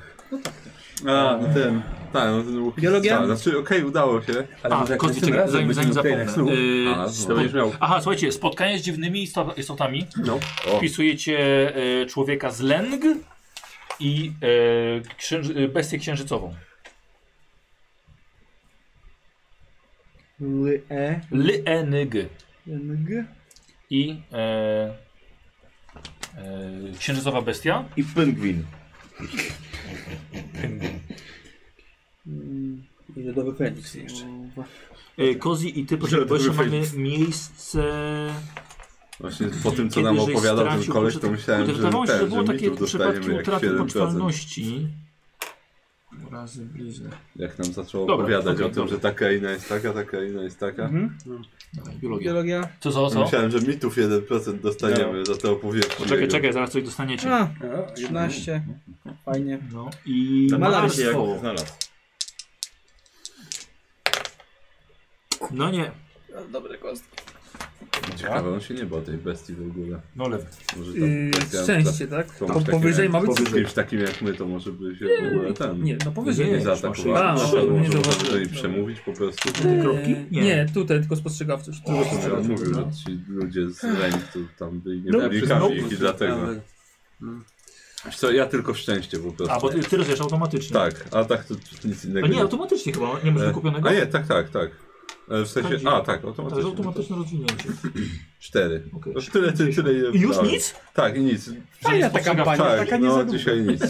A, no ten. Tak, no ten łuki Biologia? strzał. Znaczy, okej, udało się. A, Kosti, czekaj, zanim, zanim zapomnę. Yy, A, spo- no, będziesz miał. No. Aha, słuchajcie, spotkanie z dziwnymi istot- istotami. O, Wpisujecie e, człowieka z lęg i e, księży, e, bestię księżycową. E. Lyeng NG. i e, e, księżycowa bestia. I pingwin. I lodowy Feniks jeszcze. E, Kozi i ty, proszę, bo jeszcze mamy miejsce... właśnie po tym, co kiedy nam żeś opowiadał ten stracił koleś, poczet- to myślałem, Kurde, że Wydawało się, że ten, było że takie mitów przypadki dostaniemy jak utraty 7%. poczwalności. Razy blizny. Jak nam zaczęło Dobra, opowiadać okej, o tym, dobra. że taka inna jest taka, taka inna jest taka. Dawaj, Biologia. Biologia. Co, co, co? Myślałem, że mitów 1% dostaniemy za to opowieści. Czekaj, czekaj, zaraz coś dostaniecie. A, 13. Fajnie. No i Malarstwo. Znalazł się, jak znalazł. No nie, Dobre kostki. Ciekawe, on się nie bał tej bestii w ogóle. no lewy. Może tam Yy, kwestia- szczęście, tak? to To masz takie- powyżej ma być powyżej zwykle. kimś takim jak my, to może by się w ogóle ten... Nie, no powyżej. Nie, nie zaatakował. A, Może- no, nie Może zauważyłem. może i przemówić po prostu. Eee, kropki? Nie. Nie. tutaj tylko spostrzegawczość. Może on Mówił, że ci ludzie z ręk to tam byli nie No, byli przez nogi. i dlatego. Wiesz Co, ja tylko szczęście po prostu. A, bo ty, ty rozumiesz automatycznie. Tak, a tak to nic innego. A nie, automatycznie chyba, nie masz E, wykupionego? A nie, tak, tak, tak. E, W sensie, a tak, To jest automatycznie. automatyczne rozwinięcie. Cztery. Okej. No, Tyle, tyle, tyle. ile I już brałem. nic? Tak, i nic. Fajna ta kampania, tak, taka nie no za dużo. dzisiaj nic.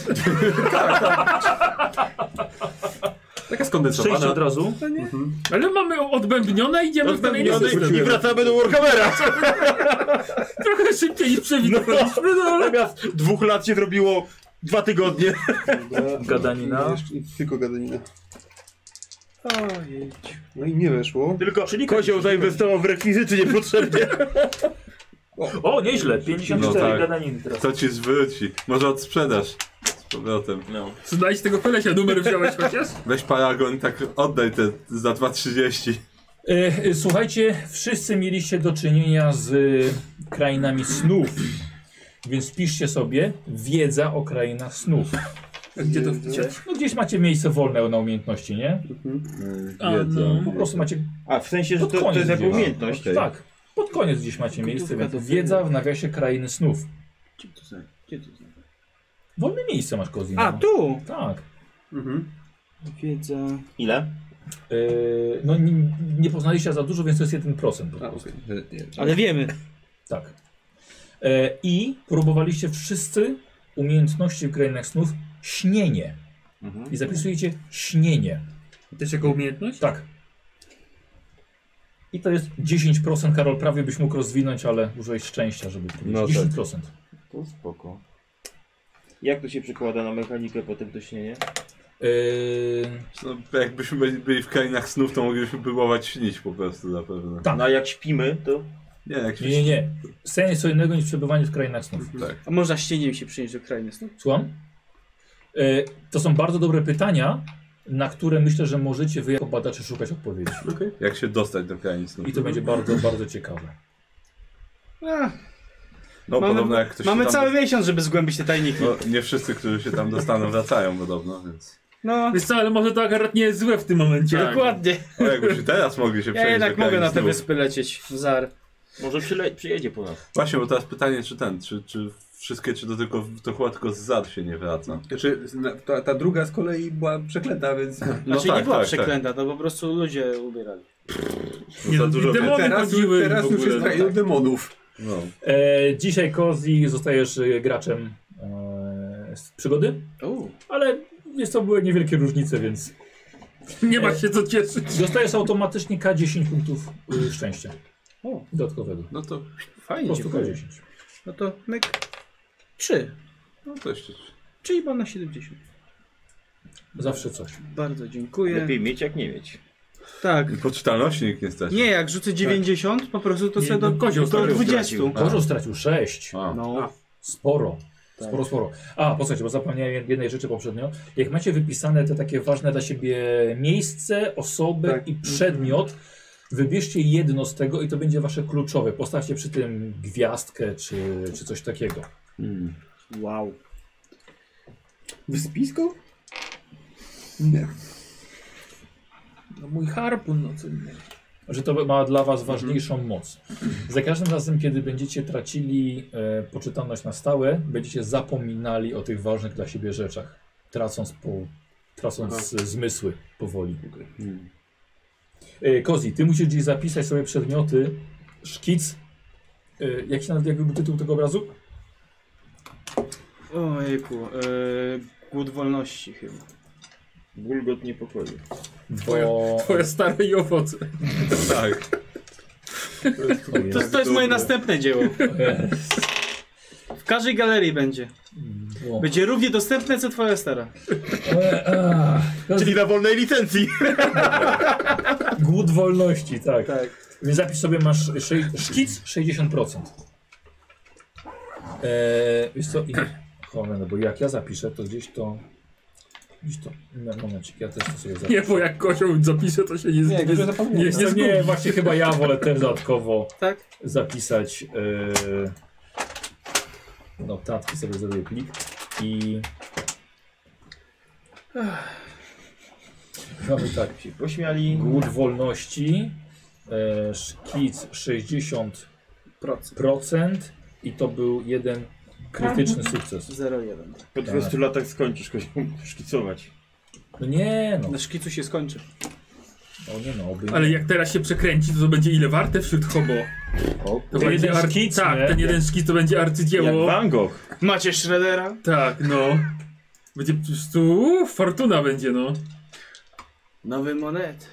Taka Szczęście skondensowana. od razu. Ale mamy odbębnione i idziemy w dalej nie I wracamy do Warhammera. Trochę szybciej niż przewidywaliśmy, no ale... Natomiast dwóch lat się zrobiło dwa tygodnie. Gadanina. I tylko gadanina. Ojej. No i nie weszło. Tylko kozioł zainwestował w rekwizyty niepotrzebnie. O, nieźle, 54 No tak. gadaniny teraz. To ci zwróci. Może odsprzedasz. Z powrotem. Znajdź tego kolesia, numer wziąłeś chociaż? Weź paragon i tak oddaj te za 2,30. E, e, Słuchajcie, wszyscy mieliście do czynienia z e, krainami snów, więc piszcie sobie wiedza o krainach snów. Gdzie to wpicie? No gdzieś macie miejsce wolne na umiejętności, nie? A, Wiedza. no. Po prostu macie, A w sensie, że Pod to, to koniec jest jak gdzieś. umiejętność. Okej. tak, pod koniec gdzieś macie miejsce, więc wiedza w nawiasie krainy snów. Wolne miejsce masz, Kozina. A, tu! Tak. Wiedza. Ile? E, no nie, nie poznaliście za dużo, więc to jest 1% po prostu. Ale wiemy. Tak. E, I próbowaliście wszyscy umiejętności w krainach snów śnienie. Mhm. I zapisujecie śnienie. To jest jako umiejętność? Tak. I to jest 10%, Karol, prawie byś mógł rozwinąć, ale użyłeś szczęścia, żeby to No no 10%. To spoko. Jak to się przekłada na mechanikę potem to śnienie? Yy, No, jakbyśmy byli- byli w krainach snów, to moglibyśmy próbować śnić po prostu zapewne. Tak. No a jak śpimy, to Nie, jak nie, nie, nie. Sens co innego niż przebywanie w krainach snów. Tak. A można ścieniem się przynieść do krainy snów? Słucham? E, to są bardzo dobre pytania, na które myślę, że możecie wy jako badacze szukać odpowiedzi. Jak się dostać do krain snów. I to będzie bardzo, bardzo ciekawe. No podobno jak ktoś mamy się tam cały miesiąc, żeby zgłębić te tajniki. No, nie wszyscy, którzy się tam dostaną, wracają podobno, więc. No, Wiesz co, ale może to akurat nie jest złe w tym momencie. dokładnie. O, jakbyśmy teraz mogli się Ja przejść do jednak krain mogę na te snów. wyspy lecieć. Zar. może przyle- przyjedzie po nas. Właśnie, bo teraz pytanie, czy ten, czy, czy wszystkie, czy to tylko, to chyba tylko z zad się nie wraca. Znaczy, na- ta, ta druga z kolei była przeklęta, więc No Znaczy nie była przeklęta, to po prostu ludzie ubierali. No, Nie, za no, dużo demony wiedzy. teraz, chodziły teraz w już ogóle, jest no kraj tak. demonów. No. E, dzisiaj Kozi zostajesz e, graczem e, z przygody, Uuu. ale jest to były niewielkie różnice, więc Nie ma się co cieszyć. dostajesz automatycznie K10 punktów e, szczęścia. O. Dodatkowego. no to Po Fajnie. prostu No dziękuję. K10. No to myk. Trzy. No coś, coś. Czyli pan na 70. Zawsze coś. Bardzo dziękuję. Lepiej mieć jak nie mieć. Tak. I poczytalności nikt nie stać. Nie, jak rzucę 90, po prostu Tak. to Nie, sobie do, no kozioł do kozioł 20. Korzu stracił 6. A. No. Tak. Sporo. Sporo, sporo. A, posłuchajcie, bo zapomniałem jednej rzeczy poprzednio. Jak macie wypisane te takie ważne dla siebie miejsce, osobę Tak. i przedmiot, wybierzcie jedno z tego i to będzie wasze kluczowe. Postawcie przy tym gwiazdkę czy, czy coś takiego. Wow. W spisku? No mój harpun, no co innego. Że to ma dla was Mhm. ważniejszą moc. Za każdym razem, kiedy będziecie tracili e, poczytalność na stałe, będziecie zapominali o tych ważnych dla siebie rzeczach, tracąc, po, Tak. tracąc zmysły powoli. E, Kozi, ty musisz gdzieś zapisać sobie przedmioty, szkic. E, jak się nazywa jak był tytuł tego obrazu? Ojejku, yy, głód wolności chyba. Bulgot niepokoju. Twoja- Bo- Twoje stare i owoce. Tak. To, to jest moje następne dzieło. W każdej galerii będzie. Bo- Będzie równie dostępne, co twoja stara. E, a, Czyli na wolnej licencji. Głód wolności, tak. Tak. Więc zapisz sobie, masz sze- szkic 60%. Eee, wiesz co, i... Cholera, no bo jak ja zapiszę, to gdzieś to... Gdzieś to... No, Momencik, ja też to sobie zapiszę. No Nie, bo jak kozioł zapisze, to się nie Nie, zgubi. to zapomniałem. nie, Nie, nie, nie, właśnie chyba ja wolę też dodatkowo Tak? zapisać yy, notatki, sobie zrobię plik i... Mamy tak, Się pośmiali. głód wolności, e, szkic 60% i to był jeden krytyczny sukces. 0,1. Po 200 latach skończysz kogoś szkicować. No nie no, Na szkicu się skończy. o nie no, oby nie. Ale jak teraz się przekręci, to, to będzie ile warte wśród hobo? O, To Ten będzie jeden ar- szkic, nie? Tak, ten jeden szkic to będzie jak arcydzieło. Van Gogh. Macie Shreddera? Tak, no. Będzie po prostu uuu, fortuna będzie, no. Nowy monet.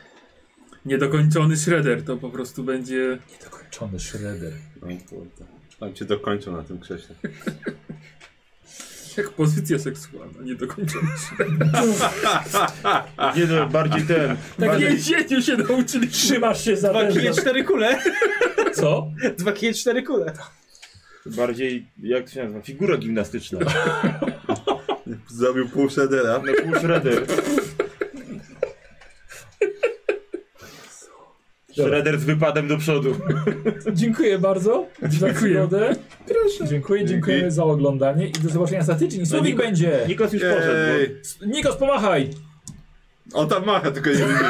Niedokończony Shredder to po prostu będzie... Niedokończony Shredder. No, kurde. Tam cię dokończą na tym krześle. Jak pozycja seksualna, niedokończony Shredder. Nie no, bardziej ten. Tak w więzieniu się nauczyli. Trzymasz się za Dwa ten, kije, cztery kule. co? Dwa kije, cztery kule. Bardziej, jak to się nazywa, figura gimnastyczna. Zrobił pół shreddera. No pół Shredder. Shredder z wypadem do przodu. Dziękuję bardzo za przygodę. Proszę. Dziękuję, dziękujemy Dzięki. za oglądanie i do zobaczenia za tydzień. Słowik będzie. Nikos już poszedł. no. Jej. S- Nikos, pomachaj. On tam macha, tylko nie widzi.